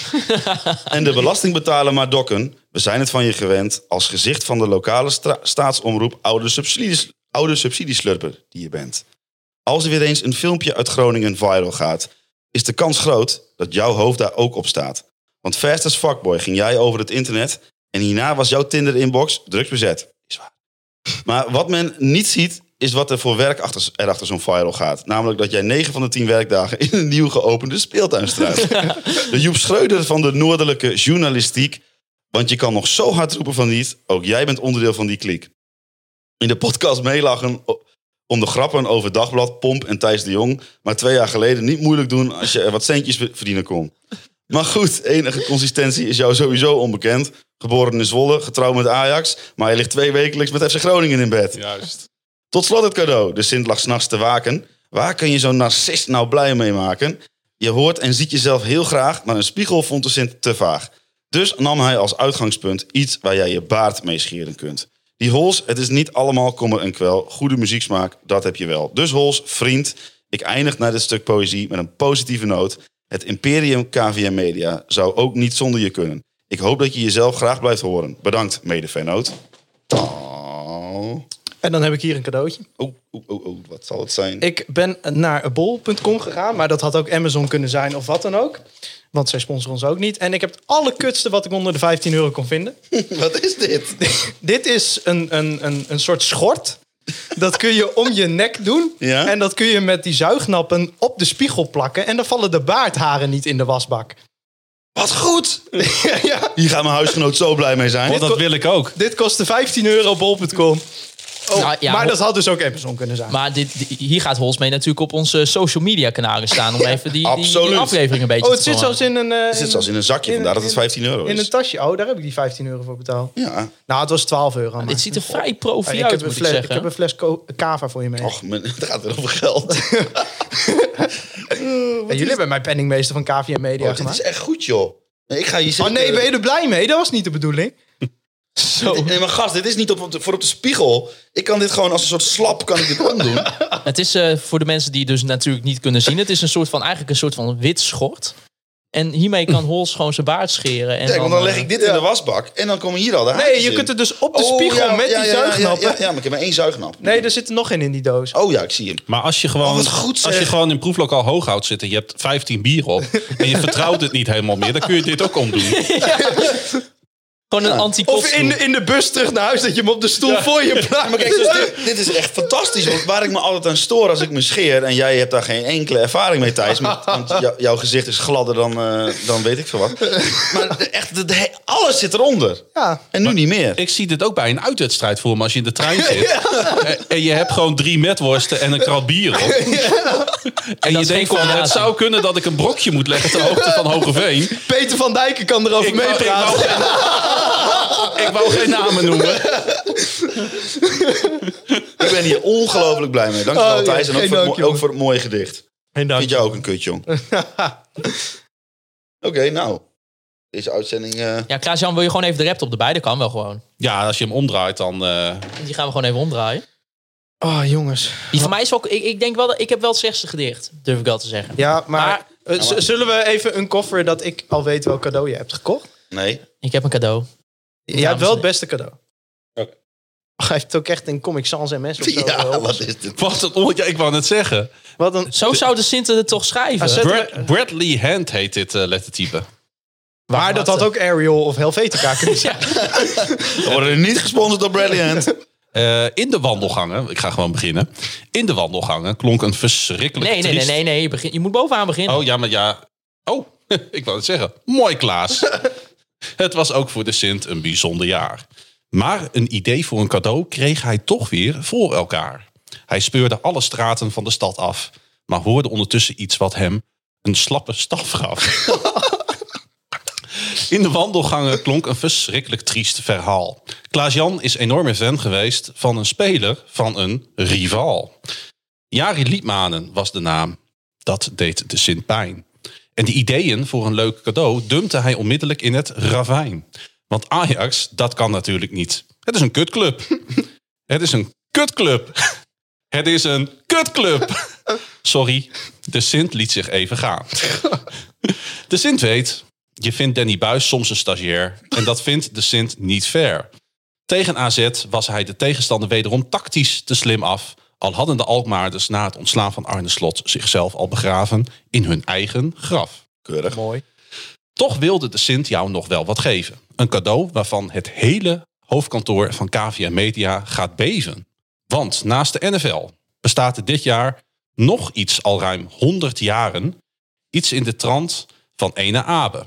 en de belastingbetaler maar dokken, we zijn het van je gewend, als gezicht van de lokale stra- staatsomroep oude, subsidies, oude subsidieslurper die je bent. Als er weer eens een filmpje uit Groningen viral gaat, is de kans groot dat jouw hoofd daar ook op staat. Want fast as fuckboy ging jij over het internet en hierna was jouw Tinder-inbox drugsbezet. Is waar. Maar wat men niet ziet, is wat er voor werk achter, erachter zo'n viral gaat. Namelijk dat jij 9 van de 10 werkdagen in een nieuw geopende speeltuin struist. De Joep Schreuder van de noordelijke journalistiek. Want je kan nog zo hard roepen van niet, ook jij bent onderdeel van die kliek. In de podcast meelachen o- om de grappen over Dagblad, Pomp en Thijs de Jong. Maar twee jaar geleden niet moeilijk doen als je er wat centjes be- verdienen kon. Maar goed, enige consistentie is jou sowieso onbekend. Geboren in Zwolle, getrouwd met Ajax. Maar je ligt twee wekelijks met FC Groningen in bed.
Juist.
Tot slot het cadeau. De Sint lag s'nachts te waken. Waar kun je zo'n narcist nou blij mee maken? Je hoort en ziet jezelf heel graag, maar een spiegel vond de Sint te vaag. Dus nam hij als uitgangspunt iets waar jij je baard mee scheren kunt. Die Hols, het is niet allemaal kommer en kwel. Goede muzieksmaak, dat heb je wel. Dus Hols, vriend, ik eindig naar dit stuk poëzie met een positieve noot. Het imperium KVM Media zou ook niet zonder je kunnen. Ik hoop dat je jezelf graag blijft horen. Bedankt, mede-fanoot. Oh.
En dan heb ik hier een cadeautje.
Oh, oh, oh, oh, wat zal het zijn?
Ik ben naar bol.com gegaan, maar dat had ook Amazon kunnen zijn of wat dan ook. Want zij sponsoren ons ook niet. En ik heb het allerkutste wat ik onder de 15 euro kon vinden.
*laughs* Wat is dit?
Dit is een, een, een, een soort schort. Dat kun je om je nek doen.
*laughs* Ja.
En dat kun je met die zuignappen op de spiegel plakken. En dan vallen de baardharen niet in de wasbak.
Wat goed!
ja, *laughs* ja.
Hier gaat mijn huisgenoot zo blij mee zijn.
Want dat wil ik ook.
Dit kostte 15 euro bol.com. Oh,
Nou, ja,
maar
ho-
dat had dus ook Amazon kunnen zijn.
Maar dit, di- hier gaat Hols mee natuurlijk op onze social media kanalen staan. Om even die, die, die
absoluut.
aflevering een beetje
oh,
te
het zit
verlangen.
zelfs in een... eh,
Het zit zelfs in een zakje, vandaar dat het 15 euro
In een
is.
tasje. Oh, daar heb ik die 15 euro voor betaald.
Ja.
Nou, het was 12 euro. maar-
Ah, Dit ziet er vrij
Oh, Ja,
profi
ik,
uit,
heb een
moet ik
fles, ik,
zeggen.
heb een fles ko- cava voor je mee.
Och, men, *laughs* het gaat weer over geld. *laughs*
en jullie hebben mijn penningmeester van KVM Media
Oh, dit
gemaakt.
is echt goed, joh. Nee, ik ga hier
Oh
zeker-
nee, ben je er blij mee? Dat was niet de bedoeling.
Dit- Nee, maar gast, dit is niet op, op de- voor op de spiegel. Ik kan dit gewoon als een soort slap kan ik
*laughs*
dit omdoen.
Het is eh, voor de mensen die dus natuurlijk niet kunnen zien. Het is een soort van, eigenlijk een soort van wit schort. En hiermee kan Hols gewoon zijn baard scheren. En
Kijk, want dan leg
eh,
ik dit in de wasbak en dan komen hier al de
Oh,
Oh,
Nee, je kunt het dus op de spiegel met die zuignappen.
Ja, ja, ja, maar ik heb maar één zuignap.
Nee, er zit er nog in in die doos.
Oh ja, ik zie hem.
Maar als je gewoon,
Oh, wat goed, zeg.
als
eh.
je gewoon in proeflokaal Hooghout zit en je hebt 15 bier op en je vertrouwt het niet helemaal meer, dan kun je dit ook omdoen.
gewoon een anti
Of in, in de bus terug naar huis dat je hem op de stoel voor je plaatst.
Maar kijk, dus
*laughs*
dit, dit is echt fantastisch. Want waar ik me altijd aan stoor als ik me scheer... en jij hebt daar geen enkele ervaring mee, Thijs... maar- want jou- jouw gezicht is gladder dan, eh, dan weet ik veel wat. Maar de- echt, de- de he- alles zit eronder.
Ja.
En nu niet meer.
Ik zie dit ook bij een uitwedstrijd voor me als je in de
*laughs*
trein zit. En- En je hebt gewoon drie metworsten en een krat bier
*laughs*
op. En je
is geen
denkt van, het
combinatie.
zou kunnen dat ik een brokje moet leggen ter hoogte van
*laughs*
Hogeveen.
Peter van Dijken kan erover
wou-
meepraten.
Ik wou, geen- ik wou geen namen noemen.
*laughs* Ik ben ben hier ongelooflijk blij mee. Dankjewel
Oh, ja,
Thijs en ook
geen
voor, het
dank,
mo- ook
jongen.
voor het mooie gedicht.
Oh, Geen dank.
Vind jij ook een kut, jong?
*laughs*
Oké, nou. Deze uitzending... eh,
Ja, Klaas-Jan, wil je gewoon even de rap op erbij? Dat kan wel gewoon.
Ja, als je hem omdraait, dan... eh, *laughs*
Die gaan we gewoon even omdraaien.
Oh, jongens.
Die van mij is ook... Ik, ik denk wel dat... Ik heb wel het slechtste gedicht, durf ik wel te zeggen.
Ja, maar, eh, z- zullen we even uncoveren dat ik al weet welk cadeau je hebt gekocht?
Nee.
Ik heb een cadeau.
Jij hebt
Dames en
wel
heren.
het beste cadeau.
Oké.
Oh, Hij heeft ook echt een Comic Sans MS of zo.
*laughs* Ja,
wel.
wat is dit?
Wat een on- ja, ik wou net zeggen.
Wat een...
Zo zou de Sinter het toch schrijven?
AZ
Brad- Bradley Hand heet dit eh, lettertype.
Maar dat had ook Ariel of Helvetica *laughs* kunnen zijn.
We worden niet gesponsord door Bradley *laughs* Hand.
Eh, in de wandelgangen, ik ga gewoon beginnen. In de wandelgangen klonk een verschrikkelijk
Nee, nee, nee,
triest-
nee. nee. Je, begint- je moet bovenaan beginnen.
Oh ja, maar ja. Oh, *laughs* ik wou het zeggen. Mooi, Klaas. het was ook voor de Sint een bijzonder jaar. Maar een idee voor een cadeau kreeg hij toch weer voor elkaar. Hij speurde alle straten van de stad af, maar hoorde ondertussen iets wat hem een slappe staf gaf. In de wandelgangen klonk een verschrikkelijk triest verhaal. Klaas-Jan is enorme fan geweest van een speler van een rival. Jari Liedmanen was de naam. Dat deed de Sint pijn. En die ideeën voor een leuk cadeau dumpte hij onmiddellijk in het ravijn. Want Ajax, dat kan natuurlijk niet. Het is een kutclub. Het is een kutclub. Het is een kutclub. Sorry, de Sint liet zich even gaan. De Sint weet, je vindt Danny Buis soms een stagiair. En dat vindt de Sint niet fair. Tegen AZ was hij de tegenstander wederom tactisch te slim af. Al hadden de Alkmaarders na het ontslaan van Arne Slot zichzelf al begraven in hun eigen graf.
Keurig.
Mooi.
Toch wilde de Sint jou nog wel wat geven. Een cadeau waarvan het hele hoofdkantoor van KVA Media gaat beven. Want naast de NFL bestaat er dit jaar nog iets al ruim 100 jaren. Iets in de trant van Ene Abe.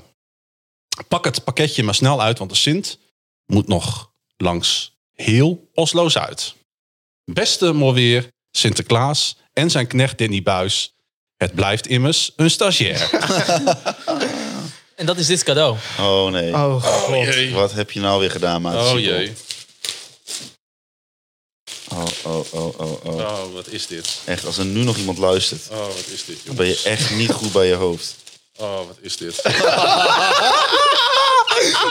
Pak het pakketje maar snel uit, want de Sint moet nog langs heel Oslo Zuid. Beste Morweer, Sinterklaas en zijn knecht Danny Buis. Het blijft immers een stagiair.
En dat is dit cadeau.
Oh nee.
Oh, god.
Wat heb je nou weer gedaan, maat?
Oh jee.
Oh, oh, oh, oh, oh.
Oh, wat is dit?
Echt, als er nu nog iemand luistert,
Oh, wat is dit,
dan
jongen?
ben je echt niet goed bij je *laughs* hoofd.
Oh, wat is dit?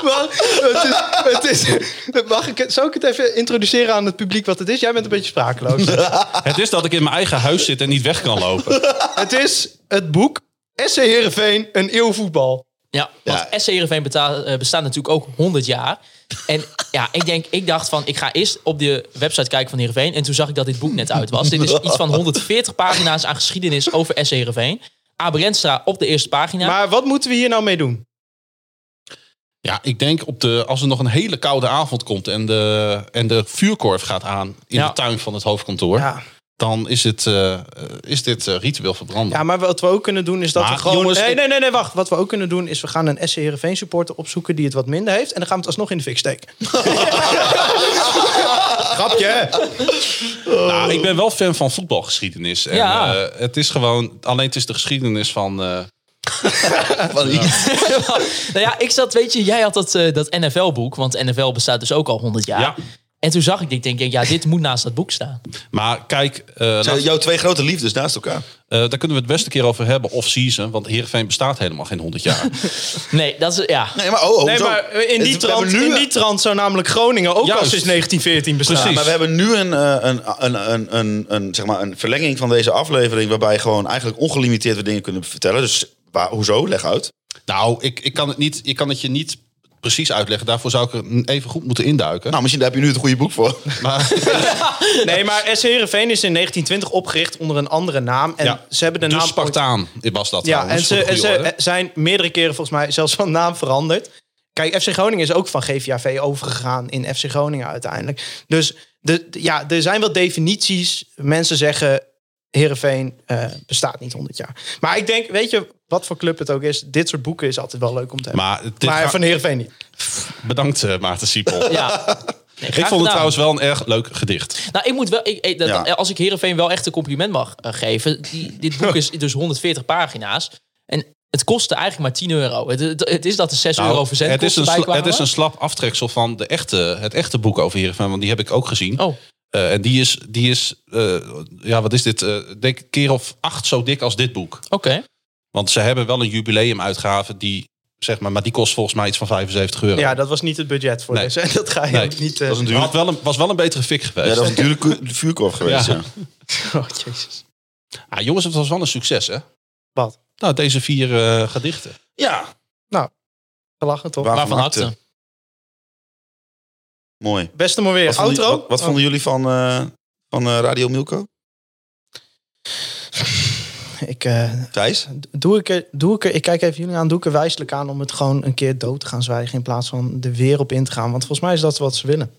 Maar het is, het is, mag ik, het- zou ik het even introduceren aan het publiek wat het is? Jij bent een beetje *laughs* sprakeloos.
het is dat ik in mijn eigen huis zit en niet weg kan lopen.
het is het boek SC Heerenveen, een eeuw voetbal.
Ja, want SC Heerenveen beta- eh, bestaat natuurlijk ook 100 jaar. En ja, ik, denk, ik dacht van, ik ga eerst op de website kijken van Heerenveen. En toen zag ik dat dit boek net uit was. dit is iets van 140 pagina's aan geschiedenis over SC Heerenveen. Abe Renstra op de eerste pagina.
Maar wat moeten we hier nou mee doen?
Ja, ik denk op de, als er nog een hele koude avond komt en de, en de vuurkorf gaat aan in
Ja.
de tuin van het hoofdkantoor,
Ja.
dan is, het, eh, eh, is dit eh, ritueel verbranden.
Ja, maar wat we ook kunnen doen is dat
Maar
we gewoon...
jongens,
nee,
ik-
nee, nee, nee, wacht. Wat we ook kunnen doen is we gaan een SC Heerenveen supporter opzoeken die het wat minder heeft. En dan gaan we het alsnog in de fik steken. Grapje, hè?
Nou, ik ben wel fan van voetbalgeschiedenis. En,
Ja.
eh, het is gewoon, alleen het is de geschiedenis van. eh,
*laughs* nou ja, ik zat, weet je, jij had dat, eh, dat NFL-boek. Want NFL bestaat dus ook al 100 jaar.
Ja.
En toen zag ik dit, denk ik, ja, dit moet naast dat boek staan.
maar kijk, eh,
Zijn
laat-
jouw twee grote liefdes naast elkaar?
eh, daar kunnen we het best een keer over hebben off-season, want Heerenveen bestaat helemaal geen 100 *laughs* jaar.
Nee, dat is, ja.
Nee, maar oh, oh
Nee,
zo.
maar eh, in die,
Het- we hebben
trant,
nu-
in die trant zou namelijk Groningen ook
Juist.
al sinds 1914 bestaan.
Precies.
Maar we hebben nu een, eh, een, een, een, een, een, zeg maar een verlenging van deze aflevering... waarbij gewoon eigenlijk ongelimiteerd we dingen kunnen vertellen. Dus waar, hoezo? Leg uit.
Nou, ik, ik, kan het niet, ik kan het je niet precies uitleggen. Daarvoor zou ik er even goed moeten induiken.
Nou, misschien daar heb je nu het goede boek voor.
maar,
Nee, maar SC Heerenveen is in 1920 opgericht onder een andere naam. En
Ja, Dus
ze hebben de
de
naam...
Spartaan was dat.
Ja, en
trouwens,
ze,
voor de
en
goede
ze
orde.
zijn meerdere keren volgens mij zelfs van naam veranderd. Kijk, FC Groningen is ook van GVAV overgegaan in FC Groningen uiteindelijk. Dus de, de- ja, er zijn wel definities. Mensen zeggen, Heerenveen eh, bestaat niet 100 jaar. Maar ik denk, weet je, wat voor club het ook is... dit soort boeken is altijd wel leuk om te hebben.
Maar, dit
Maar,
ga-
van Heerenveen niet.
bedankt eh, Maarten
*laughs*
Siepel.
ja. Nee, graag
ik vond het
gedaan.
trouwens wel een erg leuk gedicht.
Nou, ik moet wel. Ik, ik- dat-
Ja.
Als ik Herenveen wel echt een compliment mag eh, geven. Die, dit boek is dus 140 pagina's. En het kostte eigenlijk maar 10 euro. Het, het, het is dat er 6 euro
Nou,
verzend
het, is een sla-
bij kwamen.
het is een slap aftreksel van de echte, het echte boek over Heerenveen. Want die heb ik ook gezien.
Oh,
Eh, en die is, die is eh, ja, wat is dit? Eh, Ik denk een keer of acht zo dik als dit boek.
Oké.
Want ze hebben wel een jubileumuitgave die, zeg maar, maar die kost volgens mij iets van 75 euro.
Ja, dat was niet het budget voor
Nee.
deze. En *laughs* dat ga je
Nee.
ook niet... eh,
was, een had wel een, was wel een betere fik geweest.
Ja, dat is een dure ku- vuurkorf geweest.
Ja.
Ja.
Oh, jezus.
Ah, jongens, het was wel een succes, hè?
Wat?
Nou, deze vier eh, gedichten.
Ja,
Gelachen toch?
waarvan
Maar van
harte.
harte.
Mooi.
Beste maar weer.
Wat vonden,
Outro?
wat, wat vonden jullie van, eh, van eh,
*laughs*
Radio Milko?
Oh, ik, eh,
Thijs?
doe, ik er, doe ik er... Ik kijk even jullie aan. Doe ik er wijselijk aan om het gewoon een keer dood te gaan zwijgen... in plaats van er weer op in te gaan. Want volgens mij is dat wat ze willen.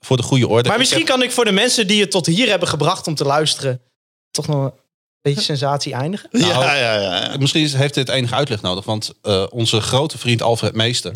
Voor de goede orde.
Maar misschien kan ik voor de mensen die het tot hier hebben gebracht om te luisteren... toch nog een beetje sensatie eindigen.
Nou,
ja, ja, ja.
Eh, Misschien is- heeft dit enige uitleg nodig, want eh, onze grote vriend Alfred Meester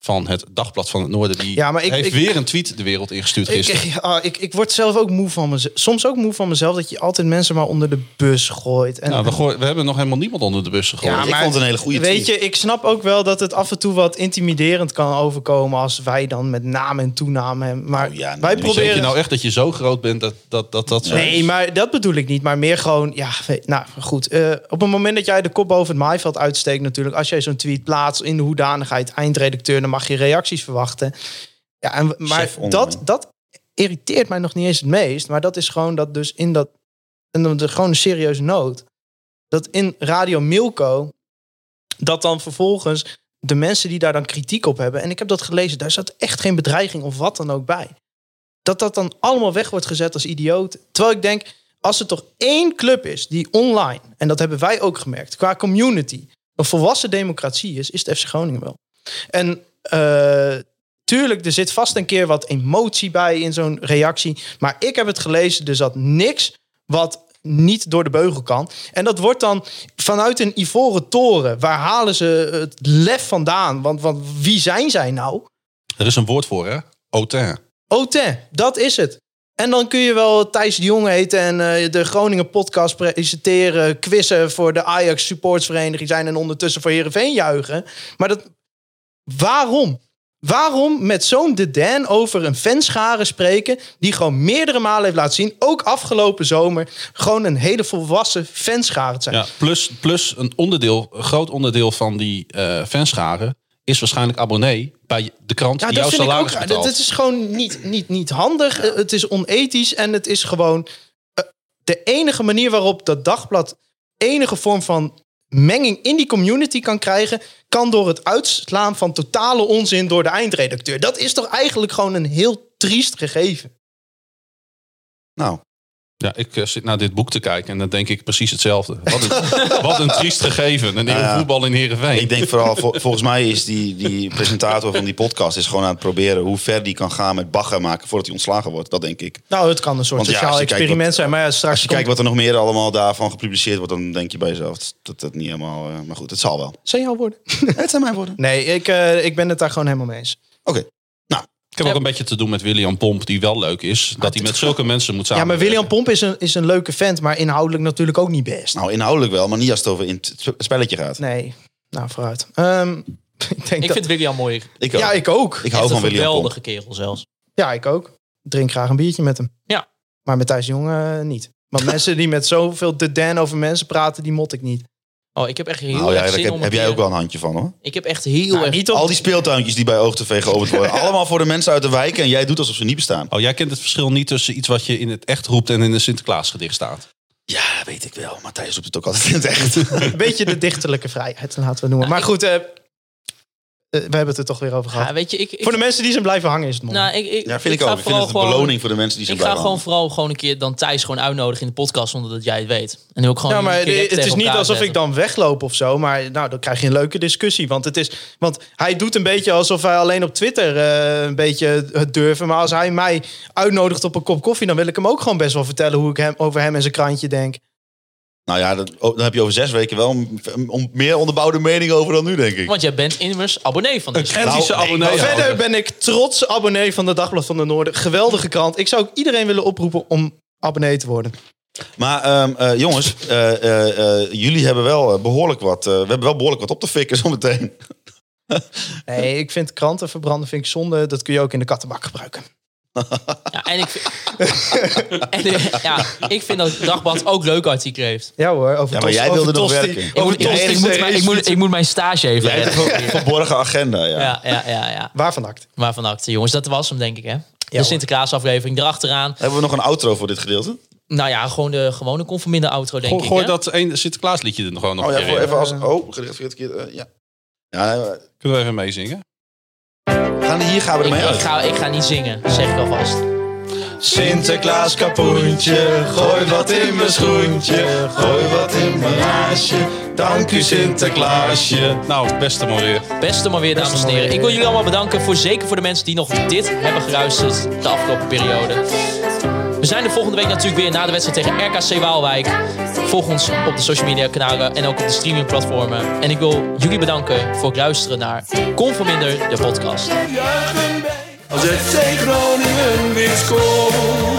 van het Dagblad van het Noorden, die
Ja, maar ik-
heeft
ik-
weer een tweet de wereld ingestuurd
Ik, *laughs*
gisteren.
ah, ik, ik word zelf ook moe van mezelf. Soms ook moe van mezelf dat je altijd mensen maar onder de bus gooit. En,
nou, we, gooi- we hebben nog helemaal niemand onder de bus gegooid.
Ja,
ik
maar-
vond het een hele goede
Weet
tweet.
je, ik snap ook wel dat het af en toe wat intimiderend kan overkomen als wij dan met naam en toename. hem- Maar
Oh ja, nee,
wij
nee,
Zeg je
proberen.
nou echt dat je zo groot bent dat dat, dat, dat zo
Nee,
is?
maar dat bedoel ik niet. Maar meer gewoon, ja, weet- nou goed. eh, op het moment dat jij de kop boven het maaiveld uitsteekt, natuurlijk, als jij zo'n tweet plaatst in de hoedanigheid eindredacteur, dan mag je reacties verwachten. Ja, en, maar
Chef online.
dat, dat irriteert mij nog niet eens het meest. Maar dat is gewoon dat dus in dat, en dan de, gewoon een serieuze nood, dat in Radio Milko, dat dan vervolgens de mensen die daar dan kritiek op hebben, en ik heb dat gelezen, daar zat echt geen bedreiging of wat dan ook bij. Dat dat dan allemaal weg wordt gezet als idioot. Terwijl ik denk, als er toch één club is die online, en dat hebben wij ook gemerkt, qua community, een volwassen democratie is, is het FC Groningen wel. En eh, tuurlijk, er zit vast een keer wat emotie bij in zo'n reactie. Maar ik heb het gelezen, er zat niks wat niet door de beugel kan. En dat wordt dan vanuit een ivoren toren. Waar halen ze het lef vandaan? Want, want wie zijn zij nou?
Er is een woord voor, hè? Autain.
Ote, Oh, dat is het. En dan kun je wel Thijs de Jong heten en eh, de Groningen podcast presenteren, quizzen voor de Ajax supportsvereniging zijn en ondertussen voor Heerenveen juichen. Maar dat, waarom? Waarom met zo'n dedin over een fanschare spreken die gewoon meerdere malen heeft laten zien, ook afgelopen zomer, gewoon een hele volwassen fanschare te zijn?
Ja, plus, plus een onderdeel, een groot onderdeel van die eh fanscharen is waarschijnlijk abonnee bij de krant
Ja,
die
dat
jouw
vind ik ook
salaris
raar.
betaalt.
Dat, dat is gewoon niet, niet, niet handig. Eh, Het is onethisch en het is gewoon eh, de enige manier waarop dat dagblad enige vorm van menging in die community kan krijgen, kan door het uitslaan van totale onzin door de eindredacteur. Dat is toch eigenlijk gewoon een heel triest gegeven.
Nou,
Ja, ik eh, zit naar dit boek te kijken en dan denk ik precies hetzelfde.
*laughs*
Wat een, wat een triest gegeven. Een
Nou
nieuwe
ja.
voetbal in Heerenveen.
ik denk vooral, vol- volgens mij is die, die presentator van die podcast is gewoon aan het proberen hoe ver die kan gaan met bagger maken voordat hij ontslagen wordt. Dat denk ik.
Nou, het kan een soort
Want ja,
sociaal
als je kijkt
experiment
wat-
zijn, maar ja, straks
Als je
komt-
kijkt wat er nog meer allemaal daarvan gepubliceerd wordt, dan denk je bij jezelf dat dat, dat niet helemaal. eh, maar goed, het zal wel.
zijn jouw woorden.
Het zijn mijn woorden.
*laughs* Nee, ik, eh, ik ben het daar gewoon helemaal mee eens.
Oké.
Ik heb ook een beetje te doen met William Pomp, die wel leuk is. Dat hij met zulke mensen moet
Ja,
samen.
maar William Pomp is een, is een leuke vent, maar inhoudelijk natuurlijk ook niet best.
Nou, inhoudelijk wel, maar niet als het over in het sp- spelletje gaat.
Nee, nou vooruit. Ehm, *laughs* ik denk
Ik
dat...
vind William mooi.
Ik, ook.
Ja, ik ook.
ik hou
Echt
van
een
William Pomp.
geweldige kerel zelfs.
Ja, ik ook. Drink graag een biertje met hem.
Ja.
Maar met Thijs de Jong eh, niet. Want mensen die met zoveel de Dan over mensen praten, die mot ik niet.
Oh, ik heb echt heel
Nou ja,
erg
daar
zin
heb,
om
heb
een
jij
keer-
ook wel een handje van hoor.
Ik heb echt heel
Nou,
erg...
niet op...
Al die speeltuintjes die bij oogtv
*laughs*
geopend worden. allemaal voor de mensen uit de wijk en jij doet alsof ze niet bestaan.
Oh, jij kent het verschil niet tussen iets wat je in het echt roept en in een Sinterklaasgedicht staat.
Ja, weet ik wel. Maar Thijs roept het ook altijd in het echt.
Een beetje de dichtelijke vrijheid, laten we het noemen. maar goed, eh, eh, we hebben het er toch weer over gehad.
Ja, weet je, ik... ik-
Voor de mensen die zijn blijven hangen is het mooi.
nou, ik, ik,
Ja, vind ik,
ga
ook. Ik vind
vooral
het een
gewoon-
beloning voor de mensen die zijn
Ik ga
blijven
gewoon vooral gewoon een keer dan Thijs gewoon uitnodigen in de podcast, zonder dat jij het weet. En nu ook gewoon
ja, maar
een keer
het
tegen
is niet
elkaar
alsof ik
zetten.
dan wegloop of zo. Maar nou, dan krijg je een leuke discussie. Want, het is, want hij doet een beetje alsof wij alleen op Twitter eh, een beetje het durven. Maar als hij mij uitnodigt op een kop koffie... dan wil ik hem ook gewoon best wel vertellen hoe ik hem, over hem en zijn krantje denk.
Nou ja, dat, oh, dan heb je over zes weken wel een, een meer onderbouwde mening over dan nu, denk ik.
Want jij bent immers abonnee van deze.
Nou,
En die ze Oh, abonnee.
Maar Oh, verder ben ik trots abonnee van de Dagblad van de Noorden. Geweldige krant. Ik zou ook iedereen willen oproepen om abonnee te worden.
Maar ehm, eh, jongens, eh, eh, eh, jullie hebben wel eh, behoorlijk wat. eh, we hebben wel behoorlijk wat op te fikken zometeen.
Nee, ik vind kranten verbranden vind ik zonde. Dat kun je ook in de kattenbak gebruiken.
Ja, en ik vind, *laughs* En, eh, ja, ik vind dat het Dagblad ook leuke artikelen heeft.
Ja hoor, over
Ja, maar jij wilde nog werken.
Ik moet, ik, ik moet, mijn- ik, moet, ik moet mijn stage even
Jij hebt
redden.
een verborgen agenda, ja.
Ja, ja, ja, ja.
Waarvan act?
Maar van acte, jongens, dat was hem denk ik hè. De
hoor.
Sinterklaasaflevering erachteraan.
Hebben we nog een outro voor dit gedeelte?
Nou ja, gewoon de gewone conforminde outro denk
Gooi,
ik
gooi
hè.
dat een Sinterklaasliedje er gewoon nog
Oh
een
ja,
keer
voor,
in.
even als... Oh, gericht verkeerd keer. eh, ja. ja nee, we
Kunnen we even meezingen?
gaan, hier gaan we
Ik,
ermee
ik,
uit.
ga, ik ga niet zingen, zeg ik alvast.
Sinterklaas kapoentje, gooi wat in mijn schoentje, gooi wat in mijn laasje. Dank u Sinterklaasje.
Nou, beste maar weer.
Beste maar weer, dames en heren. Ik wil jullie allemaal bedanken, voor, zeker voor de mensen die nog dit hebben geluisterd de afgelopen periode. We zijn er volgende week natuurlijk weer na de wedstrijd tegen RKC Waalwijk. Volg ons op de social media kanalen en ook op de streamingplatformen. En ik wil jullie bedanken voor het luisteren naar Conforminder, de podcast.
Als het FC Groningen weer scoort.